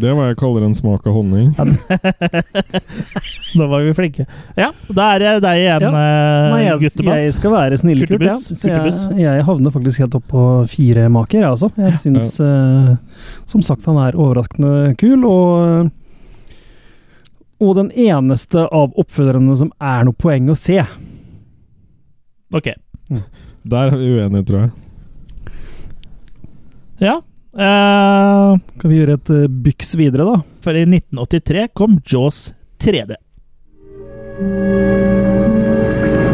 Speaker 2: Det er hva jeg kaller en smak av honning.
Speaker 1: [laughs] Nå var vi flinke. Ja, da er det deg igjen,
Speaker 3: Ja.
Speaker 1: eh,
Speaker 3: Nei, jeg, jeg
Speaker 1: guttebass.
Speaker 3: skal være snillkurt, ja.
Speaker 1: Kurtebuss,
Speaker 3: så jeg,
Speaker 1: kurtebuss.
Speaker 3: jeg havner faktisk helt opp på fire maker, jeg også. Jeg syns, eh, som sagt, han er overraskende kul, og eh, og den eneste av oppfølgerne som er noe poeng å se.
Speaker 1: Ok.
Speaker 2: Der er vi uenige, tror jeg.
Speaker 1: Ja. eh,
Speaker 3: Skal vi gjøre et eh, byks videre, da?
Speaker 1: For i 1983 kom Jaws 3D.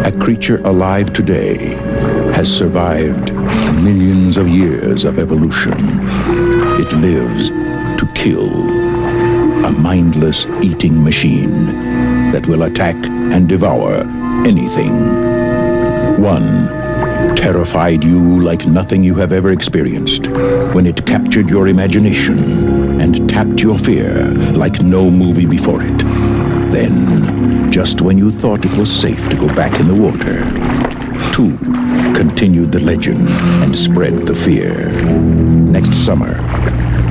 Speaker 5: A creature alive today has survived millions of years of evolution. It lives to kill. A mindless eating machine that will attack and devour anything. One terrified you like nothing you have ever experienced when it captured your imagination and tapped your fear like no movie before it. Then, just when you thought it was safe to go back in the water, two continued the legend and spread the fear. Next summer,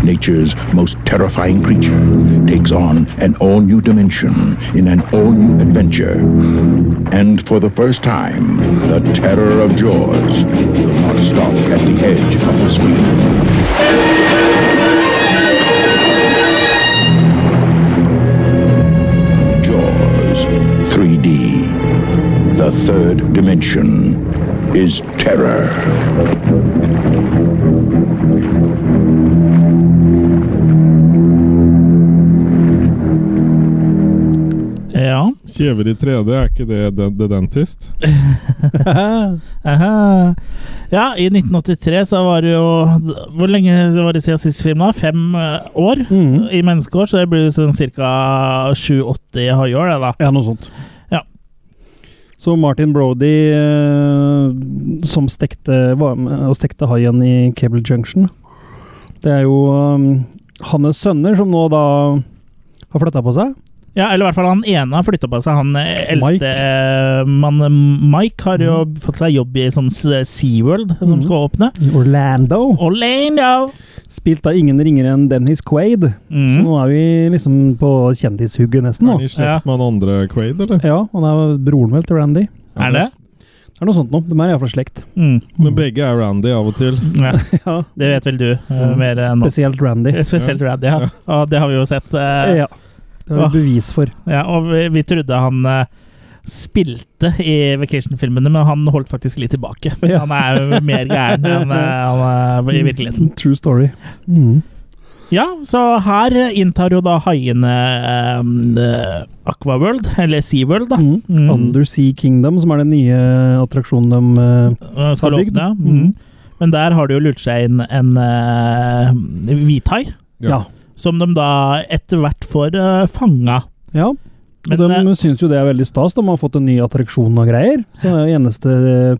Speaker 5: nature's most terrifying creature takes on an all new dimension in an all new adventure. And for the first time, the terror of Jaws will not stop at the edge of the screen. Jaws 3D. The third dimension is terror.
Speaker 3: [laughs]
Speaker 1: Ja.
Speaker 2: Kjever i 3D, er ikke det The, the Dentist?
Speaker 1: Aha. Ja, i 1983 så var det jo Hvor lenge var det siden sist film, da? Fem eh, år?
Speaker 3: Mhm.
Speaker 1: I menneskeår, så det blir sånn ca. 7-80 haiår, det, da.
Speaker 3: Ja, noe sånt.
Speaker 1: Ja.
Speaker 3: Så Martin Brody, eh, som stekte, var med og stekte haien i Cable Junction Det er jo um, hans sønner som nå da har flytta på seg.
Speaker 1: Ja, eller i hvert fall han ene har flytta på seg. Han eh, eldste
Speaker 3: Mike. Mm.
Speaker 1: eh, mann, Mike, har jo fått seg jobb i sånn s- SeaWorld, som
Speaker 3: Mhm.
Speaker 1: skal åpne.
Speaker 3: Orlando.
Speaker 1: Orlando!
Speaker 3: Spilt av ingen ringere enn Dennis Quaid. Så
Speaker 1: Mm.
Speaker 3: nå er vi liksom på kjendishugget nesten,
Speaker 2: Er de
Speaker 3: nå.
Speaker 2: i slekt med han andre Quaid, eller?
Speaker 3: Ja, han er broren vel til Randy.
Speaker 1: Er det?
Speaker 3: Det er noe sånt nå. De er iallfall slekt.
Speaker 1: Mm.
Speaker 2: Men begge er Randy av og til.
Speaker 1: Ja,
Speaker 3: Ja.
Speaker 1: det vet vel du eh, mer enn oss.
Speaker 3: Mm. Spesielt Randy.
Speaker 1: Spesielt Randy, ja. Og det har vi jo sett. eh,
Speaker 3: Ja. Det er det bevis for.
Speaker 1: Ja, og vi, vi trodde han eh, spilte i Vacation-filmene, men han holdt faktisk litt tilbake.
Speaker 3: Ja.
Speaker 1: Han er jo mer
Speaker 3: [laughs]
Speaker 1: gæren enn eh, han er i virkeligheten.
Speaker 3: True story. Mm.
Speaker 1: Ja, så her eh, inntar jo da haiene eh, Aquaworld, eller SeaWorld, da.
Speaker 3: Mm.
Speaker 1: Mm.
Speaker 3: Undersea Kingdom, som er den nye attraksjonen de eh,
Speaker 1: Eh, Skal
Speaker 3: Har bygd.
Speaker 1: åpne. Mm. Men der har det jo lurt seg inn en eh, hvithai,
Speaker 3: Ja.
Speaker 1: som de da etter hvert får eh, fanga.
Speaker 3: ja.
Speaker 1: Men, eh,
Speaker 3: og de syns jo det er veldig stas. De har fått en ny attraksjon og greier. Så det er jo eneste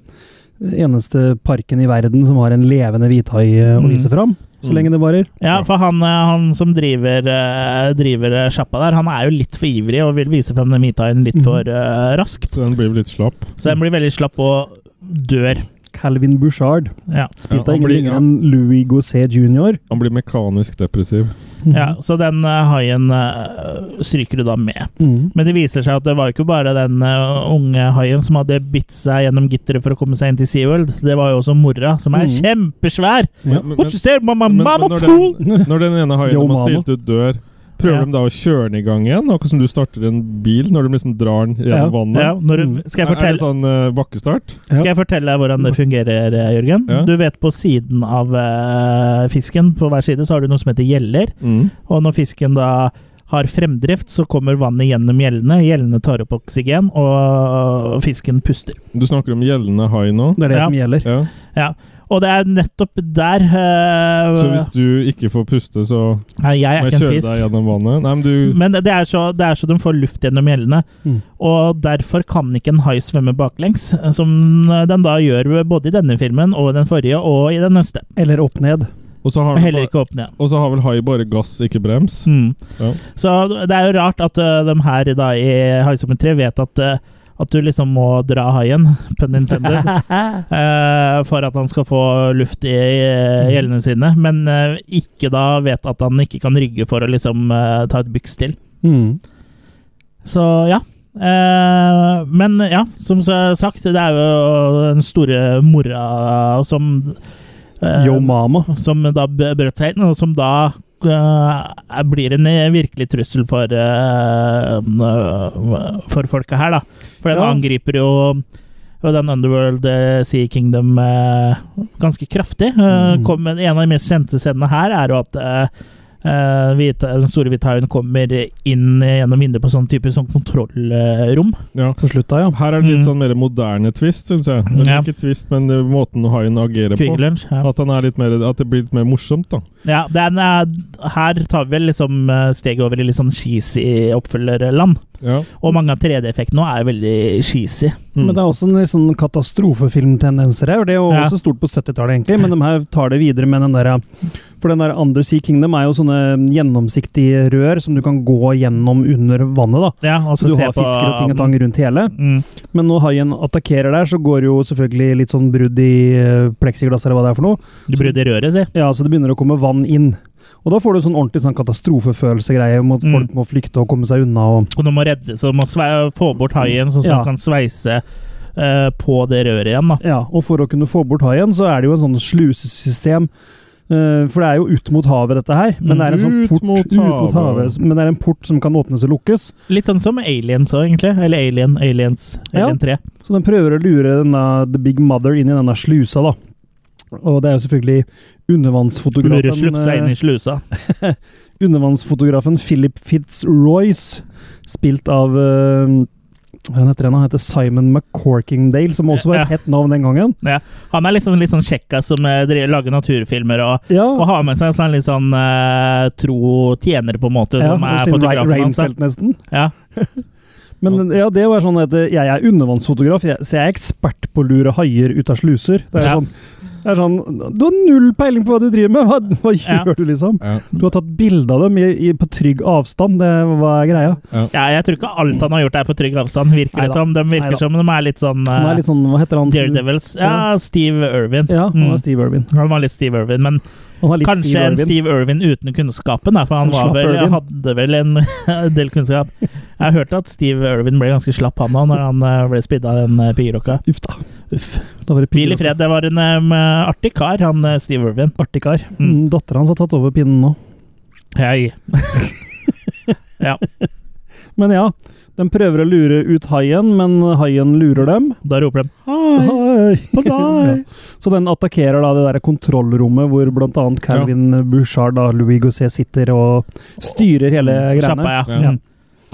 Speaker 3: eneste parken i verden som har en levende hvithai eh, å
Speaker 1: Mm.
Speaker 3: vise fram, så
Speaker 2: Mm.
Speaker 3: lenge det varer.
Speaker 1: Ja, for han, eh, han som driver, eh, driver eh, sjappa der, han er jo litt for ivrig og vil vise frem den hvithaien
Speaker 2: Mhm.
Speaker 1: litt for eh, raskt.
Speaker 2: Så den blir vel litt slapp.
Speaker 1: Så den blir veldig slapp og dør.
Speaker 3: Calvin Bouchard,
Speaker 1: Ja,
Speaker 3: spilt
Speaker 2: Ja,
Speaker 3: av
Speaker 2: han
Speaker 3: ingen
Speaker 2: blir-
Speaker 3: ringere enn Louis Gosset jr.
Speaker 2: Han blir mekanisk depressiv.
Speaker 1: ja Så den eh, haien eh, stryker du da med.
Speaker 3: Mm.
Speaker 1: Men det viser seg at det var jo ikke bare den eh, unge haien som hadde bitt seg gjennom gitteret for å komme seg inn til SeaWorld. Det var jo også mora, som er
Speaker 3: Mhm.
Speaker 1: kjempesvær!
Speaker 3: Mm. Ja.
Speaker 2: Men- men-
Speaker 1: What you say, mama,
Speaker 2: men- men
Speaker 1: mama
Speaker 2: når
Speaker 1: fool!
Speaker 2: den- [laughs] Når den ene haien
Speaker 3: Yo,
Speaker 2: de har
Speaker 3: mama.
Speaker 2: stilt ut, dør, prøver
Speaker 1: Ja.
Speaker 2: de da å kjøre den i gang igjen? Akkurat som du starter en bil når du liksom drar den
Speaker 3: Ja.
Speaker 2: gjennom vannet.
Speaker 1: Ja, når, du-
Speaker 3: Mhm.
Speaker 1: skal, jeg
Speaker 2: Er- Er det
Speaker 1: fortelle,
Speaker 2: sånn eh, bakkestart?
Speaker 1: skal jeg fortelle deg hvordan det fungerer, eh, Jørgen?
Speaker 2: Ja.
Speaker 1: Du vet på siden av eh, fisken, på hver side, så har du noe som heter gjeller.
Speaker 2: Mm.
Speaker 1: Og når fisken da har fremdrift, så kommer vannet gjennom gjellene. Gjellene tar opp oksygen, og fisken puster.
Speaker 2: Du snakker om gjeldende hai nå.
Speaker 3: Det er det
Speaker 1: Ja.
Speaker 3: som gjelder.
Speaker 2: Ja.
Speaker 1: Ja. Og det er nettopp der
Speaker 2: Så
Speaker 1: eh,
Speaker 2: hvis du ikke får puste, så
Speaker 1: Nei, jeg
Speaker 2: må
Speaker 1: er ikke
Speaker 2: jeg
Speaker 1: en
Speaker 2: kjøre deg
Speaker 1: fisk. Mm.
Speaker 2: gjennom vannet? Nei, men du
Speaker 1: Men det er, så, det er så de får luft gjennom gjellene.
Speaker 3: Mm.
Speaker 1: Og derfor kan ikke en hai svømme baklengs, eh, som den da gjør både i denne filmen og i den forrige og i den neste.
Speaker 3: Eller
Speaker 1: [laughs]
Speaker 3: opp ned.
Speaker 2: Og så har,
Speaker 1: Og
Speaker 2: den
Speaker 1: heller
Speaker 2: bare,
Speaker 1: ikke åpne.
Speaker 2: og så har vel hai bare gass, ikke brems?
Speaker 1: Mm.
Speaker 2: Ja.
Speaker 1: Så det er jo rart at ø, de her da, i Haisommer 3 vet at, ø, at du liksom må dra haien, pun intended,
Speaker 3: Mm. [laughs]
Speaker 1: ø, for at han skal få luft i ø, gjellene sine, men ø, ikke da vet at han ikke kan rygge for å liksom ø, ta et byks til.
Speaker 3: Mm.
Speaker 1: Så ja. Eh, men ja, som så sagt, det er jo den store mora som eh,
Speaker 3: Yo mama.
Speaker 1: som da b- brøt seg inn, og som da eh, blir en eh, virkelig trussel for eh, eh, for folket her, da. For den
Speaker 3: Ja.
Speaker 1: angriper jo og den Underworld eh, Sea Kingdom eh, ganske kraftig. Eh,
Speaker 3: Mm.
Speaker 1: kom, en av de mest kjente scenene her er jo at eh, Eh, hvita, den store Hvithaien kommer inn gjennom vinduet på sånn type sånn kontrollrom.
Speaker 2: Ja.
Speaker 3: På slutta, ja.
Speaker 2: Her er det litt
Speaker 1: Mm.
Speaker 2: sånn mer moderne twist, syns jeg. Eller
Speaker 1: Ja.
Speaker 2: Ikke twist, men det er måten haien agerer på.
Speaker 1: Quick Lunch. Ja.
Speaker 2: At, han er litt mer, at det blir litt mer morsomt, da.
Speaker 1: Ja, den er, eh, her tar vi vel liksom eh, steget over i litt sånn cheesy oppfølgerland.
Speaker 2: Ja.
Speaker 1: Og mange av 3D-effektene nå er jo veldig cheesy.
Speaker 2: Mm.
Speaker 3: Men det er også en litt sånn katastrofefilmtendenser her. og Det er jo
Speaker 1: Ja.
Speaker 3: også stort på 70-tallet, egentlig, men de her tar det videre med den der For den der Under Sea Kingdom er jo sånne gjennomsiktige rør som du kan gå gjennom under vannet, da.
Speaker 1: Ja, og
Speaker 3: Så du har fisker og ting og tang rundt hele.
Speaker 1: Mm,
Speaker 3: Men når haien attakkerer der, så går det jo selvfølgelig litt sånn brudd i eh, plexiglass eller hva det er for noe.
Speaker 1: du burde røre, si.
Speaker 3: Ja, så det begynner å komme vann inn. Og da får du sånn ordentlig sånn katastrofefølelsegreie om at
Speaker 1: Mm.
Speaker 3: folk må flykte og komme seg unna og
Speaker 1: Og du må redde, så du må sve få bort haien, sånn at
Speaker 3: Ja.
Speaker 1: du kan sveise eh, på det røret igjen. da.
Speaker 3: Ja, og for å kunne få bort haien, så er det jo en sånn slusesystem. Eh, for det er jo ut mot havet, dette her. Men det er en sånn
Speaker 2: Ut
Speaker 3: port,
Speaker 2: mot
Speaker 3: ut mot havet.
Speaker 2: havet.
Speaker 3: Men det er en port som kan åpnes og lukkes.
Speaker 1: Litt sånn som Aliens òg, egentlig. Eller Alien, Aliens,
Speaker 3: Ja.
Speaker 1: Alien 3.
Speaker 3: Så den prøver å lure denne The Big Mother inn i denne slusa, da. Og det er jo selvfølgelig
Speaker 1: Lurer slufsa inn
Speaker 3: undervannsfotografen,
Speaker 1: i slusa.
Speaker 3: eh, undervannsfotografen Philip Fitzroyce, spilt av eh, hva han heter han? Han heter Simon McCorkingdale, som også var et hett navn den gangen.
Speaker 1: Han er litt sånn, litt sånn kjekka som eh, dri- lager naturfilmer og,
Speaker 3: Ja,
Speaker 1: og har med seg en sånn litt sånn eh, tro tjener, på en måte,
Speaker 3: ja,
Speaker 1: som
Speaker 3: og
Speaker 1: er
Speaker 3: sin
Speaker 1: fotografen hans. da.
Speaker 3: Reinfeldt, nesten.
Speaker 1: Ja.
Speaker 3: Men ja, det var sånn at jeg er undervannsfotograf, jeg, så jeg er ekspert på å lure haier ut av sluser. Det er,
Speaker 1: Ja.
Speaker 3: sånn, det er sånn Du har null peiling på hva du driver med! [laughs] Hva, hva
Speaker 1: Ja.
Speaker 3: gjør du, liksom?
Speaker 2: Ja.
Speaker 3: Du har tatt bilde av dem i, i, på trygg avstand, det var greia.
Speaker 1: ja, jeg tror ikke alt han har gjort er på trygg avstand, virker
Speaker 3: Neida.
Speaker 1: det som. De virker
Speaker 3: Neida.
Speaker 1: som de er litt sånn,
Speaker 3: Han er
Speaker 1: eh,
Speaker 3: litt sånn, hva heter han?
Speaker 1: Daredevils. Ja, Steve Irwin.
Speaker 3: Ja, han
Speaker 1: Mm.
Speaker 3: er Steve Irwin.
Speaker 1: Han var litt Steve Irwin, men
Speaker 3: Han er litt
Speaker 1: kanskje
Speaker 3: Steve Irwin.
Speaker 1: en Steve Irwin uten kunnskapen. Da, for han
Speaker 3: En
Speaker 1: var
Speaker 3: slapp
Speaker 1: vel,
Speaker 3: Irwin.
Speaker 1: hadde vel en [laughs] del kunnskap. Jeg har hørt at Steve Irwin ble ganske slapp, han òg, når han eh, ble spidda av den eh, piggerokka.
Speaker 3: Uff da.
Speaker 1: Uff.
Speaker 3: Da var det
Speaker 1: Hvil i fred. Det var en em, artig kar, han eh, Steve Irwin.
Speaker 3: Artig kar.
Speaker 1: Mm.
Speaker 3: Mm. Dattera hans har tatt over pinnen nå.
Speaker 1: Hei.
Speaker 3: Men ja, de prøver å lure ut haien, men haien lurer dem.
Speaker 1: Da roper de
Speaker 2: Hei,
Speaker 3: Hei!
Speaker 2: på
Speaker 3: [laughs]
Speaker 2: deg!
Speaker 3: Så den attakkerer da det der kontrollrommet hvor blant annet Calvin Bouchard da, Louis Gosset sitter og styrer hele
Speaker 1: Sjappa,
Speaker 3: Eh,
Speaker 1: ja.
Speaker 3: greiene.
Speaker 1: Mm.
Speaker 2: Ja.
Speaker 1: ja.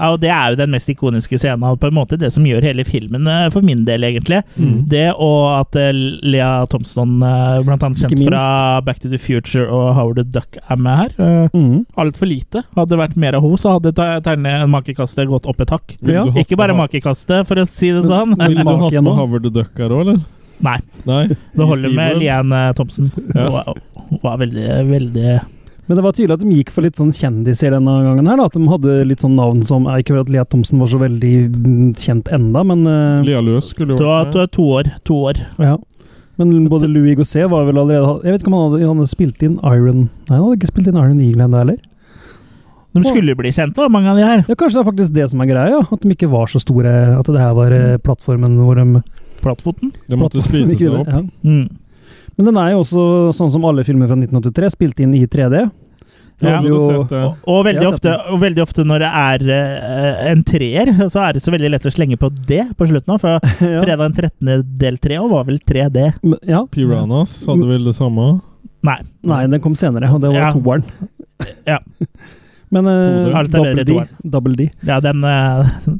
Speaker 1: Og det er jo den mest ikoniske scenen. og På en måte det som gjør hele filmen, eh, for min del, egentlig.
Speaker 2: Mm.
Speaker 1: Det og at eh, Lea Thompson, eh, blant annet
Speaker 3: Ikke
Speaker 1: kjent
Speaker 3: minst.
Speaker 1: fra Back to the Future og Howard the Duck, er med her. Eh,
Speaker 3: Mm.
Speaker 1: altfor lite. Hadde det vært mer av henne, så hadde te- terne- makekastet gått opp et hakk.
Speaker 2: Vil
Speaker 3: Ja,
Speaker 2: du hoppe
Speaker 1: Ikke bare
Speaker 2: ha-
Speaker 1: makekastet, for å si det sånn.
Speaker 3: Men-
Speaker 2: Vil du
Speaker 3: Make
Speaker 2: hatt
Speaker 3: igjen
Speaker 2: med
Speaker 3: nå?
Speaker 2: Howard the Duck her òg, eller?
Speaker 1: Nei,
Speaker 2: Nei.
Speaker 1: det
Speaker 2: I
Speaker 1: holder med
Speaker 2: SeaWorld?
Speaker 1: Lian eh, Thomsen.
Speaker 2: Ja.
Speaker 1: Hun var- hun var veldig, veldig
Speaker 3: Men det var tydelig at de gikk for litt sånn kjendiser denne gangen her. da, At de hadde litt sånn navn som eh, Ikke for at Lea Thomsen var så veldig mm, kjent enda, men eh,
Speaker 2: Lea Løs skulle
Speaker 1: Du
Speaker 2: jo
Speaker 1: har
Speaker 2: vært
Speaker 1: du
Speaker 2: med.
Speaker 1: har to år. To år.
Speaker 3: ja. Men både Louis Gosset var vel allerede Jeg vet ikke om han hadde, han hadde spilt inn Iron Nei, han hadde ikke spilt inn Iron Eagle ennå heller.
Speaker 1: De skulle jo bli kjent, da, mange av de her.
Speaker 3: Ja, kanskje det er faktisk det som er greia, ja. At de ikke var så store. At det her var eh, plattformen hvor de
Speaker 1: Plattfoten.
Speaker 2: De måtte spise seg opp.
Speaker 3: [laughs] Ja.
Speaker 1: Mm.
Speaker 3: Men den er jo også, sånn som alle filmer fra 1983, spilt inn i 3D.
Speaker 1: Ja.
Speaker 2: Hadde du sett eh, det?
Speaker 1: Og, og, veldig
Speaker 3: Jeg har sett
Speaker 1: ofte, og veldig ofte når det er eh, en treer, så er det så veldig lett å slenge på D på slutten. også, For
Speaker 3: [laughs] ja.
Speaker 1: fredag den 13. del 3 og var vel 3D.
Speaker 3: Men- ja.
Speaker 2: Piranhas hadde vel det samme?
Speaker 1: Nei.
Speaker 3: Nei, den kom senere, og det var
Speaker 1: Ja.
Speaker 3: toeren.
Speaker 1: Ja.
Speaker 3: [laughs] Men
Speaker 2: Toeren.
Speaker 3: eh,
Speaker 1: Alt er
Speaker 3: double,
Speaker 1: bedre
Speaker 3: D,
Speaker 1: toeren.
Speaker 3: double D.
Speaker 1: Ja, den, eh,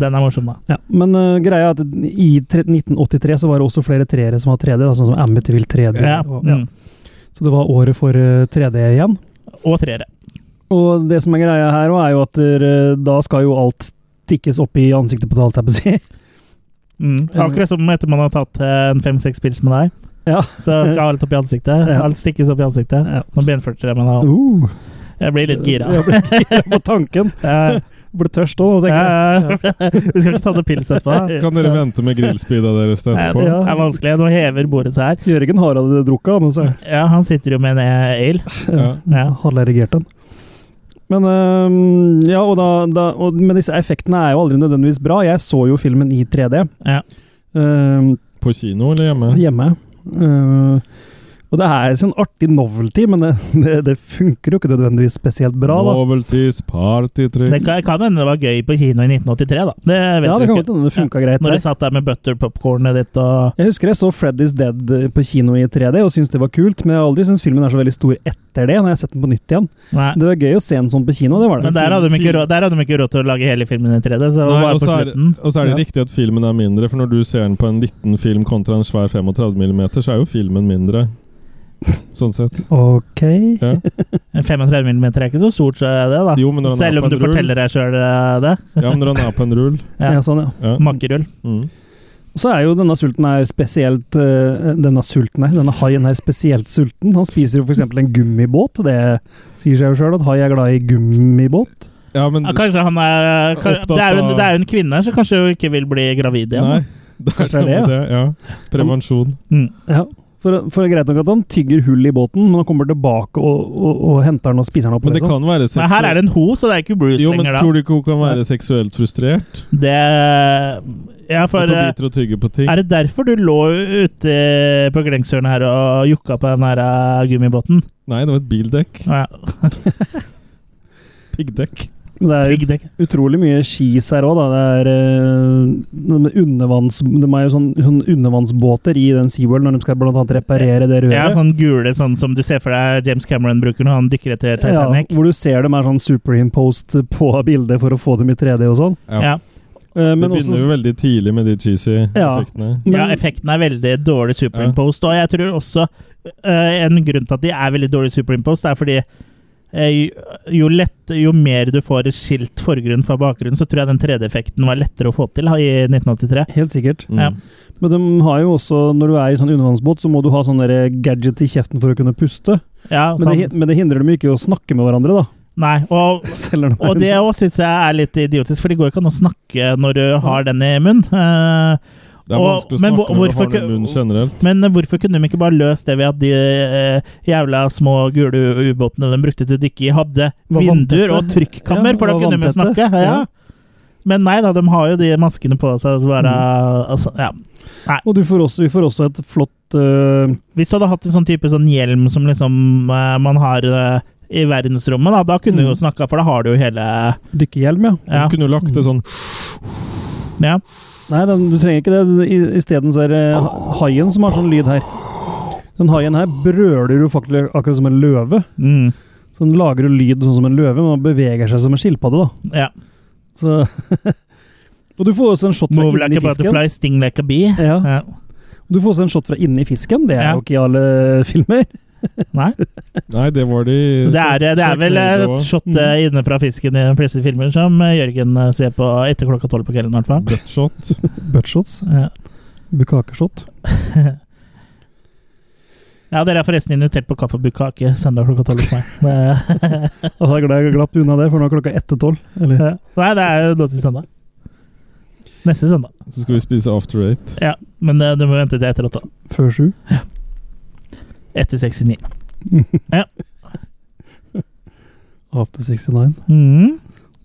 Speaker 1: den er morsom, da.
Speaker 3: Ja. Men eh, greia er at i tre- 1983 så var det også flere treere som var 3D, da, sånn som Amityville 3D.
Speaker 1: Ja.
Speaker 3: Og, ja.
Speaker 1: Mm.
Speaker 3: Så det var året for eh, 3D igjen.
Speaker 1: Og treere.
Speaker 3: Og det som er greia her også er jo at eh, da skal jo alt stikkes opp i ansiktet på talt, jeg på å si.
Speaker 1: Mm.
Speaker 3: Ja.
Speaker 1: Akkurat som etter man har tatt eh, en fem-seks pils med deg,
Speaker 3: Ja.
Speaker 1: så skal alt opp i ansiktet.
Speaker 3: Ja.
Speaker 1: Alt stikkes opp i ansiktet.
Speaker 3: Ja.
Speaker 1: Nå benførte jeg meg da.
Speaker 3: Uh,
Speaker 1: Jeg blir litt
Speaker 3: [laughs]
Speaker 1: gira.
Speaker 3: Jeg ble gira på tanken.
Speaker 1: Eh,
Speaker 3: Ble tørst òg, tenker jeg.
Speaker 1: eh, Vi skal ikke ta noe pils
Speaker 3: [laughs]
Speaker 1: etterpå.
Speaker 2: Kan dere vente med grillspeeda
Speaker 1: [laughs]
Speaker 2: deres til
Speaker 1: Nei,
Speaker 2: etterpå?
Speaker 1: Det er vanskelig. Nå hever bordet seg her.
Speaker 3: Jørgen Harald hadde drukket altså. han, og så
Speaker 1: Ja, han sitter jo med en eh, ale.
Speaker 2: Ja.
Speaker 1: Ja.
Speaker 3: hadde jeg reagert den. Men øhm, ja, og da, da og, Men disse effektene er jo aldri nødvendigvis bra. Jeg så jo filmen i ehm, 3D
Speaker 1: Ja.
Speaker 3: øhm,
Speaker 2: På kino eller hjemme?
Speaker 3: hjemme. Øh, Og det er en artig novelty, men det, [laughs] det, det funker jo ikke nødvendigvis spesielt bra. da.
Speaker 2: Novelties, partytriks
Speaker 1: Det kan, kan hende det var gøy på kino i 1983, da. Det vet
Speaker 3: Ja, det
Speaker 1: vi
Speaker 3: kan
Speaker 1: ikke.
Speaker 3: godt hende det funka greit.
Speaker 1: Når
Speaker 3: der.
Speaker 1: du satt der med butter popcornet ditt og
Speaker 3: Jeg husker jeg så Freddy's Dead eh, på kino i 3D og syntes det var kult, men jeg har aldri syntes filmen er så veldig stor etter det, når jeg har sett den på nytt igjen.
Speaker 1: Nei.
Speaker 3: Det var gøy å se en sånn på kino, det var det.
Speaker 1: Men der hadde, de ikke råd, der hadde de ikke råd til å lage hele filmen i 3D, så det var
Speaker 2: Nei,
Speaker 1: bare
Speaker 2: og
Speaker 1: på
Speaker 2: så er,
Speaker 1: slutten.
Speaker 2: og så er det
Speaker 3: Ja.
Speaker 2: riktig at filmen er mindre, for når du ser den på en liten film kontra en svær 35 mm, så er jo filmen mindre. Sånn sett.
Speaker 3: Ok.
Speaker 1: [laughs]
Speaker 2: Ja.
Speaker 1: 35 mm er ikke så stort, så er det, da.
Speaker 2: Jo, men når han er
Speaker 1: Selv
Speaker 2: på
Speaker 1: om du
Speaker 2: en rull.
Speaker 1: forteller deg sjøl det.
Speaker 2: Ja, men når han er på en rull.
Speaker 1: Ja.
Speaker 3: Ja. sånn, ja.
Speaker 2: Ja.
Speaker 1: Makkerull.
Speaker 2: Mm.
Speaker 3: Og så er jo denne sulten her spesielt eh, Denne sulten her, denne haien her spesielt sulten. Han spiser jo f.eks. en gummibåt. Det sier seg jo sjøl at hai er glad i gummibåt.
Speaker 2: ja, men
Speaker 1: Ja, kanskje han er ka-
Speaker 2: Opptatt
Speaker 1: det, er jo en,
Speaker 2: av-
Speaker 1: det er jo en kvinne, så kanskje hun ikke vil bli gravid igjen.
Speaker 2: Nei. [laughs]
Speaker 1: da.
Speaker 2: Det er
Speaker 3: Kanskje det er
Speaker 2: noe
Speaker 3: det,
Speaker 2: med det, ja. Prevensjon.
Speaker 1: Mm.
Speaker 3: Ja. For, for det er greit nok at han tygger hull i båten, men han kommer tilbake og, og, og henter den og spiser den opp.
Speaker 2: Men det
Speaker 3: liksom.
Speaker 2: kan være
Speaker 1: Men her er det en ho, så det er ikke Bruce
Speaker 2: Jo, men
Speaker 1: lenger, da.
Speaker 2: tror du ikke hun kan være seksuelt frustrert?
Speaker 1: Det Ja, for
Speaker 2: At hun
Speaker 1: eh,
Speaker 2: biter og tygger på ting?
Speaker 1: Er det derfor du lå ute på Glengshjørnet her og jukka på den her eh, gummibåten?
Speaker 2: Nei, det var et bildekk.
Speaker 1: Ja,
Speaker 2: Piggdekk.
Speaker 3: Men det er jo
Speaker 1: piggdekk.
Speaker 3: utrolig mye skis her òg, da. Det er eh, noe med undervanns... De er jo sånn, sånn undervannsbåter i den SeaWorld når de skal blant annet reparere det
Speaker 1: Ja,
Speaker 3: røret.
Speaker 1: sånn gule sånn som du ser for deg James Cameron bruker når han dykker etter Titanic.
Speaker 3: hvor du ser dem er sånn superimposed på bildet for å få dem i 3D og sånn.
Speaker 2: Ja.
Speaker 1: Ja.
Speaker 3: Eh,
Speaker 2: Det
Speaker 3: men
Speaker 2: begynner jo
Speaker 3: også,
Speaker 2: veldig tidlig med de cheesy
Speaker 3: Ja.
Speaker 2: effektene.
Speaker 3: men,
Speaker 1: ja, effekten er veldig dårlig superimposed. Og jeg tror også eh, en grunn til at de er veldig dårlig superimposed, er fordi eh, jo, jo, lett, jo mer du får skilt forgrunn fra bakgrunn, så tror jeg den 3D-effekten var lettere å få til i 1983.
Speaker 3: Helt sikkert.
Speaker 2: Mm.
Speaker 1: Ja.
Speaker 3: Men de har jo også, når du er i sånn undervannsbåt, så må du ha sånn der gadget i kjeften for å kunne puste.
Speaker 1: Ja,
Speaker 3: Men det,
Speaker 1: sånn.
Speaker 3: hin- men det hindrer dem jo ikke i å snakke med hverandre, da. [laughs]
Speaker 1: Nei, og
Speaker 3: Selv når de er
Speaker 1: Og det
Speaker 3: under-
Speaker 1: òg syns jeg er litt idiotisk, for det går ikke an å snakke når du har den i munnen. Eh,
Speaker 2: Det er
Speaker 1: Og-
Speaker 2: vanskelig å
Speaker 1: men hvor-
Speaker 2: snakke når du
Speaker 1: hvorfor
Speaker 2: har den
Speaker 1: ikke-
Speaker 2: i munnen generelt.
Speaker 1: Men eh, hvorfor kunne de ikke bare løst det ved at de eh, jævla små gule ubåtene de brukte til å dykke i, hadde
Speaker 3: Var
Speaker 1: vinduer
Speaker 3: vanntette.
Speaker 1: og trykkammer,
Speaker 3: Ja,
Speaker 1: for da
Speaker 3: var
Speaker 1: kunne de jo
Speaker 3: vanntette.
Speaker 1: snakke? Ja.
Speaker 3: Ja.
Speaker 1: Men nei da, de har jo de maskene på seg. Så bare,
Speaker 3: Mm.
Speaker 1: altså, ja.
Speaker 3: Og du får også, vi får også et flott eh,
Speaker 1: Hvis du hadde hatt en sånn type sånn hjelm som liksom eh, man har eh, i verdensrommet, da, da kunne du jo
Speaker 3: Mm.
Speaker 1: snakka, for da har du jo hele
Speaker 3: dykkehjelm, ja.
Speaker 1: Ja.
Speaker 2: Du kunne jo lagt det sånn
Speaker 1: ja.
Speaker 3: Nei, den, du trenger ikke det. I- Isteden så er det haien som har sånn lyd her. Den haien her brøler jo faktisk akkurat som en løve.
Speaker 1: Mm.
Speaker 3: Så den lager jo lyd sånn som en løve, men den beveger seg som en skilpadde, da.
Speaker 1: ja.
Speaker 3: Så [laughs] Og du får også en shot fra
Speaker 1: Move like
Speaker 3: inni
Speaker 1: a
Speaker 3: fisken.
Speaker 1: butterfly, sting like a bee.
Speaker 3: Ja.
Speaker 1: Ja.
Speaker 3: Du får også en shot fra inni fisken. Det er
Speaker 1: Ja.
Speaker 3: jo ikke i alle [laughs] filmer.
Speaker 1: Nei.
Speaker 2: Nei, det var de
Speaker 1: Det er, det er vel
Speaker 2: Sharknado
Speaker 1: et
Speaker 2: også.
Speaker 1: shot eh, inne fra fisken i de fleste filmer som eh, Jørgen eh, ser på etter klokka tolv på kvelden, i hvert fall.
Speaker 2: Buttshot.
Speaker 3: Buttshots.
Speaker 1: Ja.
Speaker 3: Bukakeshot.
Speaker 1: Ja, dere er forresten invitert på kaffebukkake søndag klokka tolv hos meg. Det-
Speaker 3: [laughs] Og jeg er glad jeg glapp unna det, for nå er klokka ett til tolv. Eller
Speaker 1: [laughs] Nei, det er jo nå til søndag. Neste søndag.
Speaker 2: Så skal vi spise after eight.
Speaker 1: Ja, men eh, du må vente til etter åtte.
Speaker 3: før sju.
Speaker 1: Etter 69.
Speaker 3: After 69.
Speaker 1: Mm.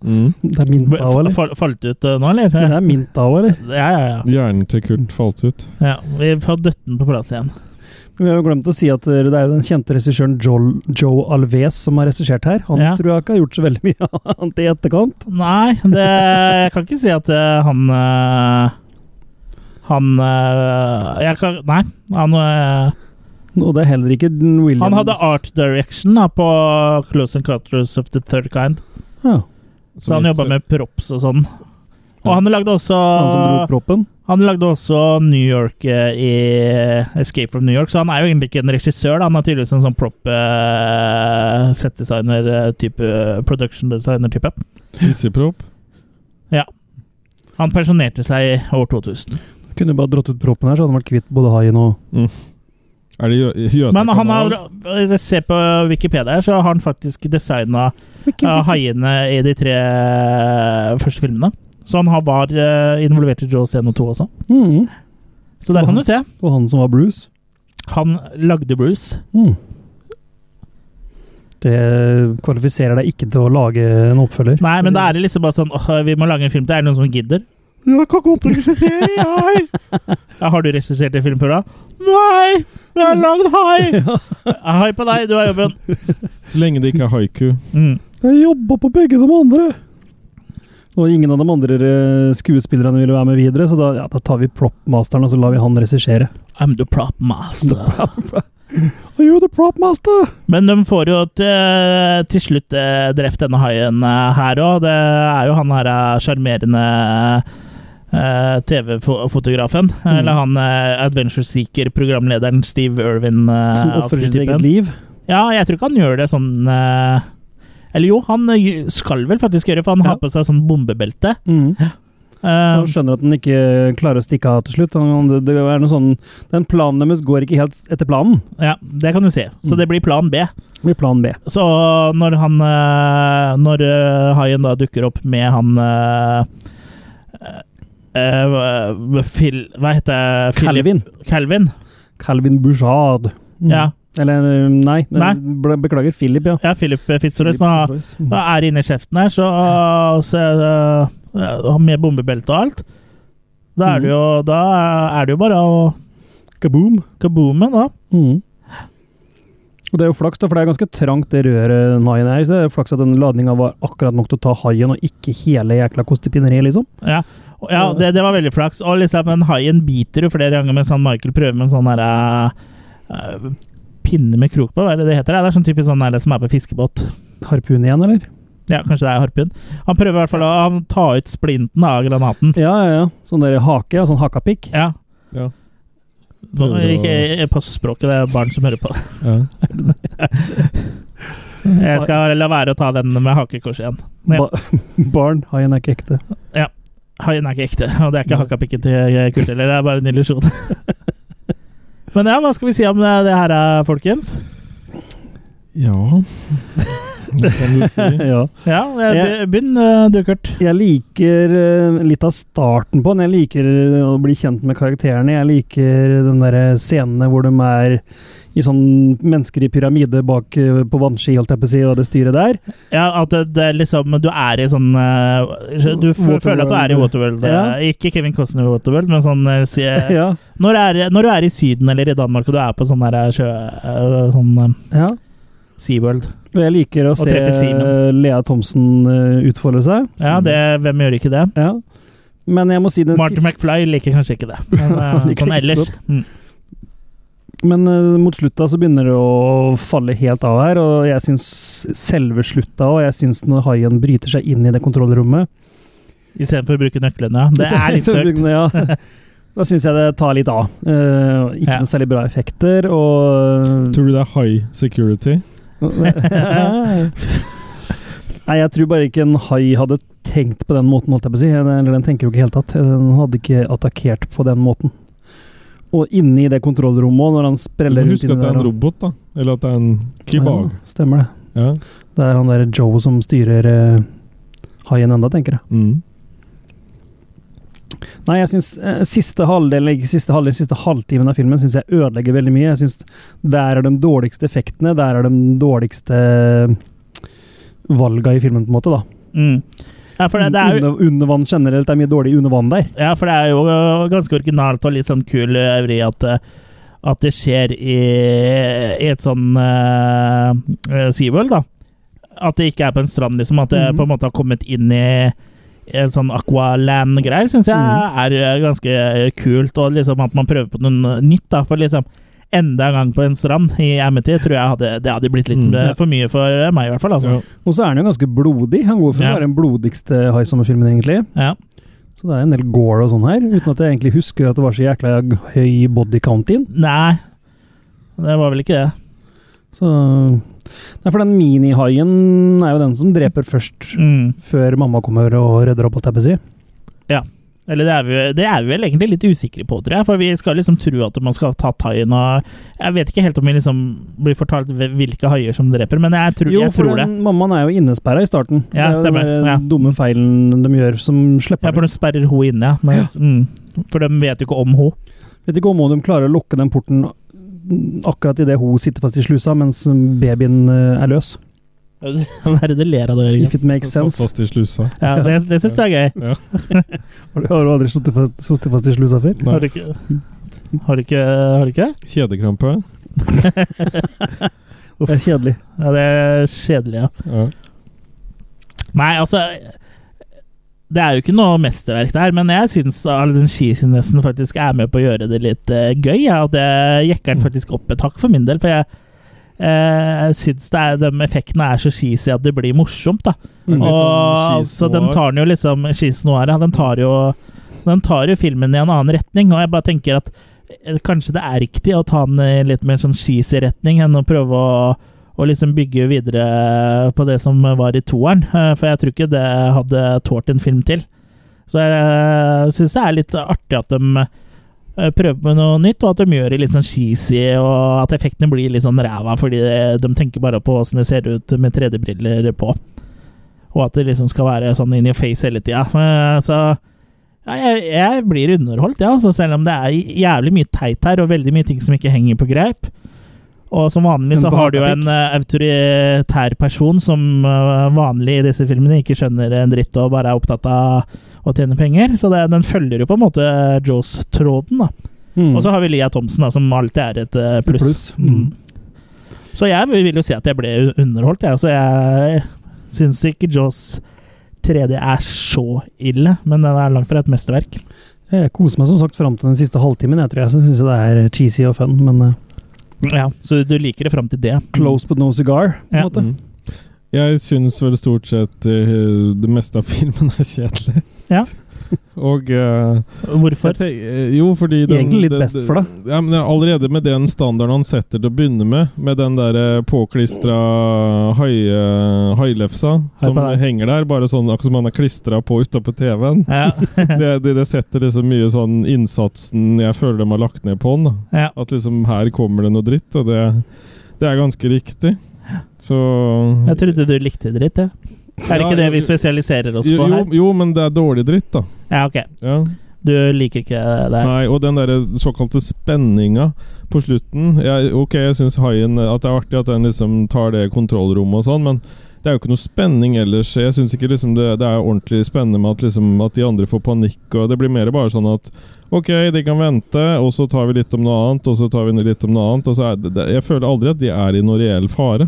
Speaker 2: Mm.
Speaker 3: Det er mint av, eller?
Speaker 1: Fa- Falt ut eh, nå, eller?
Speaker 3: Men det
Speaker 1: Ja,
Speaker 3: er mint av, eller?
Speaker 1: ja, ja.
Speaker 2: Hjernen til Kurt falt ut.
Speaker 1: ja. Vi får døtten på plass igjen.
Speaker 3: Vi har jo glemt å si at eh, det er jo den kjente regissøren Joel, Joe Alves som har regissert her. Han
Speaker 1: Ja.
Speaker 3: tror jeg ikke har gjort så veldig mye [laughs] annet i etterkant.
Speaker 1: Nei, det, jeg kan ikke si at eh, han eh, Han eh, jeg kan, Nei. Han, eh,
Speaker 3: Og det er heller ikke den Williams.
Speaker 1: han hadde art direction da, på Close Encounters of the Third Kind.
Speaker 3: Ja,
Speaker 1: Så han jobba med props og sånn. Og han lagde også
Speaker 3: han som
Speaker 1: Ah.
Speaker 3: dro opp proppen.
Speaker 1: Han lagde også New York eh, i Escape from New York, så han er jo egentlig ikke en regissør. Da. Han er tydeligvis en sånn prop eh, set-designer-type, production designer-type.
Speaker 2: Hissigpropp.
Speaker 1: Han pensjonerte seg i år 2000.
Speaker 3: Kunne bare dratt ut proppen her, så hadde han vært kvitt både haien og
Speaker 2: Er det Jø-
Speaker 1: Men han
Speaker 2: Jøtakanal?
Speaker 1: har, eh, se på Wikipedia her, så har han faktisk designa haiene i de tre eh, første filmene. Så han har var eh, involvert i Jaws 1 og 2 også.
Speaker 3: Mhm.
Speaker 1: Så der kan du se.
Speaker 3: Og han som var Bruce.
Speaker 1: Han lagde Bruce.
Speaker 3: Mhm. Det kvalifiserer deg ikke til å lage en oppfølger.
Speaker 1: Nei, men da er det liksom bare sånn åh, vi må lage en film til. Er det noen som gidder?
Speaker 3: [laughs]
Speaker 1: Jeg kan godt regissere, jeg! ja, har du regissert en film før, da? Nei! Vi har lagd hai! Hai på deg, du har jobben.
Speaker 2: Så lenge det ikke er haiku.
Speaker 1: Mm.
Speaker 3: Jeg jobba på begge de andre. Og ingen av de andre eh, skuespillerne ville være med videre, så da, ja, da tar vi propmasteren og så lar vi han regissere.
Speaker 1: I'm the prop master.
Speaker 3: Are you the propmaster?
Speaker 1: Men de får jo til, til slutt eh, drept denne haien eh, her òg. Det er jo han her eh, sjarmerende eh, TV-fotografen.
Speaker 3: Mm.
Speaker 1: Eller han eh, Adventure Seeker-programlederen Steve Irwin. eh,
Speaker 3: Som
Speaker 1: av
Speaker 3: ofrer
Speaker 1: den
Speaker 3: sitt
Speaker 1: typen.
Speaker 3: eget liv.
Speaker 1: Ja, jeg tror ikke han gjør det sånn eh, Eller jo, han eh, skal vel faktisk gjøre det, for han
Speaker 3: Ja. Sånn.
Speaker 1: har på seg sånn bombebelte.
Speaker 3: Mm. Så
Speaker 1: Eh,
Speaker 3: han skjønner at han ikke klarer å stikke av til slutt. Han, han- det, det er noe sånn, den planen deres går ikke helt etter planen.
Speaker 1: ja, det kan du se. Så
Speaker 3: Mm.
Speaker 1: det blir plan B.
Speaker 3: Det blir plan B.
Speaker 1: Så når han eh, Når eh, haien da dukker opp med han eh, eh, eh, Phil, Hva heter det? Philip-
Speaker 3: Calvin.
Speaker 1: Calvin.
Speaker 3: Calvin Bouchard. Mm.
Speaker 1: Ja,
Speaker 3: Eller eh, nei,
Speaker 1: Nei.
Speaker 3: ble- beklager. Philip, ja.
Speaker 1: ja, Philip Fitzroy
Speaker 3: Philip
Speaker 1: som har-
Speaker 3: Royce. Mm.
Speaker 1: er inne i kjeften her, så, så eh, Med bombebelte og alt. Da
Speaker 3: Mm.
Speaker 1: er det jo, da er det jo bare å
Speaker 3: Kaboom.
Speaker 1: kaboome, da.
Speaker 3: Mhm. Og det er jo flaks, da, for det er ganske trangt det røret den haien er. Så det er jo flaks at den ladninga var akkurat nok til å ta haien, og ikke hele jækla kostepinneriet, liksom.
Speaker 1: Ja, og- ja det, det var veldig flaks. Og liksom, men haien biter jo flere ganger mens han Michael prøver med en sånn derre eh, pinne med krok på, hva er det det heter? Ja, det er sånn typisk sånn der som er på fiskebåt.
Speaker 3: Harpun
Speaker 1: [laughs]
Speaker 3: igjen, eller?
Speaker 1: Ja, kanskje det er harpun. Han prøver i hvert fall å han ta ut splinten av granaten.
Speaker 3: Ja, ja, ja. Sånn der hake, ja, sånn hakapikk.
Speaker 1: Ja.
Speaker 2: Ja.
Speaker 1: Nå, ikke pass språket, det er barn som hører på.
Speaker 2: Ja.
Speaker 1: Jeg skal la være å ta den med hakekors igjen. Ja.
Speaker 3: Ba barn, haien er ikke ekte.
Speaker 1: Haien er ikke ekte, og det er ikke hakapikken til eh, Kurt heller, det er bare en illusjon. [laughs] Men ja, hva skal vi si om eh, det det her, folkens?
Speaker 2: Ja Det kan du si.
Speaker 3: [laughs] ja.
Speaker 1: [laughs] Ja, eh,
Speaker 3: Jeg-
Speaker 1: be- begynn eh, du, Kurt.
Speaker 3: Jeg liker eh, litt av starten på den. Jeg liker eh, å bli kjent med karakterene. Jeg liker den der scenene hvor de er i sånn mennesker i pyramide bak eh, på vannski, holdt jeg på å si, og det styret der.
Speaker 1: Ja, at det, det er liksom Du er i sånn eh, Du f-
Speaker 3: Waterworld.
Speaker 1: føler at du er i Waterworld. eh,
Speaker 3: Ja.
Speaker 1: Ikke Kevin Costner i Waterworld, men sånn eh, si,
Speaker 3: [laughs]
Speaker 1: [laughs]
Speaker 3: ja.
Speaker 1: når, du er, når du er i Syden eller i Danmark og du er på sånn der eh, sjø... eh, sånn eh,
Speaker 3: ja.
Speaker 1: SeaWorld.
Speaker 3: Og jeg liker å se
Speaker 1: treffe Simen.
Speaker 3: eh, Lea Thomsen eh, utfolde seg.
Speaker 1: Ja, det, hvem gjør ikke det?
Speaker 3: Ja. Men jeg må si den
Speaker 1: Martin
Speaker 3: siste
Speaker 1: McFly liker kanskje ikke det. [laughs] Men, eh,
Speaker 3: Liker
Speaker 1: sånn
Speaker 3: ikke så
Speaker 1: ellers. Mm.
Speaker 3: Men eh, mot slutta så begynner det å falle helt av her, og jeg syns selve slutta og jeg syns når haien bryter seg inn i det kontrollrommet
Speaker 1: Istedenfor å bruke nøklene. [laughs] Det er litt søkt.
Speaker 3: [laughs] Ja. Da syns jeg det tar litt av. Eh, ikke
Speaker 1: Ja.
Speaker 3: noe særlig bra effekter,
Speaker 2: [laughs]
Speaker 3: og
Speaker 2: Tror du det er high security?
Speaker 3: Nei, jeg tror bare ikke en hai hadde tenkt på den måten, holdt jeg på å si. Eller den tenker jo ikke i hele tatt. Den hadde ikke attakkert på den måten. Og inne i det kontrollrommet også, når han
Speaker 2: Du må
Speaker 3: spreller rundt
Speaker 2: huske
Speaker 3: inni
Speaker 2: at det er
Speaker 3: der,
Speaker 2: en
Speaker 3: og-
Speaker 2: robot, da. Eller at det er en kebab.
Speaker 3: Ja, stemmer det.
Speaker 2: Ja.
Speaker 3: Det er han der Joe som styrer eh, haien enda, tenker jeg.
Speaker 2: Mm.
Speaker 3: Nei, jeg syns eh, siste halvdel, ikke siste halvdel, siste halvtimen av filmen synes jeg ødelegger veldig mye. Jeg synes der er de dårligste effektene, der er de dårligste eh, valga i filmen, på en måte, da.
Speaker 1: Mm. Ja, for det, det er jo
Speaker 3: under, under vann generelt, det er mye dårlig under vann der.
Speaker 1: Ja, for det er jo øh, ganske originalt og litt sånn kul øh, øvrig at, øh, at det skjer i, i et sånn øh, øh, SeaWorld, da. At det ikke er på en strand, liksom. At det
Speaker 3: Mhm.
Speaker 1: på en måte har kommet inn i en sånn aqualand-greier, syns jeg
Speaker 3: Mhm.
Speaker 1: er øh, ganske øh, kult. Og liksom at man prøver på noe nytt, da. For liksom enda en gang på en strand i Amity tror jeg hadde, det hadde blitt litt
Speaker 3: Mhm.
Speaker 2: Mm.
Speaker 1: øh, for mye for øh, meg, i hvert fall. Altså.
Speaker 2: Ja.
Speaker 3: Og så er han jo ganske blodig. Han går for
Speaker 1: Ja.
Speaker 3: å være den blodigste haisommerfilmen, egentlig.
Speaker 1: Ja.
Speaker 3: Så det er en del gore og sånn her, uten at jeg egentlig husker at det var så jækla høy body count inn.
Speaker 1: Nei, det var vel ikke det.
Speaker 3: Så Nei, for den minihaien er jo den som dreper først,
Speaker 1: Mm.
Speaker 3: før mamma kommer og rydder opp, holdt jeg på å si.
Speaker 1: Eller det er, vi, det er vi vel egentlig litt usikre på, tror jeg. For vi skal liksom tro at man skal ta haien og Jeg vet ikke helt om vi liksom blir fortalt hve- hvilke haier som dreper, men jeg tror, jeg tror det.
Speaker 3: den mammaen er jo innesperra i starten.
Speaker 1: Ja,
Speaker 3: det er jo den
Speaker 1: stemmer.
Speaker 3: der
Speaker 1: Ja.
Speaker 3: dumme feilen de gjør, som slipper
Speaker 1: Ja, for
Speaker 3: dem.
Speaker 1: de sperrer hun inne, ja. Men, Mm, for de vet jo ikke om hun.
Speaker 3: Vet ikke om de klarer å lukke den porten akkurat idet hun sitter fast i slusa, mens babyen eh, er løs.
Speaker 1: [laughs] Hva er det du ler av, da, Jørgen?
Speaker 3: If it makes
Speaker 2: Satt
Speaker 3: sense.
Speaker 2: fast i slusa.
Speaker 1: Ja, det det syns jeg er gøy.
Speaker 3: Har du, har du aldri sittet fast, sittet fast i slusa før?
Speaker 1: Har
Speaker 2: Nei.
Speaker 1: du ikke sant? Har du ikke, har du ikke? det?
Speaker 2: Kjedekrampe.
Speaker 3: Det er kjedelig.
Speaker 1: Ja, det er kjedelig, ja.
Speaker 2: Ja.
Speaker 1: Nei, altså Det er jo ikke noe mesterverk der, men jeg syns den skisinesen faktisk er med på å gjøre det litt eh, gøy. Ja, og det jekker den faktisk opp et hakk for min del, for jeg eh, syns det er- de effektene er så cheesy at det blir morsomt, da.
Speaker 2: Litt
Speaker 1: Og
Speaker 2: sånn
Speaker 1: altså, den
Speaker 2: skisnoir.
Speaker 1: tar den jo liksom Cheese-noir, ja, den tar jo Den tar jo filmen i en annen retning, og jeg bare tenker at eh, kanskje det er riktig å ta den i litt mer sånn cheesy retning enn å prøve å, å liksom bygge videre på det som var i toeren, eh, for jeg tror ikke det hadde tålt en film til. Så jeg syns det er litt artig at de eh, prøver med noe nytt, og at de gjør det litt sånn cheesy, og at effektene blir litt sånn ræva, fordi de tenker bare på åssen det ser ut med 3D-briller på. Og at det liksom skal være sånn in your face hele tida. Eh, Så ja, jeg, jeg blir underholdt, ja. Altså, selv om det er jævlig mye teit her, og veldig mye ting som ikke henger på greip. Og som vanlig så
Speaker 3: Men
Speaker 1: har du jo
Speaker 3: bakepikk.
Speaker 1: en eh, autoritær person som eh, vanlig i disse filmene ikke skjønner en dritt og bare er opptatt av å tjene penger. Så det, den følger jo på en måte Jaws-tråden, da.
Speaker 3: Hmm.
Speaker 1: Og så har vi Lia Thomsen, da, som alltid er et eh, pluss.
Speaker 3: Mm. Pluss,
Speaker 1: Mm. Så jeg vil jo si at jeg ble underholdt, jeg. Altså, jeg syns ikke Jaws 3D er så ille, men den er langt fra et mesterverk.
Speaker 3: Jeg koser meg som sagt fram til den siste halvtimen. Jeg tror jeg syns det er cheesy og fun, men
Speaker 1: Mm.
Speaker 3: eh,
Speaker 1: Ja, så du liker det fram til det.
Speaker 3: close but no cigar. på en
Speaker 1: Ja.
Speaker 3: måte.
Speaker 2: Mm. Jeg syns vel stort sett eh, det meste av [laughs] filmen er kjedelig.
Speaker 1: Ja.
Speaker 2: [laughs] Og eh,
Speaker 1: Hvorfor?
Speaker 2: [laughs] jeg tenk- eh, Jo, fordi den,
Speaker 3: Egentlig litt
Speaker 2: den-
Speaker 3: best for deg.
Speaker 2: Ja, men allerede med den standarden han setter til å begynne med, med den der eh, påklistra hailefsa
Speaker 1: Hei
Speaker 2: som
Speaker 1: på deg.
Speaker 2: henger der, bare sånn akkurat som han er klistra på utapå TV-en.
Speaker 1: Ja, [laughs]
Speaker 2: Det, det, det setter liksom mye sånn innsatsen jeg føler de har lagt ned på den. da.
Speaker 1: ja.
Speaker 2: At liksom her kommer det noe dritt, og det, det er ganske riktig. Så
Speaker 1: Jeg trodde du likte dritt, jeg. Er det
Speaker 2: Ja,
Speaker 1: ikke det
Speaker 2: jo,
Speaker 1: vi spesialiserer oss
Speaker 2: jo,
Speaker 1: på
Speaker 2: jo,
Speaker 1: her?
Speaker 2: jo, men det er dårlig dritt, da.
Speaker 1: Ja, ok.
Speaker 2: Ja.
Speaker 1: Du liker ikke det her?
Speaker 2: Nei, og den derre såkalte spenninga på slutten jeg, Ok, jeg syns haien At det er artig at den liksom tar det kontrollrommet og sånn, men det er jo ikke noe spenning ellers. Jeg syns ikke liksom det, det er ordentlig spennende med at, liksom, at de andre får panikk, og det blir mer bare sånn at Ok, de kan vente, og så tar vi litt om noe annet, og så tar vi litt om noe annet. Og så er det, det, jeg føler aldri at de er i noen reell fare.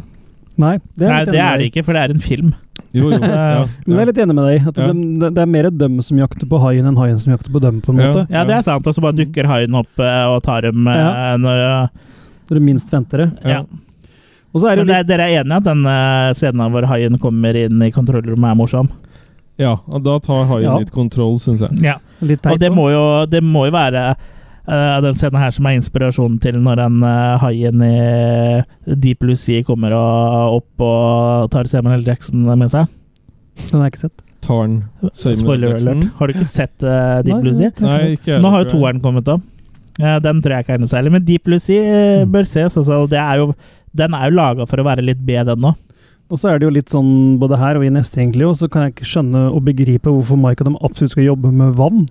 Speaker 3: Nei, det er,
Speaker 1: Nei,
Speaker 3: litt
Speaker 1: det er
Speaker 3: enig med
Speaker 1: det
Speaker 3: deg.
Speaker 1: ikke, for det er en film.
Speaker 2: Jo, jo. [laughs] Ja,
Speaker 3: Men jeg er litt enig med deg. At
Speaker 2: Ja.
Speaker 3: dem- det, det er mer dem som jakter på haien, enn haien som jakter på dem, på en
Speaker 2: Ja.
Speaker 3: måte.
Speaker 1: Ja, det er sant. Og så bare dukker haien opp eh, og tar dem eh,
Speaker 3: Ja.
Speaker 1: når
Speaker 3: Når du minst venter det.
Speaker 1: ja.
Speaker 3: Og så er det
Speaker 1: Men
Speaker 3: jo
Speaker 1: det, dere er enige at den eh, scenen hvor haien kommer inn i kontrollrommet, er morsom?
Speaker 2: ja, og da tar haien
Speaker 3: Ja.
Speaker 2: litt kontroll, syns jeg.
Speaker 1: Ja.
Speaker 3: litt, litt teit.
Speaker 1: Og det
Speaker 3: også.
Speaker 1: må jo, det må jo være eh, den scenen her som er inspirasjonen til når den eh, haien i Deep Blue Sea kommer og, opp og tar Samuel L. Jackson med seg.
Speaker 3: Den har jeg ikke sett.
Speaker 2: Tar den Samuel
Speaker 1: Spoiler
Speaker 2: Jackson.
Speaker 1: alert. Har du ikke sett eh, Deep
Speaker 3: Nei,
Speaker 1: Blue Sea?
Speaker 3: jeg tenker
Speaker 2: Nei,
Speaker 3: det.
Speaker 2: ikke jeg,
Speaker 1: Nå har jo
Speaker 2: tror jeg.
Speaker 1: toeren kommet opp. Eh, Den tror jeg ikke er noe særlig, men Deep Blue Sea eh,
Speaker 3: Mm.
Speaker 1: bør ses. Altså, det er jo, den er jo laga for å være litt B, den nå.
Speaker 3: Og så er det jo litt sånn, både her og i neste egentlig, og så kan jeg ikke skjønne og begripe hvorfor Mike og dem absolutt skal jobbe med vann.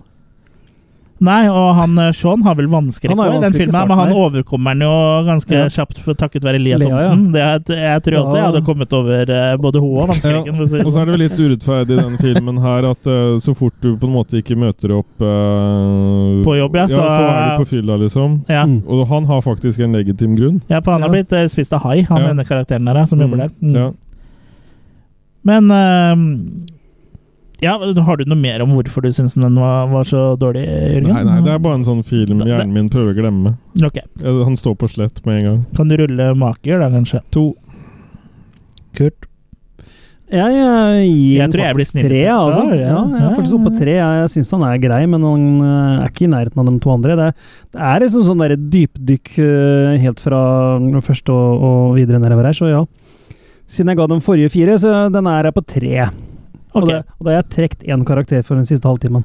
Speaker 1: Nei, og han eh, Sean har vel vannskrekk
Speaker 3: Han har
Speaker 1: også i den
Speaker 3: vannskrekk i
Speaker 1: filmen, her,
Speaker 3: starten
Speaker 1: men han
Speaker 3: her.
Speaker 1: overkommer den jo ganske
Speaker 3: Ja.
Speaker 1: kjapt for- takket være Lia
Speaker 3: Lea, ja.
Speaker 1: Thomsen. Det er, et- jeg tror
Speaker 3: Ja.
Speaker 1: også jeg hadde kommet over eh, både hun og
Speaker 2: Ja.
Speaker 1: vannskrekken. for å si det
Speaker 2: Og så
Speaker 1: sånn.
Speaker 2: er det vel litt urettferdig i den filmen her at eh, så fort du på en måte ikke møter opp eh,
Speaker 1: På jobb, ja,
Speaker 2: så,
Speaker 1: så-
Speaker 2: er du på fylla, liksom.
Speaker 1: Ja.
Speaker 3: Mm.
Speaker 2: Og han har faktisk en legitim grunn.
Speaker 1: ja, for han har
Speaker 3: Ja.
Speaker 1: blitt eh, spist av hai, han
Speaker 2: Ja.
Speaker 1: ene karakteren der eh, som jobber der. Mm.
Speaker 2: Ja.
Speaker 1: Men eh, ja, Har du noe mer om hvorfor du syns den var, var så dårlig, Jørgen?
Speaker 2: Nei, nei, det er bare en sånn film
Speaker 1: Det- det-
Speaker 2: hjernen min prøver å glemme.
Speaker 1: Ok,
Speaker 2: Eh, Han står på slett med en gang.
Speaker 1: Kan du rulle maker, da, kanskje?
Speaker 2: To.
Speaker 1: Kurt?
Speaker 3: Jeg, eh, gir
Speaker 1: Jeg
Speaker 3: den
Speaker 1: tror jeg blir
Speaker 3: faktisk
Speaker 1: snillest.
Speaker 3: tre, altså.
Speaker 1: Ja,
Speaker 3: Ja,
Speaker 1: ja.
Speaker 3: jeg er faktisk oppe på tre. Jeg, jeg syns han er grei, men han eh, er ikke i nærheten av de to andre. Det, er- det er liksom sånn der dypdykk eh, helt fra første og, og videre nedover her, så ja. Siden jeg ga den forrige fire, så den er jeg på tre. Og,
Speaker 1: Ok.
Speaker 3: det, og da har jeg trukket én karakter for den siste halvtimen.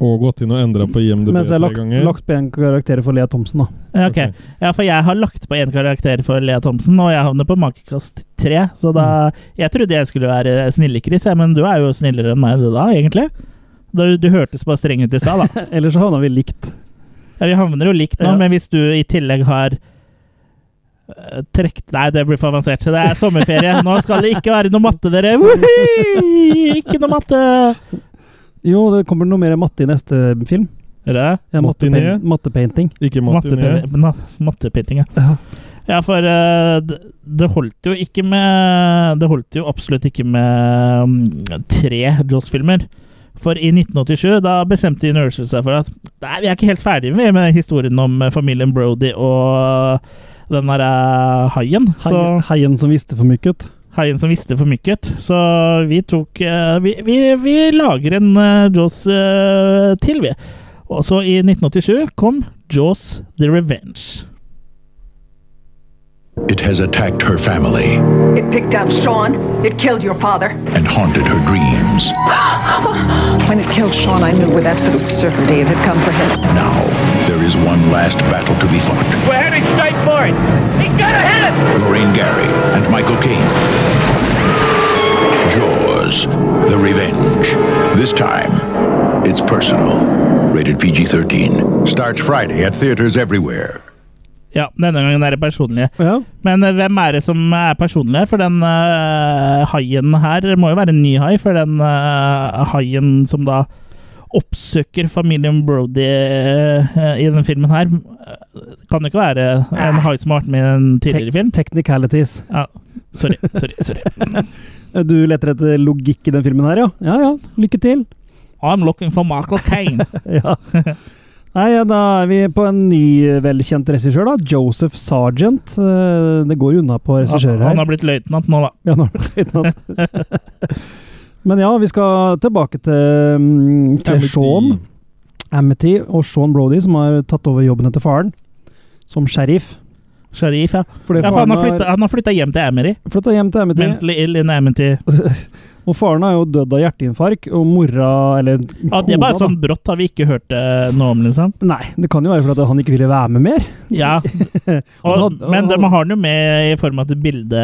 Speaker 2: Og gått inn og endra på IMDb
Speaker 3: Mens jeg
Speaker 2: tre
Speaker 3: har lagt,
Speaker 2: ganger.
Speaker 3: lagt på én karakter for Lea Thomsen, da. [laughs]
Speaker 1: Ja, ok. Ja, for jeg har lagt på én karakter for Lea Thomsen, og jeg havner på makekast tre. Så da Jeg trodde jeg skulle være snille-Chris, jeg, men du er jo snillere enn meg du da, egentlig. Du, du hørtes bare streng ut i stad,
Speaker 3: [laughs]
Speaker 1: da.
Speaker 3: Ellers så havna vi likt.
Speaker 1: Ja, vi havner jo likt nå,
Speaker 3: Ja.
Speaker 1: men hvis du i tillegg har eh, Trekt Nei, det blir for avansert. Det er sommerferie. Nå skal det ikke være noe matte, dere! Woohoo! Ikke noe matte!
Speaker 3: Jo, det kommer noe mer matte i neste film.
Speaker 1: Gjør det?
Speaker 3: Ja,
Speaker 2: Matiné?
Speaker 3: mattepain- Mattepainting.
Speaker 2: Ikke matiné.
Speaker 1: Mattepen- na- Mattepinting, ja. Ja, for eh, d- det holdt jo ikke med Det holdt jo absolutt ikke med mm, tre Joss-filmer. For i 1987 da bestemte Universal seg for at Nei, vi er ikke helt ferdige med, med historien om eh, familien Brody og den der eh, haien. Så,
Speaker 3: Hei- Heien som visste for mye, gutt.
Speaker 1: haien som visste for mye. ut. Så vi tok eh, Vi, vi, vi lager en eh, Jaws eh, til, vi. Og så i 1987 kom Jaws The Revenge.
Speaker 5: It has attacked her family
Speaker 6: It picked up Sean. It killed your father.
Speaker 5: and haunted her dreams.
Speaker 6: When it killed Sean, I knew with absolute certainty it had come for him.
Speaker 5: Now, there is one last battle to be fought. We're heading straight for it. He's gonna hit us! Lorraine Gary and Michael Caine. Jaws, The Revenge. This time, it's personal. Rated PG 13. Starts Friday at theaters everywhere.
Speaker 1: Ja, denne gangen er det personlige.
Speaker 3: Ja.
Speaker 1: Men eh, hvem er det som er personlig? For den eh, haien her må jo være en ny hai, for den eh, haien som da oppsøker familien Brody eh, i denne filmen her, eh, kan jo ikke være en hai som har vært med i en tidligere film.
Speaker 3: Technicalities.
Speaker 1: Ja, sorry, sorry, sorry.
Speaker 3: Du leter etter logikk i den filmen her, ja? Ja ja, lykke til.
Speaker 1: I'm looking for Michael
Speaker 3: [laughs]
Speaker 1: Caine.
Speaker 3: Ja. Nei, ja, da er vi på en ny eh, velkjent regissør, da. Joseph Sargent. Eh, Det går jo unna på regissører
Speaker 1: Han
Speaker 3: her.
Speaker 1: har blitt løytnant nå, da.
Speaker 3: Ja, nå er det løytnant. [laughs] Men ja, vi skal tilbake til, mm, til Sean Amity og Sean Brody, som har tatt over jobben etter faren som sheriff.
Speaker 1: Sharif, ja.
Speaker 3: Fordi
Speaker 1: ja for han har
Speaker 3: faren
Speaker 1: flyttet- han har flytta hjem til Amery.
Speaker 3: flytta hjem til Amity,
Speaker 1: Mentally ill in Amity.
Speaker 3: og faren har jo dødd av hjerteinfarkt, og mora, eller
Speaker 1: Ja, det er bare
Speaker 3: kona, da.
Speaker 1: sånn brått, har vi ikke hørt eh, noe om, liksom.
Speaker 3: Nei, det kan jo være fordi at han ikke ville være med mer. [laughs]
Speaker 1: Ja. Og,
Speaker 3: Han hadde-
Speaker 1: men de har den jo med i form av et bilde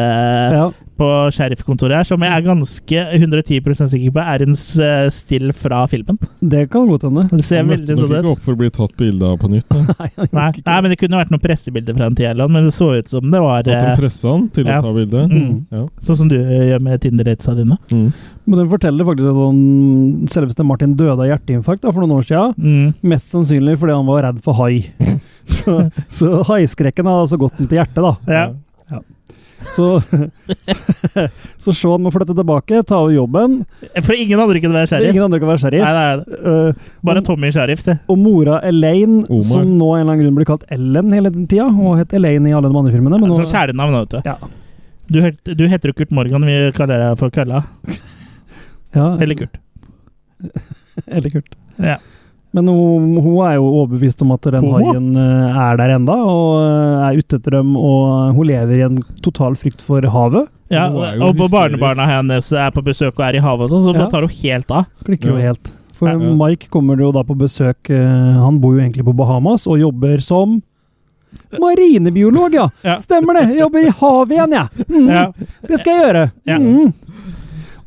Speaker 3: Ja.
Speaker 1: på sheriffkontoret her, som jeg er ganske 110 sikker på er en s- eh, still fra filmen.
Speaker 3: Det kan godt hende.
Speaker 1: Det ser
Speaker 2: Han
Speaker 1: veldig
Speaker 2: møtte nok
Speaker 1: sånn
Speaker 2: ikke
Speaker 1: ut.
Speaker 2: opp for å bli tatt bilde av på nytt. da.
Speaker 3: Nei, han gjorde
Speaker 1: Nei,
Speaker 3: ikke
Speaker 1: nei, men det kunne vært noen pressebilder fra en tid, Erland, men det så ut som det var
Speaker 2: At de
Speaker 1: eh,
Speaker 2: pressa han til
Speaker 1: ja.
Speaker 2: å ta bilde.
Speaker 1: Mm.
Speaker 2: Ja.
Speaker 1: sånn som du gjør med Tinder-datesa dine.
Speaker 2: Mm.
Speaker 3: Men den forteller faktisk at han, selveste Martin døde av hjerteinfarkt da, for noen år siden.
Speaker 1: Mm.
Speaker 3: Mest sannsynlig fordi han var redd for
Speaker 1: [laughs]
Speaker 3: hai. Så, så haiskrekken har altså gått den til hjertet, da.
Speaker 1: Ja.
Speaker 3: Så, [laughs] så Sean må flytte tilbake, ta over jobben.
Speaker 1: For ingen andre kunne være sheriff.
Speaker 3: Ingen andre kan være
Speaker 1: Nei,
Speaker 3: sheriff.
Speaker 1: nei, nei.
Speaker 3: Eh,
Speaker 1: Bare
Speaker 3: og,
Speaker 1: Tommy sheriff, se.
Speaker 3: og mora Elaine,
Speaker 2: Omar.
Speaker 3: som nå av en eller annen grunn blir kalt Ellen hele den tida. Hun het Elaine i alle de andre filmene. Men nå,
Speaker 1: Sånn kjælenavn, vet du.
Speaker 3: ja.
Speaker 1: Du, het- du heter jo Kurt Morgan, vi kaller deg for Kølla.
Speaker 3: Ja,
Speaker 1: Eller Kurt.
Speaker 3: Eller Kurt.
Speaker 1: Ja.
Speaker 3: Men hun, hun er jo overbevist om at den
Speaker 1: Homo?
Speaker 3: haien eh, er der enda, og eh, er ute etter dem, og eh, hun lever i en total frykt for havet.
Speaker 1: Ja,
Speaker 2: Hun er jo
Speaker 1: og på
Speaker 2: hysterisk.
Speaker 1: barnebarna hennes er på besøk og er i havet og sånn, så
Speaker 3: Ja.
Speaker 1: bare tar hun helt av.
Speaker 3: Klikker jo
Speaker 2: Ja.
Speaker 3: helt. For eh,
Speaker 1: Ja.
Speaker 3: Mike kommer jo da på besøk, eh, han bor jo egentlig på Bahamas, og jobber som Marinebiolog, ja!
Speaker 1: Ja.
Speaker 3: Stemmer det! Jeg Jobber i havet igjen, jeg! Mm,
Speaker 1: Ja.
Speaker 3: Det skal jeg gjøre!
Speaker 1: Ja.
Speaker 3: Mm.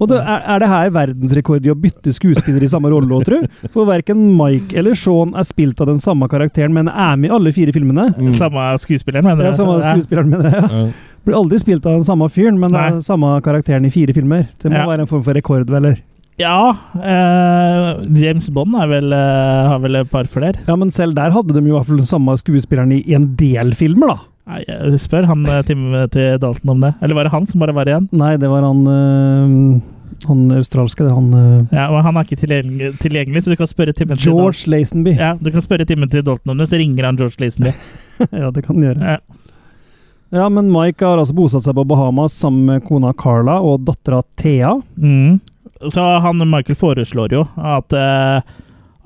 Speaker 3: Og det, er, er det her verdensrekord i å bytte skuespiller i samme rolle, tror du? For verken Mike eller Sean er spilt av den samme karakteren, men er med i alle fire filmene.
Speaker 2: Mm.
Speaker 1: Samme skuespilleren, mener
Speaker 3: Det
Speaker 1: du?
Speaker 3: er samme
Speaker 1: Ja.
Speaker 3: skuespilleren, mener jeg.
Speaker 2: Ja.
Speaker 3: Blir aldri spilt av den samme fyren, men det er
Speaker 1: Nei.
Speaker 3: den samme karakteren i fire filmer. Det må
Speaker 1: Ja.
Speaker 3: være en form for rekord, vel?
Speaker 1: Ja, eh, James Bond er vel, eh, har vel et par flere.
Speaker 3: Ja, men selv der hadde de jo i hvert fall den samme skuespilleren i en del filmer, da.
Speaker 1: Nei, jeg spør han eh, Tim til Dalton om det. Eller var det han som bare var igjen?
Speaker 3: Nei, det var han øh, Han australske, det. Han øh,
Speaker 1: Ja, og Han er ikke tilgjengelig, tilgjengelig så du kan spørre Timothy Dalton.
Speaker 3: George Lazenby. Ja. [laughs]
Speaker 1: Ja, du kan spørre Timothy Dalton om det, så ringer han George Lazenby.
Speaker 3: det kan han gjøre.
Speaker 1: Ja.
Speaker 3: Ja, men Mike har altså bosatt seg på Bahamas sammen med kona Carla og dattera Thea.
Speaker 1: Mm. Så han Michael foreslår jo at eh,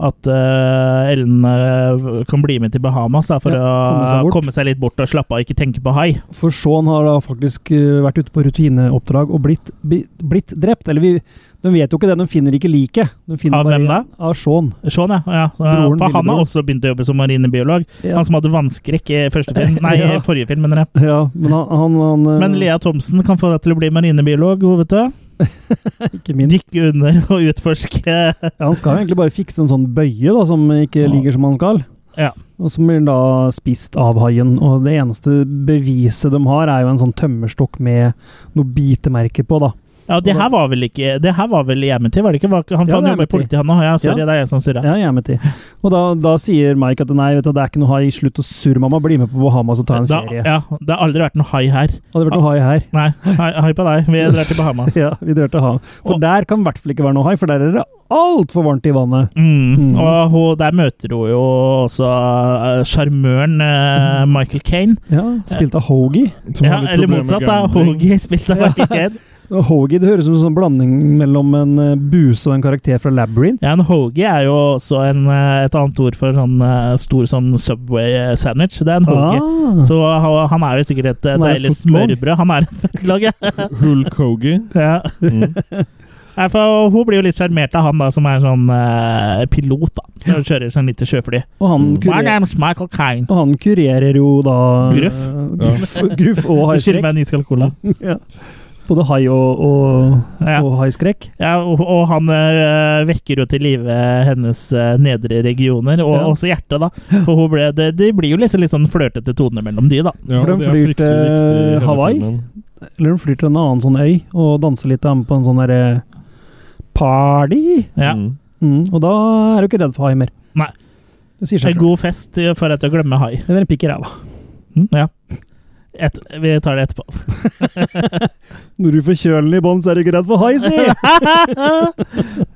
Speaker 1: at eh, Ellen eh, kan bli med til Bahamas da, for
Speaker 3: Ja, komme seg
Speaker 1: å
Speaker 3: bort.
Speaker 1: komme seg litt bort og slappe av, ikke tenke på hai.
Speaker 3: For Sean har da faktisk øh, vært ute på rutineoppdrag og blitt, bi- blitt drept. Eller vi, de vet jo ikke det, de finner ikke liket. De finner
Speaker 1: Av
Speaker 3: bare-
Speaker 1: hvem da?
Speaker 3: Av Sean.
Speaker 1: Sånn, ja. ja. Så, for
Speaker 3: Broren,
Speaker 1: han har
Speaker 3: lillebroren.
Speaker 1: også begynt å jobbe som marinebiolog.
Speaker 3: Ja.
Speaker 1: Han som hadde vannskrekk i første
Speaker 3: [laughs]
Speaker 1: film, nei,
Speaker 3: Ja.
Speaker 1: i forrige film, mener jeg.
Speaker 3: Ja, men han, han, han øh,
Speaker 1: Men Lea Thomsen kan få deg til å bli marinebiolog, hun, vet du.
Speaker 3: ikke minst.
Speaker 1: Dykke under [laughs] og utforske.
Speaker 3: Ja, han skal jo egentlig bare fikse en sånn bøye da, som ikke
Speaker 1: Ja.
Speaker 3: ligger som han skal.
Speaker 1: Ja.
Speaker 3: Og som blir han da spist av haien. Og det eneste beviset de har, er jo en sånn tømmerstokk med noe bitemerke på, da.
Speaker 1: Ja, det her var vel ikke Det her var vel i hjemmetid, var det ikke? Var, ikke- han ja,
Speaker 3: Ja, det er
Speaker 1: jobber i
Speaker 3: hjemmetid.
Speaker 1: politiet, han òg. Ja, sorry,
Speaker 3: Ja.
Speaker 1: det er jeg som surrer.
Speaker 3: Ja, jeg er med til. Og da, da sier Mike at nei, vet du, det er ikke noe hai. Slutt å surre, mamma. Bli med på Bahamas og ta en
Speaker 1: Da,
Speaker 3: ferie.
Speaker 1: ja, det har aldri vært noe hai her.
Speaker 3: Hadde vært noe hai her. [laughs]
Speaker 1: Nei, hai, hai på deg. Vi drar til Bahamas.
Speaker 3: Ja, vi drar til havet. For
Speaker 1: Og-
Speaker 3: der kan i hvert fall ikke være noe hai, for der er det altfor varmt i vannet.
Speaker 1: Mm.
Speaker 3: Mm.
Speaker 1: Og hun, der møter hun jo også eh, sjarmøren eh, Michael Kane.
Speaker 3: Ja, spilt av hoagie.
Speaker 2: Som
Speaker 1: Ja,
Speaker 2: har litt
Speaker 1: eller
Speaker 2: problemer med
Speaker 1: motsatt, da.
Speaker 2: gambling.
Speaker 1: Hoagie spilt av Michael Kane.
Speaker 3: Og Hoagie det høres ut som en sånn blanding mellom en eh, buse og en karakter fra Labyrinth.
Speaker 1: Ja, en hoagie er jo også en, eh, et annet ord for sånn eh, stor sånn Subway sandwich. Det er en hoagie.
Speaker 3: Ah.
Speaker 1: Så ha- han er jo sikkert et eh,
Speaker 3: Han er
Speaker 1: deilig
Speaker 3: footlog.
Speaker 1: smørbrød. Han er en footlog, ja.
Speaker 2: Hulk
Speaker 3: [laughs]
Speaker 2: Hogan.
Speaker 1: ja.
Speaker 2: Mm.
Speaker 1: Nei, for Hun blir jo litt sjarmert av han da, som er en sånn eh, pilot. da Hun kjører sånn lite sjøfly.
Speaker 3: Og han,
Speaker 1: My
Speaker 3: kurer,
Speaker 1: name's Michael Kane.
Speaker 3: og han kurerer jo da
Speaker 1: Gruff.
Speaker 3: eh, Gruff, gruff og
Speaker 1: Skyld
Speaker 3: haiskrekk.
Speaker 1: meg en iskald cola.
Speaker 3: Ja. Både hai og, og,
Speaker 1: Ja.
Speaker 3: og haiskrekk.
Speaker 1: Ja, og, og han eh, vekker jo til live hennes eh, nedre regioner, og
Speaker 3: Ja.
Speaker 1: også hjertet, da. For hun ble, det, det blir jo liksom litt sånn flørtete toner mellom de, da.
Speaker 2: Ja,
Speaker 3: For de
Speaker 2: det er
Speaker 3: flyr
Speaker 2: fryktelig
Speaker 3: til
Speaker 2: viktig i hele
Speaker 3: Hawaii.
Speaker 2: filmen.
Speaker 3: Eller hun flyr til en annen sånn øy og danser litt da, på en sånn derre party.
Speaker 1: Ja.
Speaker 2: Mm.
Speaker 3: Mm, og da er du ikke redd for hai mer.
Speaker 1: Nei.
Speaker 3: Det sier seg
Speaker 1: En
Speaker 3: selv.
Speaker 1: god fest eh, for at jeg glemmer hai. Mm,
Speaker 3: Eller en pikk i ræva.
Speaker 1: Ja. Et, vi tar det
Speaker 3: [laughs]
Speaker 1: etterpå.
Speaker 3: Når du får kjølen i bånn, så er du ikke redd for hai, si!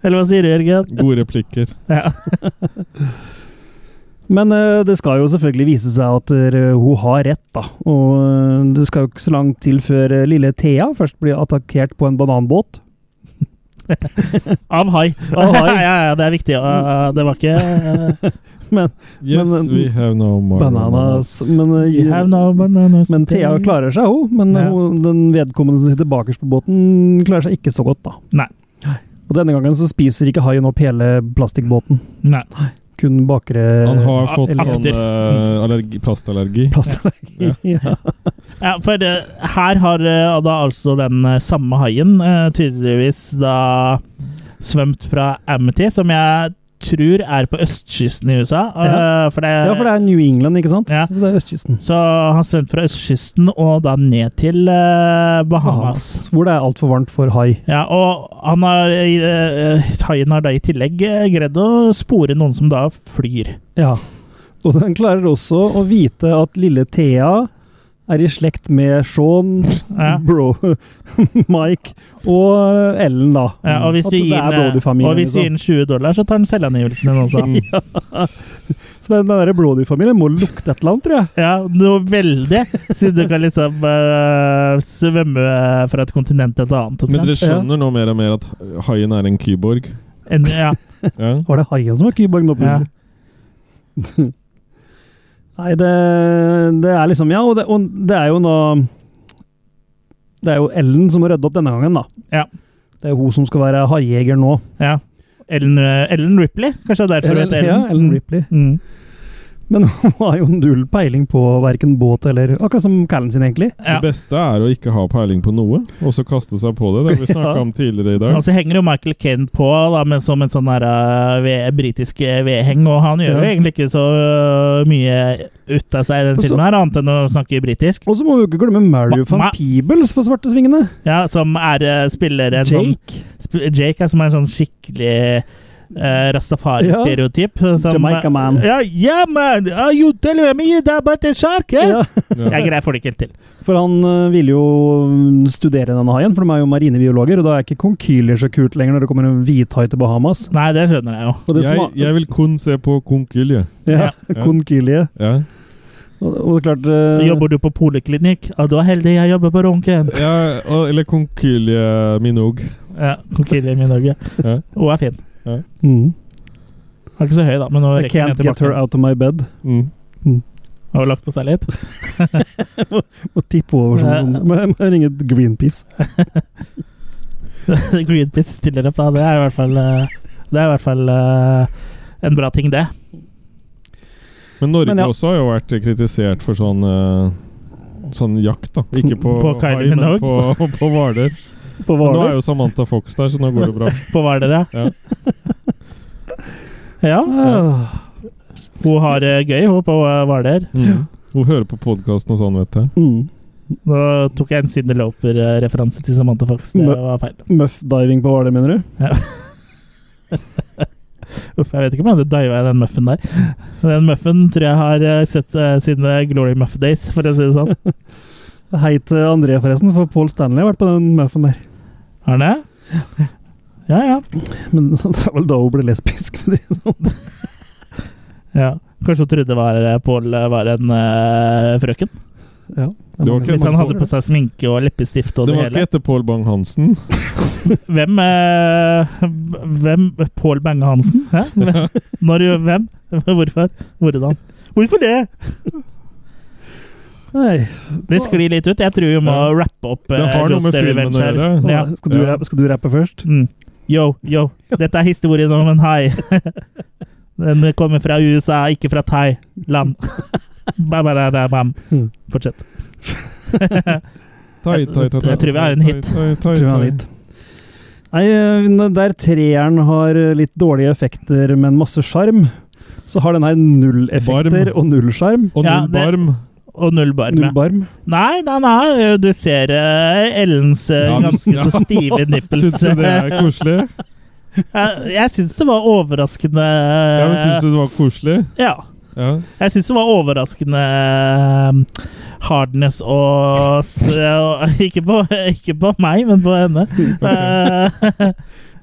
Speaker 1: Eller hva sier du, Jørgen?
Speaker 2: Gode replikker.
Speaker 1: Ja.
Speaker 3: [laughs] Men eh, det skal jo selvfølgelig vise seg at eh, hun har rett, da. Og eh, det skal jo ikke så langt til før eh, lille Thea først blir attakkert på en bananbåt.
Speaker 1: Av hai.
Speaker 3: Av hai.
Speaker 1: [laughs] ja, ja, det er viktig. ja, det var ikke
Speaker 3: [laughs]
Speaker 1: eh,
Speaker 2: Yes,
Speaker 3: Men, eh,
Speaker 2: we have no more
Speaker 3: Bananas. Men, eh,
Speaker 1: You have no bananas.
Speaker 3: men Thea klarer seg, hun. Men
Speaker 1: Ja.
Speaker 3: hun, den vedkommende som sitter bakerst på båten, klarer seg ikke så godt, da.
Speaker 1: Nei.
Speaker 3: Og denne gangen så spiser ikke haien opp hele plastikkbåten.
Speaker 1: Nei.
Speaker 3: Kun bakre
Speaker 2: Han har fått
Speaker 3: eller-
Speaker 2: sånn eh, allergi, plastallergi. [laughs]
Speaker 3: plastallergi. [laughs] Ja.
Speaker 1: Ja, for det, her har eh, da altså den eh, samme haien eh, tydeligvis da svømt fra Amity, som jeg tror er på østkysten i USA. eh, For det,
Speaker 3: ja, for det er New England, ikke sant?
Speaker 1: Ja.
Speaker 3: Så Det er østkysten.
Speaker 1: Så han har svømt fra østkysten og da ned til eh, Bahamas.
Speaker 3: Bahamas, Hvor det er altfor varmt for hai.
Speaker 1: Ja, og han har, eh, eh, haien har da i tillegg eh, greid å spore noen som da flyr.
Speaker 3: Ja. Og den klarer også å vite at lille Thea er i slekt med Sean,
Speaker 1: Ja.
Speaker 3: [laughs] Bro, Mike og Ellen, da.
Speaker 1: Ja, og hvis
Speaker 3: Mm. At
Speaker 1: du gir
Speaker 3: det er
Speaker 1: den, eh,
Speaker 3: Brody-familien.
Speaker 1: og hvis du gir
Speaker 3: liksom.
Speaker 1: den 20 dollar, så tar den selvangivelsen din også.
Speaker 3: [laughs] Så den, den der Brody-familien må lukte et eller annet, tror jeg.
Speaker 1: Ja, noe veldig. Siden du kan liksom eh, svømme fra et kontinent til et annet.
Speaker 2: Men
Speaker 1: omtrent.
Speaker 2: dere skjønner nå mer og mer at haien er en kyborg?
Speaker 1: En, ja.
Speaker 2: Ja.
Speaker 3: Var det haien som var Kyborg nå, plutselig? Nei, det, det er liksom Ja, og det, og det er jo nå Det er jo Ellen som må rydde opp denne gangen, da.
Speaker 1: Ja.
Speaker 3: Det er jo hun som skal være haijeger nå.
Speaker 1: ja. Ellen, eh, Ellen Ripley, kanskje det er derfor hun heter
Speaker 3: Ja,
Speaker 1: Ellen?
Speaker 3: Ellen Ripley.
Speaker 1: Mm.
Speaker 3: Men [laughs] hun har jo null peiling på verken båt eller Akkurat som Callen sin, egentlig.
Speaker 1: Ja.
Speaker 2: Det beste er å ikke ha peiling på noe, og så kaste seg på det. Det har vi snakka
Speaker 3: [laughs] Ja. Altså,
Speaker 2: om tidligere i dag.
Speaker 1: Og så henger jo Michael Caine på da, men som en sånn der, eh, ved- britisk eh, vedheng, og han gjør jo
Speaker 3: Ja.
Speaker 1: egentlig ikke så eh, mye ut av seg i den
Speaker 3: Og så-
Speaker 1: filmen, her, annet enn å snakke britisk.
Speaker 3: Og så må vi jo ikke glemme Mario
Speaker 1: Ma- ma-
Speaker 3: van Peebles for svartesvingene.
Speaker 1: Ja, Som er eh, spiller en sånn
Speaker 3: Jake.
Speaker 1: Sp- Jake er som er en sånn skikkelig eh, Rastafari-stereotyp. som-
Speaker 3: Jamaica man.
Speaker 1: Ja, yeah, man! Are you telling me that about the shark? eh?
Speaker 3: Ja,
Speaker 1: Jeg greier får det ikke helt til.
Speaker 3: for han øh, ville jo øh, studere denne haien, for de er jo marinebiologer, og da er ikke konkylier så kult lenger når det kommer en hvithai til Bahamas.
Speaker 1: Nei, det skjønner jeg jo.
Speaker 3: Og det
Speaker 2: Jeg,
Speaker 3: sma-
Speaker 2: jeg vil kun se på konkylie.
Speaker 3: [laughs] ja,
Speaker 2: ja.
Speaker 3: konkylie.
Speaker 2: Ja.
Speaker 3: Og, og det er klart øh,
Speaker 1: Jobber du på poliklinikk? Ja, du er heldig, jeg jobber på Ronken.
Speaker 2: Ja, og- eller konkylie Minogue.
Speaker 1: Ja, Konkylie i Norge.
Speaker 2: Ja.
Speaker 1: Hun er fin.
Speaker 3: mm,
Speaker 1: Hun er ikke så høy, da, men hun
Speaker 3: I
Speaker 1: rekker ned
Speaker 3: can't
Speaker 1: til
Speaker 3: get her
Speaker 1: bakken.
Speaker 3: out of my bed.
Speaker 2: Mm.
Speaker 1: Hun har lagt på seg litt. [laughs]
Speaker 3: Og tippe over sånn. [laughs]
Speaker 1: Ja.
Speaker 3: sånn. Må jeg- må jeg ringe Greenpeace.
Speaker 1: Greenpeace stiller opp, da. Det er i hvert fall, eh, det er i hvert fall eh, en bra ting, det.
Speaker 2: Men Norge
Speaker 3: Men ja.
Speaker 2: også har jo vært kritisert for sånn eh, Sånn jakt, da. Ikke på,
Speaker 1: På Kylie
Speaker 2: hai, men
Speaker 1: Minogue.
Speaker 2: På, [laughs] på
Speaker 1: [laughs]
Speaker 2: hvaler.
Speaker 3: På
Speaker 2: Nå er
Speaker 3: Hvaler.
Speaker 2: jo Samantha Fox der, så nå går det bra.
Speaker 1: På Hvaler,
Speaker 2: Ja.
Speaker 1: [laughs] ja.
Speaker 3: Ah.
Speaker 1: Hun har eh, gøy, hun, på eh, Hvaler.
Speaker 2: Mm. Hun hører på podkasten og sånn, vet jeg.
Speaker 3: Mm.
Speaker 1: Nå tok jeg en Cyndi Loper-referanse til Samantha Fox. Det
Speaker 3: Mø-
Speaker 1: var feil.
Speaker 3: Muff diving på hva er det, mener du?
Speaker 1: Uff, jeg vet ikke om jeg hadde diva i den muffen der. Den muffen tror jeg har eh, sett eh, sine Glory Muff Days, for å si det sånn.
Speaker 3: Hei til André, forresten, for Paul Stanley har vært på den muffen der. [laughs]
Speaker 1: Har den det? Ja, ja.
Speaker 3: Men det var vel da hun ble lesbisk. for å si det sånn.
Speaker 1: ja. Kanskje hun trodde det var, eh, Paul eh, var en eh, frøken?
Speaker 3: Ja.
Speaker 2: Det var ikke
Speaker 1: Hvis han
Speaker 2: mange
Speaker 1: hadde på seg sminke og leppestift og
Speaker 2: Det
Speaker 1: det,
Speaker 2: var ikke
Speaker 1: hele.
Speaker 2: etter Pål Bang-Hansen.
Speaker 1: Hvem, eh, hvem Pål Bange Hansen? Hæ? Hvem? Når, hvem? Hvorfor? Hvordan? Hvorfor det?
Speaker 3: Nei.
Speaker 1: Det sklir litt ut. Jeg tror vi må
Speaker 2: Ja.
Speaker 1: rappe opp
Speaker 2: Det
Speaker 1: eh,
Speaker 2: har noe
Speaker 1: Rose
Speaker 2: med
Speaker 1: Day
Speaker 2: filmen
Speaker 1: Revenge
Speaker 2: å
Speaker 1: her.
Speaker 2: gjøre.
Speaker 1: Ja.
Speaker 3: Skal, du
Speaker 2: Ja.
Speaker 3: rappe, skal du rappe først?
Speaker 1: Mm. Yo, yo. Dette er historien om en hai. [laughs] Den kommer fra USA, ikke fra Thailand. [laughs] Ba, ba, da, da, bam.
Speaker 2: Hmm.
Speaker 3: Mm.
Speaker 1: Fortsett. [laughs]
Speaker 2: Tai, tai, tai, tai,
Speaker 1: Jeg tror vi har en
Speaker 2: tai,
Speaker 1: hit.
Speaker 2: tai, tai,
Speaker 3: Tror jeg
Speaker 2: tai.
Speaker 3: litt. Nei, eh, der treeren har eh, litt dårlige effekter, men masse sjarm, så har den her null effekter
Speaker 2: Varm.
Speaker 3: og null sjarm.
Speaker 2: Og
Speaker 1: Ja,
Speaker 2: null
Speaker 1: det-
Speaker 2: barm.
Speaker 1: Og null barme.
Speaker 3: Null barm.
Speaker 1: Nei, nei, nei, du ser eh, Ellens eh,
Speaker 2: Ja, du-
Speaker 1: ganske
Speaker 2: [laughs] ja.
Speaker 1: så stive nipples.
Speaker 2: Syns du det er koselig?
Speaker 1: [laughs] Jeg- Jeg syns det var overraskende eh,
Speaker 2: Ja, men Syns du det var koselig?
Speaker 1: Ja.
Speaker 2: Ja.
Speaker 1: Jeg syns det var overraskende eh, hardness og s- og- ikke, på, ikke på meg, men på henne. Eh,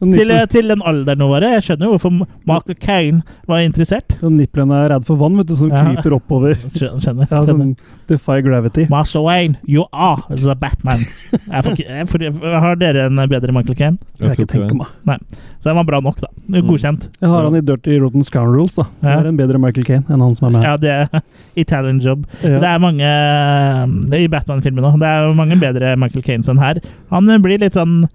Speaker 1: til, til den alderen hun var i. Jeg skjønner jo hvorfor Michael Caine var interessert.
Speaker 3: Og Nipplene er redd for vann, vet du, som
Speaker 1: Ja.
Speaker 3: kryper oppover.
Speaker 1: [laughs] Skjønner. skjønner.
Speaker 3: Ja, sånn defy gravity.
Speaker 1: Master Wayne, you are the Batman. Jeg får, ikke- jeg får, har dere en bedre Michael Caine?
Speaker 3: Kan
Speaker 2: Jeg
Speaker 3: jeg
Speaker 2: tror
Speaker 3: ikke
Speaker 2: ikke
Speaker 3: tenke
Speaker 2: det.
Speaker 3: meg.
Speaker 1: Så den var bra nok, da. Godkjent.
Speaker 3: Jeg har han i Dirty Rotten Scoundrels, da. Det
Speaker 1: Ja.
Speaker 3: er en bedre Michael Kane enn han som er med.
Speaker 1: Ja, det Italian job.
Speaker 3: Ja.
Speaker 1: Det er mange det er I Batman-filmen òg. Det er jo mange bedre Michael Caines enn her. Han blir litt sånn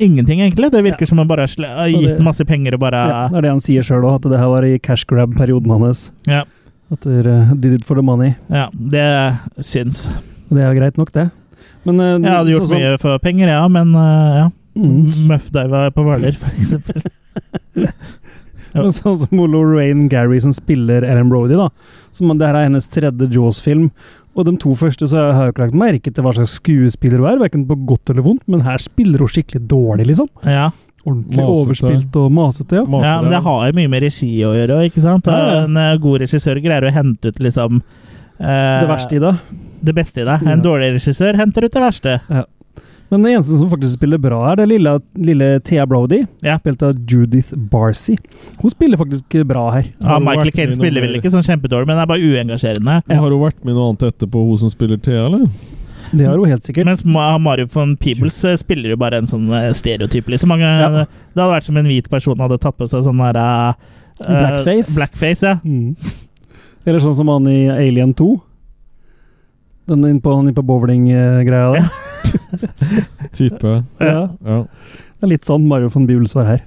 Speaker 1: Ingenting, egentlig. Det virker som han bare har sle- har
Speaker 3: Og
Speaker 1: gitt
Speaker 3: det-
Speaker 1: masse penger og bare
Speaker 3: Ja, det er det han sier sjøl òg, at det her var i cash grab-perioden hans.
Speaker 1: Ja.
Speaker 3: At dere did it for the money.
Speaker 1: Ja, det syns.
Speaker 3: Og det er jo greit nok, det. Men eh,
Speaker 1: Jeg hadde gjort
Speaker 3: sånn som-
Speaker 1: mye for penger, ja, men eh, ja.
Speaker 3: Mm.
Speaker 1: Muffdiva på Hvaler, for eksempel. Ja.
Speaker 3: Men [laughs] Sånn som Molo Rain Gary som spiller Ellen Brody, da. Som, det her er hennes tredje Jaws-film. Og de to første så har jeg jo ikke lagt merke til hva slags skuespiller hun er, hverken på godt eller vondt, men her spiller hun skikkelig dårlig, liksom.
Speaker 1: Ja.
Speaker 3: Ordentlig
Speaker 2: Masete.
Speaker 3: overspilt og masete, ja.
Speaker 1: ja, men det
Speaker 2: Maser.
Speaker 1: har jo mye med regi å gjøre, ikke sant?
Speaker 3: Ja, ja.
Speaker 1: Og en eh, god regissør greier å hente ut liksom eh,
Speaker 3: Det verste i det.
Speaker 1: det beste i deg. En
Speaker 3: Ja.
Speaker 1: dårlig regissør henter ut det verste.
Speaker 3: Men det eneste som faktisk spiller bra, er det lille, lille Thea Brody,
Speaker 1: Ja.
Speaker 3: spilt av Judith Barcy. Hun spiller faktisk bra her.
Speaker 1: Ja,
Speaker 2: Har du
Speaker 1: Michael
Speaker 2: vært med
Speaker 1: Caine
Speaker 2: i noe
Speaker 1: spiller vel
Speaker 2: mer?
Speaker 1: ikke sånn kjempedårlig, men er bare uengasjerende.
Speaker 2: Men Har hun vært med i noe annet etterpå, hun som spiller Thea,
Speaker 1: [laughs]
Speaker 2: eller?
Speaker 3: Det har hun helt sikkert.
Speaker 1: Mens Ma- Mario von Peebles eh, spiller jo bare en sånn eh, stereotyp. Liksom. Han, eh,
Speaker 3: Ja.
Speaker 1: Det hadde vært som en hvit person hadde tatt på seg sånn der eh, eh,
Speaker 3: Blackface?
Speaker 1: blackface, ja.
Speaker 3: Mm. Eller sånn som han i Alien 2. Den innpå, han innpå bowling-greia eh, der.
Speaker 2: Type.
Speaker 3: Ja.
Speaker 2: Ja.
Speaker 3: Det er litt sånn Mario von Buels var her.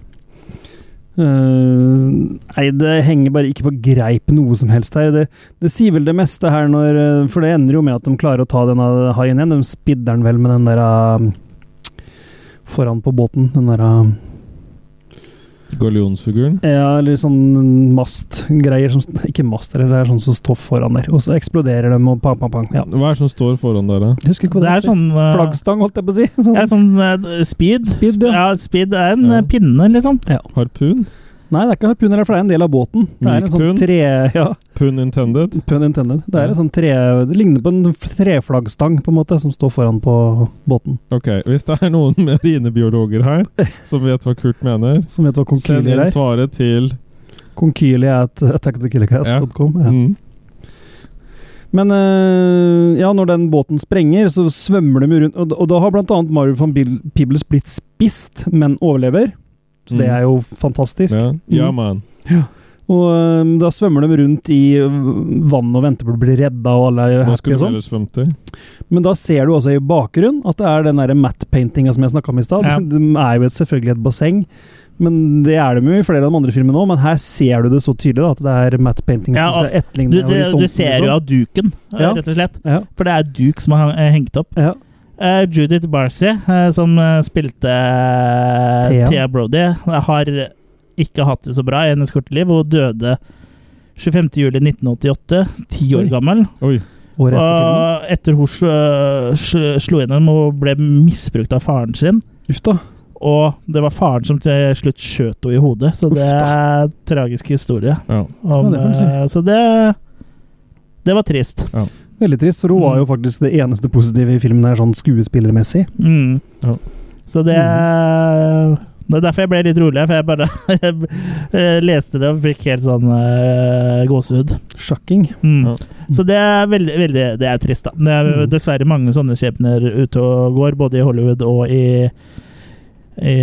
Speaker 3: Eh, nei, det henger bare ikke på greip noe som helst her. Det, det sier vel det meste her når eh, For det ender jo med at de klarer å ta denne haien igjen. De spidder den vel med den der eh, foran på båten. Den der eh,
Speaker 2: Gallionsfiguren.
Speaker 3: Ja, eller sånn mastgreier som Ikke mast, eller det er sånn som står foran der. Og så eksploderer de, og pang, pang, pang. Ja.
Speaker 2: Hva er det som står foran der, da?
Speaker 3: Jeg husker ikke hva
Speaker 1: Det
Speaker 3: det
Speaker 1: er
Speaker 3: heter.
Speaker 1: sånn eh,
Speaker 3: Flaggstang, holdt jeg på å si. [laughs] Sånn.
Speaker 1: ja, sånn eh, speed.
Speaker 3: Speed,
Speaker 1: ja.
Speaker 3: ja.
Speaker 1: speed er en
Speaker 2: Ja.
Speaker 1: eh, pinne, liksom.
Speaker 2: Harpun?
Speaker 3: Nei, det er ikke harpuner, for det er en del av båten. Det er en
Speaker 2: Milkpun?
Speaker 3: sånn tre... [laughs] Ja.
Speaker 2: Pun intended?
Speaker 3: Pun intended. Det er en sånn tre... Det ligner på en treflaggstang, på en måte, som står foran på båten.
Speaker 2: Ok, hvis det er noen [laughs] marinebiologer her som vet hva Kurt mener,
Speaker 3: Som vet hva
Speaker 2: send
Speaker 3: konkylie
Speaker 2: inn
Speaker 3: er.
Speaker 2: svaret til
Speaker 3: Konkylie er et attackthekillercast.com. Ja.
Speaker 2: mm.
Speaker 3: Men eh, ja, når den båten sprenger, så svømmer de jo rundt. Og, og da har blant annet Mario van Bil- Peebles blitt spist, men overlever. Så det
Speaker 2: Mm.
Speaker 3: er jo fantastisk.
Speaker 2: Ja, ja man.
Speaker 3: Og eh, da svømmer de rundt i eh, vann og venter på å bli redda, og alle er
Speaker 2: Hva
Speaker 3: happy
Speaker 2: skulle
Speaker 3: og
Speaker 2: du
Speaker 3: sånn.
Speaker 2: ellers svømt til?
Speaker 3: Men da ser du også i bakgrunnen at det er den der matte-paintinga som jeg snakka om i stad.
Speaker 1: Ja.
Speaker 3: [laughs] De er jo et, selvfølgelig et basseng, men det er de jo i flere av de andre filmene òg. Men her ser du det så tydelig da, at det er matte-painting
Speaker 1: Ja,
Speaker 3: som skal etterligne
Speaker 1: Du, du, du
Speaker 3: horisonten,
Speaker 1: ser jo
Speaker 3: liksom.
Speaker 1: av duken, eh,
Speaker 3: Ja.
Speaker 1: rett og slett.
Speaker 3: Ja.
Speaker 1: For det er duk som er eh, hengt opp.
Speaker 3: Ja.
Speaker 1: Eh, Judith Barcy, eh, som eh, spilte eh,
Speaker 3: Thea.
Speaker 1: Thea Brody, har ikke hatt det så bra i hennes korte liv. Hun døde 25.07.1988, ti år
Speaker 3: Oi.
Speaker 1: gammel.
Speaker 2: Oi.
Speaker 3: Året etter filmen.
Speaker 1: Og etter hun sl- eh, sl- slo gjennom og ble misbrukt av faren sin.
Speaker 3: Uff da.
Speaker 1: Og det var faren som til slutt skjøt henne i hodet, så det
Speaker 3: Uff
Speaker 1: er en tragisk historie.
Speaker 2: Ja.
Speaker 1: Om,
Speaker 3: Ja, det får du si.
Speaker 1: eh, så det Det var trist.
Speaker 3: Veldig trist,
Speaker 1: Mm.
Speaker 3: for hun var jo faktisk det eneste positive i filmen her, sånn skuespillermessig.
Speaker 1: Mm.
Speaker 2: Ja.
Speaker 1: Så
Speaker 3: Mhm.
Speaker 1: det Det er derfor jeg ble litt rolig, for jeg bare [laughs] jeg leste det og fikk helt sånn eh, gåsehud.
Speaker 3: Sjokking.
Speaker 1: Mm.
Speaker 2: Ja.
Speaker 1: Så det er veldig, veldig Det er trist, da. Det er jo
Speaker 3: Mm.
Speaker 1: dessverre mange sånne skjebner ute og går, både i Hollywood og i i,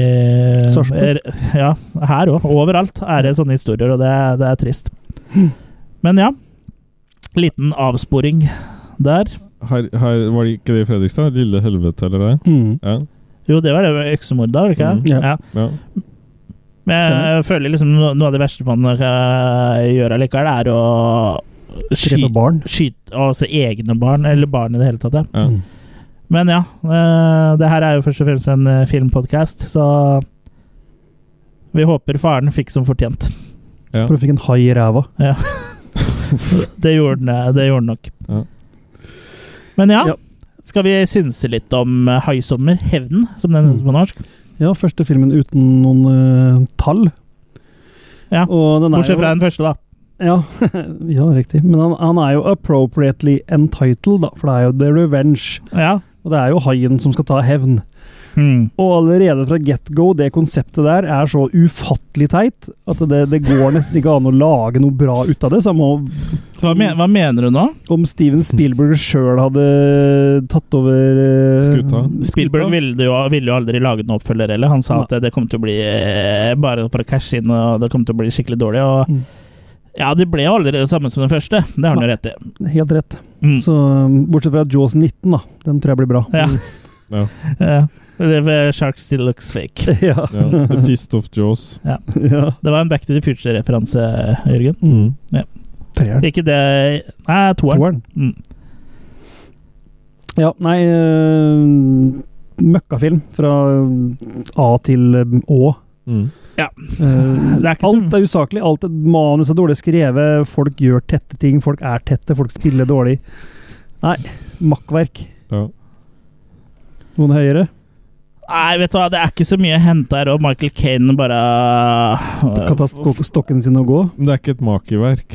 Speaker 3: Sarpsborg.
Speaker 1: er, ja, her òg. Overalt er det sånne historier, og det, er- det er trist.
Speaker 3: Mhm.
Speaker 1: Men ja. Liten avsporing der.
Speaker 2: Her, her var det ikke det i Fredrikstad? Lille helvete, eller det?
Speaker 3: Mm.
Speaker 2: Ja.
Speaker 1: Jo, det var det med øksemordet, var det ikke?
Speaker 2: Mm.
Speaker 3: Ja.
Speaker 2: ja.
Speaker 1: Men jeg føler liksom no- noe av det verste man kan gjøre likevel, er å
Speaker 3: Drepe
Speaker 1: skyte,
Speaker 3: barn.
Speaker 1: skyte altså egne barn, eller barn i det hele tatt. Ja.
Speaker 2: Ja.
Speaker 3: Mm.
Speaker 1: Men ja, eh, det her er jo først og fremst en eh, filmpodcast, så vi håper faren fikk som fortjent. [laughs]
Speaker 2: Ja.
Speaker 3: For hun fikk en hai i ræva.
Speaker 1: Det gjorde den, eh, det gjorde den nok.
Speaker 2: Ja.
Speaker 1: Men ja,
Speaker 3: Ja.
Speaker 1: skal vi synse litt om eh, 'Haisommer', 'Hevden', som den heter på norsk?
Speaker 3: Ja, første filmen uten noen eh, tall.
Speaker 1: Ja,
Speaker 3: Og den er
Speaker 1: Bortsett
Speaker 3: jo-
Speaker 1: fra den første, da.
Speaker 3: Ja, [laughs] ja riktig. Men han, han er jo appropriately entitled, da, for det er jo The Revenge.
Speaker 1: Ja.
Speaker 3: Og det er jo haien som skal ta hevn.
Speaker 1: Mm.
Speaker 3: Og allerede fra get go, det konseptet der er så ufattelig teit at det, det går nesten ikke an å lage noe bra ut av det. Samme om-
Speaker 1: Hva, men, hva mener du nå?
Speaker 3: om Steven Spielberg sjøl hadde tatt over eh,
Speaker 2: Skuta.
Speaker 1: Spielberg ville jo, ville jo aldri lage en oppfølger heller. Han sa at det kom til å bli eh, bare for å cashe inn, og det kom til å bli skikkelig dårlig. Og
Speaker 3: Mm.
Speaker 1: ja, det ble jo aldri det samme som den første. Det har han jo rett i.
Speaker 3: Helt rett.
Speaker 1: Mm.
Speaker 3: Så um, Bortsett fra Jaws 19, da. Den tror jeg blir bra.
Speaker 1: Ja.
Speaker 2: Ja.
Speaker 1: Ja. Det var Shark Still Looks Fake.
Speaker 3: ja.
Speaker 2: ja. The Fist of Jaws.
Speaker 3: [laughs] ja.
Speaker 1: Det var en Back to the Future-referanse, Jørgen.
Speaker 3: Mm.
Speaker 1: Ja.
Speaker 3: Treeren.
Speaker 1: Ikke det Nei, toeren.
Speaker 3: Toeren.
Speaker 1: Mm.
Speaker 3: Ja, nei øh, Møkkafilm fra A til øh, Å.
Speaker 2: Mm.
Speaker 3: Øh,
Speaker 1: [laughs] Det er ikke
Speaker 3: alt
Speaker 1: så-
Speaker 3: er usaklig. Alt er manus er dårlig skrevet. Folk gjør tette ting. Folk er tette. Folk spiller dårlig. Nei, makkverk.
Speaker 2: Ja.
Speaker 3: Noen høyere?
Speaker 1: Nei, vet du hva, det er ikke så mye å hente her, og Michael Kane bare
Speaker 3: Kan ta stokk- stokken sin og gå?
Speaker 2: Men det er ikke et
Speaker 3: [laughs]
Speaker 2: makerverk.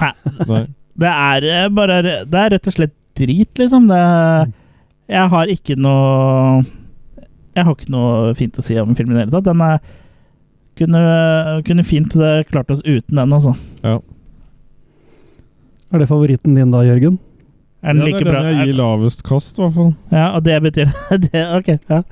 Speaker 1: Nei.
Speaker 2: Nei.
Speaker 1: Det er eh, bare Det er rett og slett drit, liksom. Det,
Speaker 2: Mm.
Speaker 1: jeg har ikke noe Jeg har ikke noe fint å si om filmen i det hele tatt. Den er, kunne, kunne fint eh, klart oss uten den, altså.
Speaker 3: Er det favoritten din da, Jørgen?
Speaker 1: Er den
Speaker 2: Ja,
Speaker 1: like
Speaker 2: det er
Speaker 1: bra?
Speaker 2: den jeg
Speaker 1: Er,
Speaker 2: gir lavest kast, i hvert fall.
Speaker 1: ja, og det betyr [laughs] det, Ok. Ja.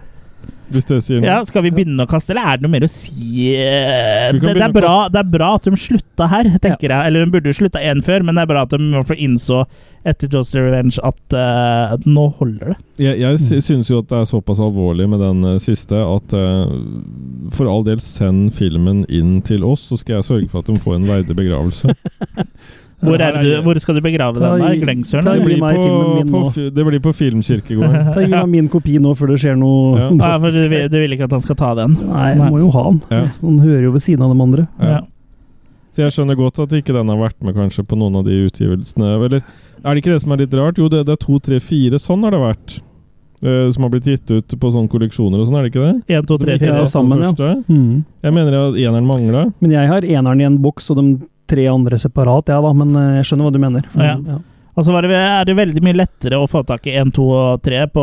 Speaker 2: Hvis det sier noe.
Speaker 1: ja, skal vi begynne å kaste, eller er det noe mer å si? eh,
Speaker 2: Vi
Speaker 1: Det, det,
Speaker 2: kan begynne å
Speaker 1: er bra, det er bra at de slutta her, tenker jeg. Eller de burde jo slutta én før, men det er bra at de i hvert fall innså etter Joss Revenge at eh, at nå holder det.
Speaker 2: Jeg, jeg sy- syns jo at det er såpass alvorlig med den eh, siste at eh, for all del, send filmen inn til oss, så skal jeg sørge for at de får en verdig
Speaker 3: [laughs]
Speaker 2: begravelse.
Speaker 1: Hvor,
Speaker 2: Ja,
Speaker 1: er det du,
Speaker 2: jeg-
Speaker 1: hvor skal du begrave
Speaker 3: Ta
Speaker 1: den? da?
Speaker 3: i-
Speaker 1: I Glengsølen?
Speaker 3: ta i-
Speaker 1: eller?
Speaker 2: Det blir
Speaker 3: meg
Speaker 2: på,
Speaker 3: filmen min
Speaker 2: på,
Speaker 3: nå.
Speaker 2: fi- det blir på
Speaker 1: [laughs]
Speaker 3: [laughs]
Speaker 2: Filmkirkegården.
Speaker 3: Ta Gi meg min kopi nå før det skjer noe
Speaker 2: Ja.
Speaker 1: Ja, for du,
Speaker 3: drastisk.
Speaker 1: vil- du vil ikke at han skal ta den?
Speaker 3: Nei, jeg må jo ha den.
Speaker 2: Ja.
Speaker 3: Han hører jo ved siden av de andre.
Speaker 2: Ja.
Speaker 1: Ja.
Speaker 2: Så jeg skjønner godt at ikke den har vært med kanskje på noen av de utgivelsene. Eller er det ikke det som er litt rart? Jo, det, det er to, tre, fire. Sånn har det vært. Eh, som har blitt gitt ut på sånne kolleksjoner og sånn, er det ikke det?
Speaker 1: 1, 2, 3,
Speaker 3: Ja,
Speaker 1: 4.
Speaker 2: Ikke det
Speaker 3: sammen, ja.
Speaker 2: første? Jeg mener at eneren mangla.
Speaker 3: Men jeg har eneren i en boks og de tre andre separat, ja da. Men eh, jeg skjønner hva du mener.
Speaker 1: Ja. Og så var det, er det veldig mye lettere å få tak i 1, 2 og 3 på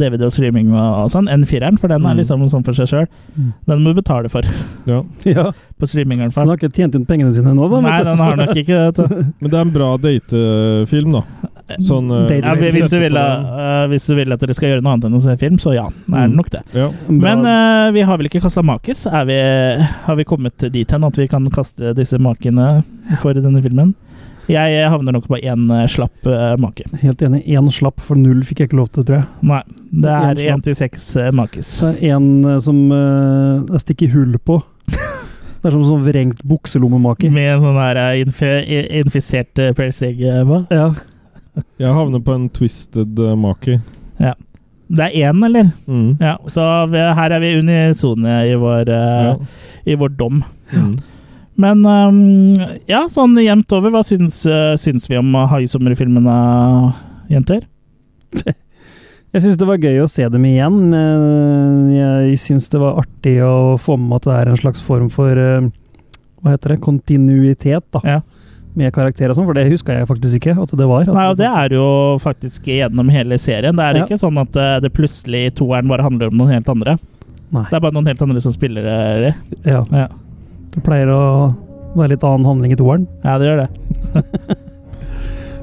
Speaker 1: DVD og streaming og sånn, enn 4-eren, for den er
Speaker 2: Mm.
Speaker 1: liksom sånn for seg sjøl.
Speaker 3: Mm.
Speaker 1: Den må du betale for, [laughs]
Speaker 2: Ja.
Speaker 3: Ja.
Speaker 1: på streaming i hvert
Speaker 3: Han
Speaker 1: fall.
Speaker 3: har ikke tjent inn pengene sine ennå, da.
Speaker 1: Nei, den har
Speaker 3: [laughs]
Speaker 1: nok ikke det.
Speaker 2: Men det er en bra datefilm, da. Sånn eh,
Speaker 3: Date-
Speaker 1: Ja, hvis- hvis, du vil, eh, hvis du vil at dere skal gjøre noe annet enn å se film, så ja, er
Speaker 3: Mm.
Speaker 1: det nok det.
Speaker 2: Ja.
Speaker 1: Men eh, vi har vel ikke kasta makis? Er vi, har vi kommet dit hen at vi kan kaste disse makene for denne filmen? Jeg havner nok på én eh, slapp eh, make.
Speaker 3: Helt enig. Én slapp for null fikk jeg ikke lov til, tror jeg.
Speaker 1: Nei, det er
Speaker 3: En
Speaker 1: én til seks eh, makis.
Speaker 3: Så er én eh, som eh, jeg stikker hull på. Det er som sånn vrengt bukselommemake.
Speaker 1: Med en sånn her eh, infi i- infisert eh, Per Sig eh, hva?
Speaker 3: Ja.
Speaker 2: Jeg havner på en twisted uh, maki.
Speaker 1: Det er én, eller?
Speaker 2: Mm.
Speaker 1: Ja, så vi, her er vi unisone i vår, eh,
Speaker 2: Ja.
Speaker 1: i vår dom.
Speaker 2: Mm.
Speaker 1: Men ehm, ja, sånn jevnt over, hva syns, eh, syns vi om haisommerfilmene, jenter?
Speaker 3: Jeg syns det var gøy å se dem igjen. Eh, Jeg syns det var artig å få med meg at det er en slags form for eh, Hva heter det? Kontinuitet, da.
Speaker 1: Ja.
Speaker 3: Med karakterer og sånn, for det huska jeg faktisk ikke at det var. At
Speaker 1: Nei, og det er jo faktisk gjennom hele serien. Det er
Speaker 3: Ja.
Speaker 1: ikke sånn at eh, det plutselig i toeren bare handler om noen helt andre.
Speaker 3: Nei.
Speaker 1: Det er bare noen helt andre som spiller eh, i.
Speaker 3: Ja,
Speaker 1: Ja.
Speaker 3: det pleier å være litt annen handling i toeren.
Speaker 1: ja, det gjør det.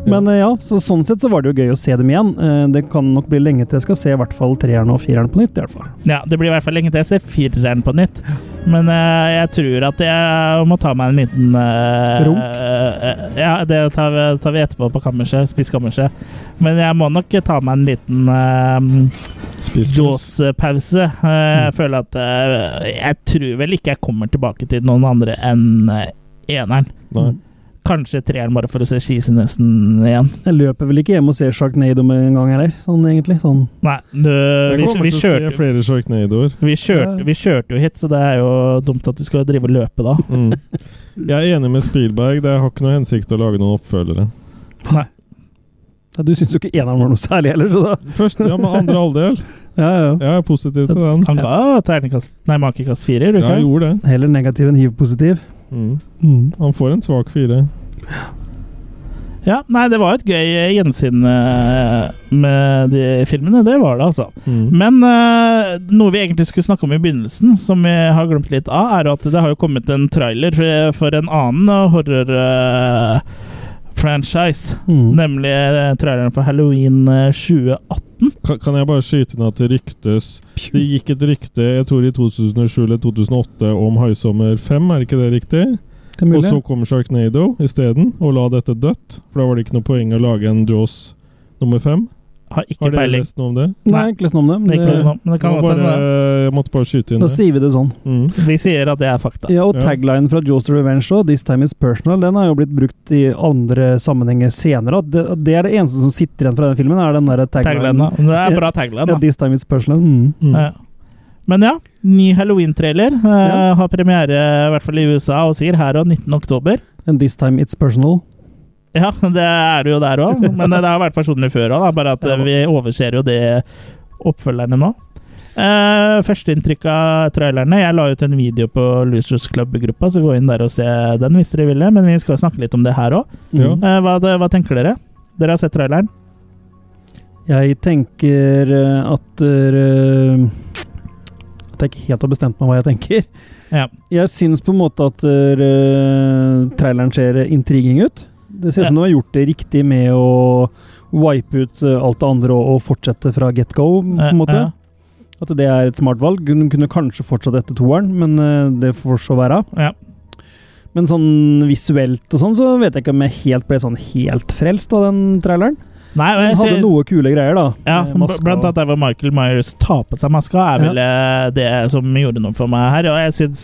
Speaker 3: Men eh, ja, så sånn sett så var det jo gøy å se dem igjen. Eh, Det kan nok bli lenge til jeg skal se i hvert fall treeren og fireren på nytt. i hvert fall.
Speaker 1: Ja, Det blir i hvert fall lenge til jeg ser fireren på nytt. Men eh, jeg tror at jeg må ta meg en liten eh,
Speaker 3: Runk?
Speaker 1: eh, ja, det tar vi, tar vi etterpå på kammerset. Spiskammerset. Men jeg må nok ta meg en liten eh,
Speaker 2: Spis Mm.
Speaker 1: Jaws-pause. Eh, Jeg føler at eh, Jeg tror vel ikke jeg kommer tilbake til noen andre enn eh, eneren.
Speaker 2: Nei.
Speaker 1: Kanskje treeren, bare for å se skisenesen igjen.
Speaker 3: Jeg løper vel ikke hjem og ser Sharknado med en gang heller, sånn egentlig. sånn.
Speaker 1: Nei, du,
Speaker 2: Jeg
Speaker 1: vi,
Speaker 2: kommer
Speaker 1: vi,
Speaker 2: til å se
Speaker 1: kjørte,
Speaker 2: flere sjarknadoer.
Speaker 1: vi, kjørte, vi kjørte jo hit, så det er jo dumt at du skal drive og løpe da.
Speaker 2: Mm. Jeg er enig med Spielberg. Det har ikke noe hensikt å lage noen oppfølgere.
Speaker 3: Ja, du syns jo ikke eneren var noe særlig heller, så da
Speaker 2: Første, ja, men andre halvdel.
Speaker 3: ja, ja.
Speaker 2: Jeg er positiv til den.
Speaker 1: Han ga terningkast Nei, makekast fire, gjorde
Speaker 2: Ja,
Speaker 1: du
Speaker 2: jeg
Speaker 1: ikke?
Speaker 2: gjorde det.
Speaker 3: Heller negativ enn hiv-positiv.
Speaker 2: Mm. Han får en svak fire.
Speaker 1: Ja, nei, det var et gøy eh, gjensyn eh, med de filmene. Det var det, altså.
Speaker 2: Mm.
Speaker 1: Men eh, noe vi egentlig skulle snakke om i begynnelsen, som vi har glemt litt av, er jo at det har jo kommet en trailer for, for en annen eh, horror-franchise.
Speaker 3: Mm.
Speaker 1: Nemlig eh, traileren for Halloween eh, 2018.
Speaker 2: Kan, kan jeg bare skyte inn at det ryktes Det gikk et rykte, jeg tror i 2007 eller 2008, om Haisommer 5, er ikke det riktig?
Speaker 3: Det er
Speaker 2: Og
Speaker 3: mulig.
Speaker 2: så kom Sharknado isteden, og la dette dødt. For da var det ikke noe poeng å lage en Jaws nummer fem.
Speaker 1: Har ikke
Speaker 2: Har dere
Speaker 1: peiling.
Speaker 2: lest noe om det?
Speaker 3: Nei, ikke lest noe om det.
Speaker 1: Det er
Speaker 3: Men
Speaker 1: ikke noe
Speaker 3: det,
Speaker 1: sånn, men det kan
Speaker 2: Jeg, må
Speaker 1: godt
Speaker 2: bare,
Speaker 1: hende.
Speaker 2: jeg måtte bare skyte inn
Speaker 3: da
Speaker 2: det.
Speaker 3: sier vi det sånn.
Speaker 2: Mm.
Speaker 1: Vi sier at det er fakta.
Speaker 3: Ja, og
Speaker 2: Ja.
Speaker 3: taglinen fra Jaws the Revenge òg, 'This time is personal', den har jo blitt brukt i andre sammenhenger senere. og Det, det er det eneste som sitter igjen fra den filmen, er den derre
Speaker 1: Taglinen,
Speaker 3: taglinen.
Speaker 1: da. Det er bra tagline, da.
Speaker 3: Ja, 'This time is personal'. Mm.
Speaker 2: Mm.
Speaker 1: Ja. Men ja, ny Halloween-trailer eh,
Speaker 3: Ja.
Speaker 1: har premiere i hvert fall i USA og sier her og 19. oktober.
Speaker 3: And 'This time it's personal'.
Speaker 1: Ja, det er det jo der
Speaker 3: [laughs]
Speaker 1: òg, men det har vært personlig før òg, bare at eh, vi overser jo det oppfølgerne nå. Uh, Førsteinntrykk av trailerne. Jeg la ut en video på Losers Club-gruppa, så gå inn der og se den hvis dere vil det. Men vi skal jo snakke litt om det her òg.
Speaker 3: Mm.
Speaker 2: Ja.
Speaker 1: hva, hva tenker dere? Dere har sett traileren?
Speaker 3: Jeg tenker eh, at eh, At jeg ikke helt har bestemt meg hva jeg tenker.
Speaker 1: Ja.
Speaker 3: Jeg syns på en måte at eh, traileren ser intriguing ut. Det ser ut som de har gjort det riktig med å wipe ut eh, alt det andre og, og fortsette fra get go, på
Speaker 1: Eh,
Speaker 3: en måte.
Speaker 1: eh.
Speaker 3: At det er et smart valg. Hun kunne kanskje fortsatt etter toeren, men eh, det får så være.
Speaker 1: Ja.
Speaker 3: Men sånn visuelt og sånn, så vet jeg ikke om jeg helt ble sånn helt frelst av den traileren.
Speaker 1: Nei, og
Speaker 3: Den
Speaker 1: jeg
Speaker 3: hadde
Speaker 1: synes-
Speaker 3: noe kule greier, da.
Speaker 1: Ja,
Speaker 3: med
Speaker 1: bl-
Speaker 3: Eh, maska
Speaker 1: blant
Speaker 3: og-
Speaker 1: annet der hvor Michael Myers tar på seg maska, er vel eh, det som gjorde noe for meg her. Og jeg syns,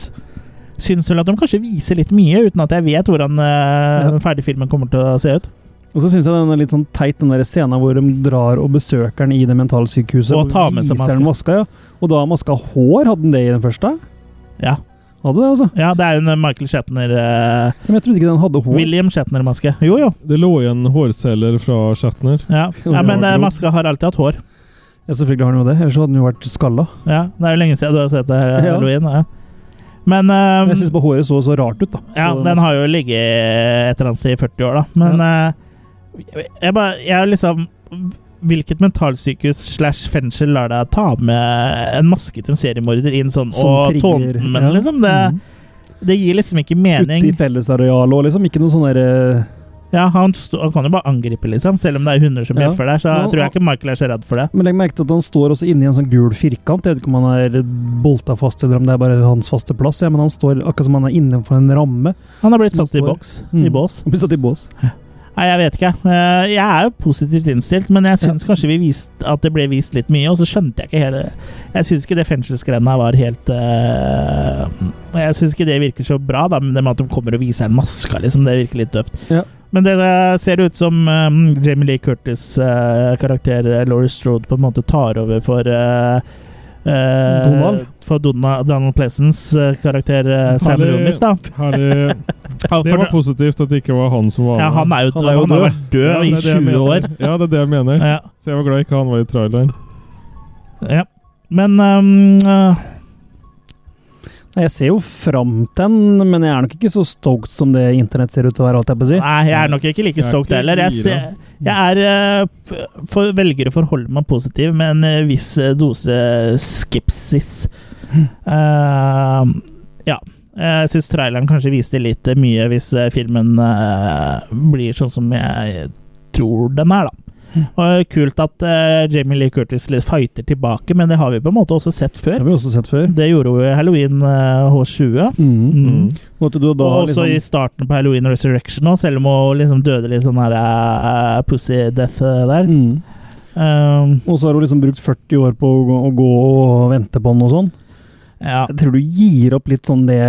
Speaker 1: syns vel at de kanskje viser litt mye, uten at jeg vet hvordan eh,
Speaker 3: Ja.
Speaker 1: den ferdige filmen kommer til å se ut.
Speaker 3: Og så syns jeg den er litt sånn teit, den der scenen hvor de drar og besøker den i det mentalsykehuset.
Speaker 1: Og tar med seg
Speaker 3: viser den maska. Ja. Og da har maska hår, hadde den det i den første?
Speaker 1: Ja,
Speaker 3: Hadde det, altså.
Speaker 1: ja det er jo en Michael Shatner eh,
Speaker 3: Men jeg trodde ikke den hadde hår.
Speaker 1: William Shatner-maske. Jo, jo.
Speaker 2: Det lå igjen hårceller fra Shatner.
Speaker 1: Ja.
Speaker 3: [laughs]
Speaker 1: ja men eh,
Speaker 2: Jo.
Speaker 1: maska har alltid hatt hår.
Speaker 3: Ja, selvfølgelig har den jo det, ellers hadde den jo vært skalla.
Speaker 1: Ja, Det er jo lenge siden du har sett det her,
Speaker 3: Ja.
Speaker 1: Halloween. Ja. Men eh,
Speaker 3: Jeg syns bare håret så så rart ut, da.
Speaker 1: Ja,
Speaker 3: på
Speaker 1: den har jo ligget et eller annet sted i 40 år, da. Men eh, jeg bare Jeg er liksom Hvilket mentalsykehus slash fengsel lar deg ta med en maske til en seriemorder inn sånn
Speaker 3: Som
Speaker 1: og
Speaker 3: trigger,
Speaker 1: tåne
Speaker 3: ja.
Speaker 1: den, liksom? Det,
Speaker 3: Mm.
Speaker 1: det gir liksom ikke mening.
Speaker 3: Ute i fellesarealet og liksom. Ikke noe sånn derre
Speaker 1: Ja, han, sto- han kan jo bare angripe, liksom. Selv om det er hunder som
Speaker 3: Ja.
Speaker 1: bjeffer der, så
Speaker 3: Nå-
Speaker 1: tror jeg ikke Michael er så redd for det.
Speaker 3: Men legg merke til at han står også inni en sånn gul firkant. Jeg vet ikke om han er bolta fast, eller om det er bare hans faste plass. Ja, men han står akkurat som han er innenfor en ramme.
Speaker 1: Han har blitt
Speaker 3: Som
Speaker 1: satt i
Speaker 3: står-
Speaker 1: boks.
Speaker 3: Mm.
Speaker 1: I bås.
Speaker 3: Han blir satt i bås.
Speaker 1: Nei, jeg vet ikke. Eh, Jeg er jo positivt innstilt, men jeg syns kanskje vi viste at det ble vist litt mye, og så skjønte jeg ikke hele Jeg syns ikke det fengselsgreiene her var helt eh, Jeg syns ikke det virker så bra, da, men det med at de kommer og viser en maske, liksom, det virker litt døvt.
Speaker 3: Ja.
Speaker 1: Men det eh, ser ut som eh, Jamie Lee Curtis' eh, karakter eh, Laurie Strode på en måte tar over for eh, eh,
Speaker 3: Donald?
Speaker 1: For Dona, Donald Pleasants eh, karakter eh, Sam
Speaker 2: Herlig-
Speaker 1: Roomis, da.
Speaker 2: herlig-
Speaker 1: [laughs] Ja,
Speaker 2: Det
Speaker 1: for-
Speaker 2: var positivt at det ikke var han som var
Speaker 1: ja, han er jo,
Speaker 3: Han er jo
Speaker 1: han har
Speaker 3: død.
Speaker 1: vært død
Speaker 2: Ja, det er
Speaker 1: i
Speaker 2: det jeg
Speaker 1: 20
Speaker 2: mener.
Speaker 1: år.
Speaker 2: Ja, det er det jeg mener.
Speaker 1: Ja,
Speaker 2: Så jeg var glad ikke han var i traileren.
Speaker 1: ja. Men ehm, eh,
Speaker 3: Nei, Jeg ser jo fram til den, men jeg er nok ikke så stoked som det internett ser ut til å være. alt jeg på å si.
Speaker 1: Nei, jeg er nok ikke like
Speaker 2: Jeg er
Speaker 1: stoked
Speaker 2: ikke
Speaker 1: heller. Jeg,
Speaker 2: gira.
Speaker 1: ser, jeg er eh, f- for, velger å forholde meg positiv med en eh, viss eh, dose skepsis. Eh, ja. Jeg syns traileren kanskje viste litt eh, mye hvis eh, filmen eh, blir sånn som jeg tror den er, da. Og eh, kult at eh, Jamie Lee Curtis litt fighter tilbake, men det har vi på en måte også sett
Speaker 3: Det
Speaker 1: før.
Speaker 3: har vi også sett før.
Speaker 1: Det gjorde jo i Halloween eh, H20.
Speaker 3: Mm.
Speaker 1: Mm.
Speaker 3: Måtte du da
Speaker 1: Og også i
Speaker 3: liksom,
Speaker 1: starten på Halloween Resurrection òg, selv om hun liksom døde litt sånn her eh, pussy death eh, der.
Speaker 3: mm.
Speaker 1: Um,
Speaker 3: Og så har hun liksom brukt 40 år på å gå, å gå og vente på den og sånn.
Speaker 1: ja.
Speaker 3: Jeg tror du gir opp litt sånn det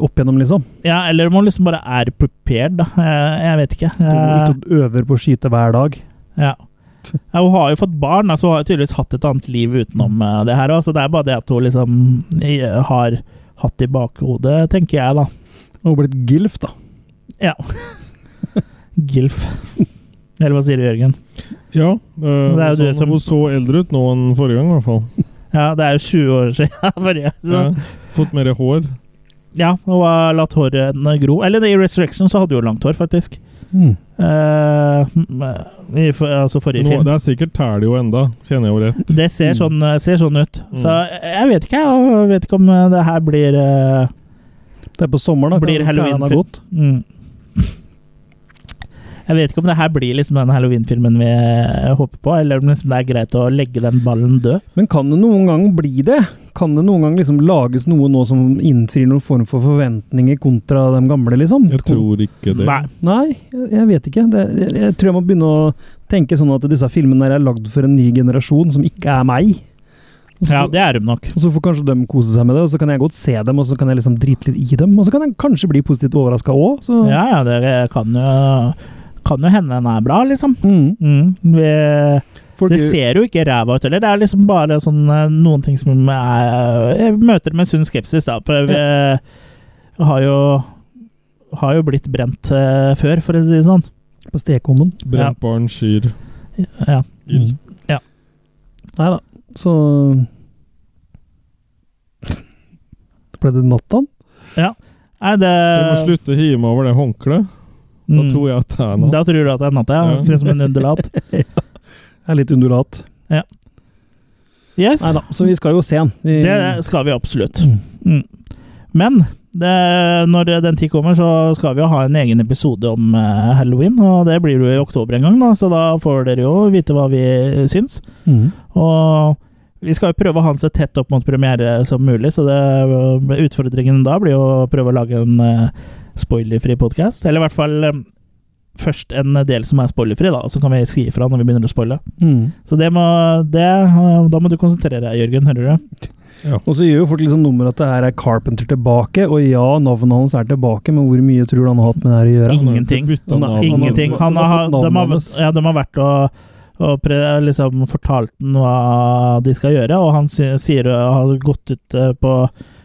Speaker 3: opp igjennom, liksom.
Speaker 1: ja, eller om hun liksom bare er prepared, da. Jeg, jeg vet ikke.
Speaker 3: Du er
Speaker 1: Eh,
Speaker 3: ute og øver på å skyte hver dag.
Speaker 1: ja. Ja, hun har jo fått barn, da, så hun har jo tydeligvis hatt et annet liv utenom
Speaker 3: Mm.
Speaker 1: eh, det her òg. Så det er bare det at hun liksom eh, har hatt i bakhodet, tenker jeg, da.
Speaker 3: Og blitt gilf, da. [laughs]
Speaker 1: Ja. Gilf. Eller hva sier du, Jørgen?
Speaker 2: Ja, øh,
Speaker 1: Det er jo
Speaker 2: sånn,
Speaker 1: du som-
Speaker 2: Hun så eldre ut nå enn forrige gang, i hvert fall.
Speaker 1: Ja, det er jo 20 år siden [laughs] forrige. Så.
Speaker 2: Ja. Fått mer hår.
Speaker 1: Ja, og har latt håret gro. Eller i Resurrection så hadde hun jo langt hår, faktisk.
Speaker 2: Mm.
Speaker 1: Eh, m- i, for, altså forrige
Speaker 2: Nå,
Speaker 1: film.
Speaker 2: det Mm. er sikkert tæler jo enda, kjenner jeg jo rett.
Speaker 1: Det ser sånn, ser sånn ut.
Speaker 2: Mm.
Speaker 1: Så jeg vet ikke, jeg vet ikke om det her blir eh,
Speaker 3: Det er på sommeren, da.
Speaker 1: Blir
Speaker 3: Kan-
Speaker 1: Halloween
Speaker 3: kan hende
Speaker 1: fri.
Speaker 3: godt.
Speaker 1: mm. Jeg vet ikke om det her blir liksom den halloweenfilmen vi eh, håper på, eller om liksom det er greit å legge den ballen død.
Speaker 3: Men kan det noen gang bli det? Kan det noen gang liksom lages noe nå som innfrir noen form for forventninger kontra de gamle, liksom?
Speaker 2: Jeg tror ikke det.
Speaker 1: Nei.
Speaker 3: Nei, jeg jeg vet ikke. Det, jeg, jeg tror jeg må begynne å tenke sånn at disse filmene her er lagd for en ny generasjon som ikke er meg. Og så,
Speaker 1: Ja,
Speaker 3: får-
Speaker 1: det er hun nok.
Speaker 3: og så får kanskje de kose seg med det, og så kan jeg godt se dem, og så kan jeg liksom drite litt i dem. Og så kan jeg kanskje bli positivt overraska òg. Så
Speaker 1: Ja, ja, det kan jo, kan jo hende den er bra, liksom.
Speaker 3: mm,
Speaker 1: Mm. Vi
Speaker 3: folk,
Speaker 1: Det ser jo ikke ræva ut heller. Det er liksom bare sånn eh, noen ting som er, eh, jeg møter med sunn skepsis, da. For vi har jo har jo blitt brent eh, før, for å si det sånn.
Speaker 3: på stekeovnen.
Speaker 1: Ja. Mm.
Speaker 2: Brent barn skyr
Speaker 1: Ja.
Speaker 2: ild.
Speaker 3: Nei da, så [laughs] Ble det nattan?
Speaker 1: Nei, det
Speaker 2: Du må slutte å hive meg over det håndkleet. Da
Speaker 1: Eh, Mm.
Speaker 2: tror jeg at det er noe.
Speaker 1: Da tror du at det er natta, ja.
Speaker 2: Ja.
Speaker 1: Akkurat som en undulat.
Speaker 3: Jeg er litt undulat.
Speaker 1: Yes,
Speaker 3: Nei da, så vi skal jo se den. Vi,
Speaker 1: det skal vi absolutt. Mm. Men det, når den tid kommer, så skal vi jo ha en egen episode om eh, halloween. Og det blir jo i oktober en gang, da, så da får dere jo vite hva vi syns.
Speaker 3: Mm.
Speaker 1: Og vi skal jo prøve å ha den så tett opp mot premiere som mulig, så det, utfordringen da blir jo å prøve å lage en eh, spoilerfri podkast. Eller i hvert fall eh, først en del som er spoilerfri, da, så kan vi si ifra når vi begynner å spoile.
Speaker 3: Mm.
Speaker 1: Så det må det, eh, Da må du konsentrere deg, Jørgen. Hører du?
Speaker 3: Og så gjør jo folk liksom nummer at det her er Carpenter tilbake, og ja, navnet hans er tilbake, men hvor mye tror du han har hatt med det her å gjøre?
Speaker 1: Ingen- Ingenting.
Speaker 2: Bytta
Speaker 3: Nei,
Speaker 2: navn.
Speaker 1: Ingenting. Han har,
Speaker 3: Han har fått
Speaker 1: de,
Speaker 3: navnet
Speaker 1: har,
Speaker 3: hans.
Speaker 1: ja, de har vært og, og pre, liksom fortalt den hva de skal gjøre, og han sy- sier og har gått ut eh, på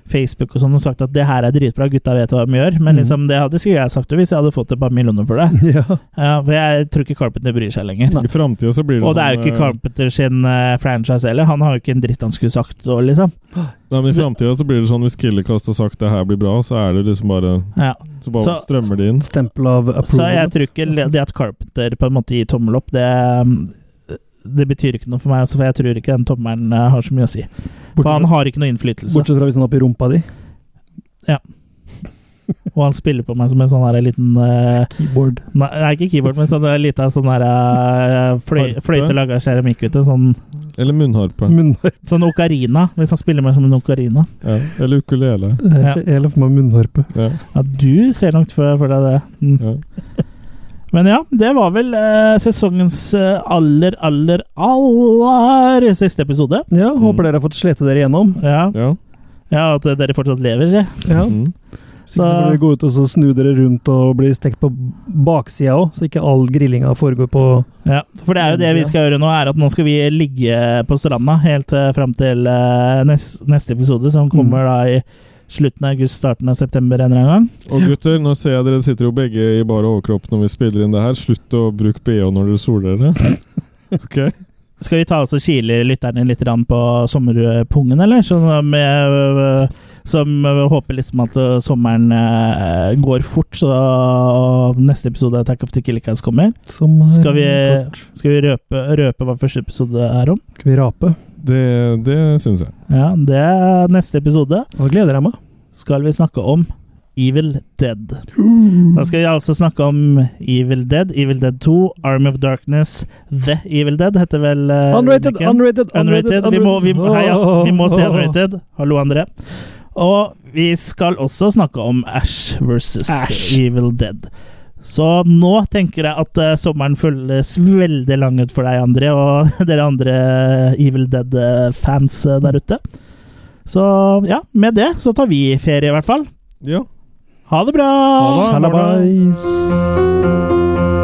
Speaker 1: Facebook og sånn og sagt at det her er dritbra, gutta vet hva de gjør. Men
Speaker 3: Mhm.
Speaker 1: liksom, det hadde sikkert jeg sagt det hvis jeg hadde fått et par millioner for det.
Speaker 3: [laughs] Ja.
Speaker 1: Ja, for jeg tror ikke Carpenter bryr seg lenger.
Speaker 2: I framtida så blir det
Speaker 1: Og det er jo
Speaker 2: sånn,
Speaker 1: ikke
Speaker 2: eh,
Speaker 1: Carpenter sin eh, franchise heller. Han har jo ikke en dritt han skulle sagt. Og liksom.
Speaker 2: Nei, men I framtida så blir det sånn hvis Killekast har sagt det her blir bra, så er det liksom bare
Speaker 1: ja.
Speaker 2: Så bare
Speaker 1: Så-
Speaker 2: strømmer det inn.
Speaker 3: Stempel av
Speaker 1: Så jeg
Speaker 3: approval.
Speaker 1: tror ikke le- det at Carpenter på en måte gir tommel opp, det, eh, det betyr ikke noe for meg. altså, For jeg tror ikke den tommelen eh, har så mye å si. For han
Speaker 3: Bortsett,
Speaker 1: har ikke noe innflytelse.
Speaker 3: bortsett fra hvis han har oppi rumpa di.
Speaker 1: Og han spiller på meg som en sånn her liten eh,
Speaker 3: Keyboard.
Speaker 1: Nei, nei, ikke keyboard, men sånn en liten sånn her eh, fløy,
Speaker 2: Harpe.
Speaker 1: fløyte laga av keramikk. vet du, Sånn,
Speaker 2: Eller munnharpe.
Speaker 3: Munnhår.
Speaker 1: sånn okarina, hvis han spiller meg som en okarina.
Speaker 2: Ja. Eller ukulele.
Speaker 1: Ja.
Speaker 3: Jeg er litt for meg munnharpe.
Speaker 2: Ja.
Speaker 1: Ja, du ser langt for, for deg det. Mm.
Speaker 2: Ja.
Speaker 1: Men ja, det var vel eh, sesongens eh, aller, aller, aller siste episode.
Speaker 3: Ja,
Speaker 1: Mm.
Speaker 3: håper dere har fått slete dere igjennom.
Speaker 1: Ja,
Speaker 2: ja.
Speaker 1: ja at dere fortsatt lever, sier jeg.
Speaker 3: Ja.
Speaker 2: Mm.
Speaker 3: Så ikke så får dere gå ut og så snu dere rundt og bli stekt på baksida òg, så ikke all grillinga foregår på
Speaker 1: Ja, for det er jo det vi skal gjøre nå, er at nå skal vi ligge på stranda helt uh, fram til eh, nes- neste episode,
Speaker 3: Mm.
Speaker 1: som kommer da i slutten av august, starten av september en eller annen gang.
Speaker 2: Og gutter, nå ser jeg dere sitter jo begge i bar overkropp når vi spiller inn det her. Slutt å bruke BH når dere soler dere. Ok?
Speaker 1: Skal vi ta oss og kile lytterne litt grann på sommerpungen, eller? Som, eh, som håper liksom at eh, sommeren eh, går fort, så neste episode av Attack of the Killicas kommer.
Speaker 3: som eh,
Speaker 1: Skal vi, skal vi røpe, røpe hva første episode er om?
Speaker 3: Skal vi rape?
Speaker 2: Det, det syns jeg.
Speaker 1: Ja, det er neste episode.
Speaker 3: Da gleder jeg meg.
Speaker 1: skal vi snakke om Evil Dead. Da skal vi altså snakke om Evil Dead, Evil Dead 2, Army of Darkness, The Evil Dead heter vel eh,
Speaker 3: Unrated,
Speaker 1: rubrikken.
Speaker 3: unrated,
Speaker 1: Unrated. Vi må, vi, må- hei, ja, vi må
Speaker 3: [laughs]
Speaker 1: se Unrated. Hallo, André. Og vi skal også snakke om Ash versus
Speaker 3: Ash.
Speaker 1: Evil Dead. Så nå tenker jeg at eh, sommeren føles veldig lang ut for deg, André, og [laughs] dere andre eh, Evil Dead-fans eh, der ute. Så ja, med det så tar vi ferie, i hvert fall.
Speaker 2: Ja.
Speaker 1: Ha det bra!
Speaker 2: Ha det.
Speaker 3: Halabais.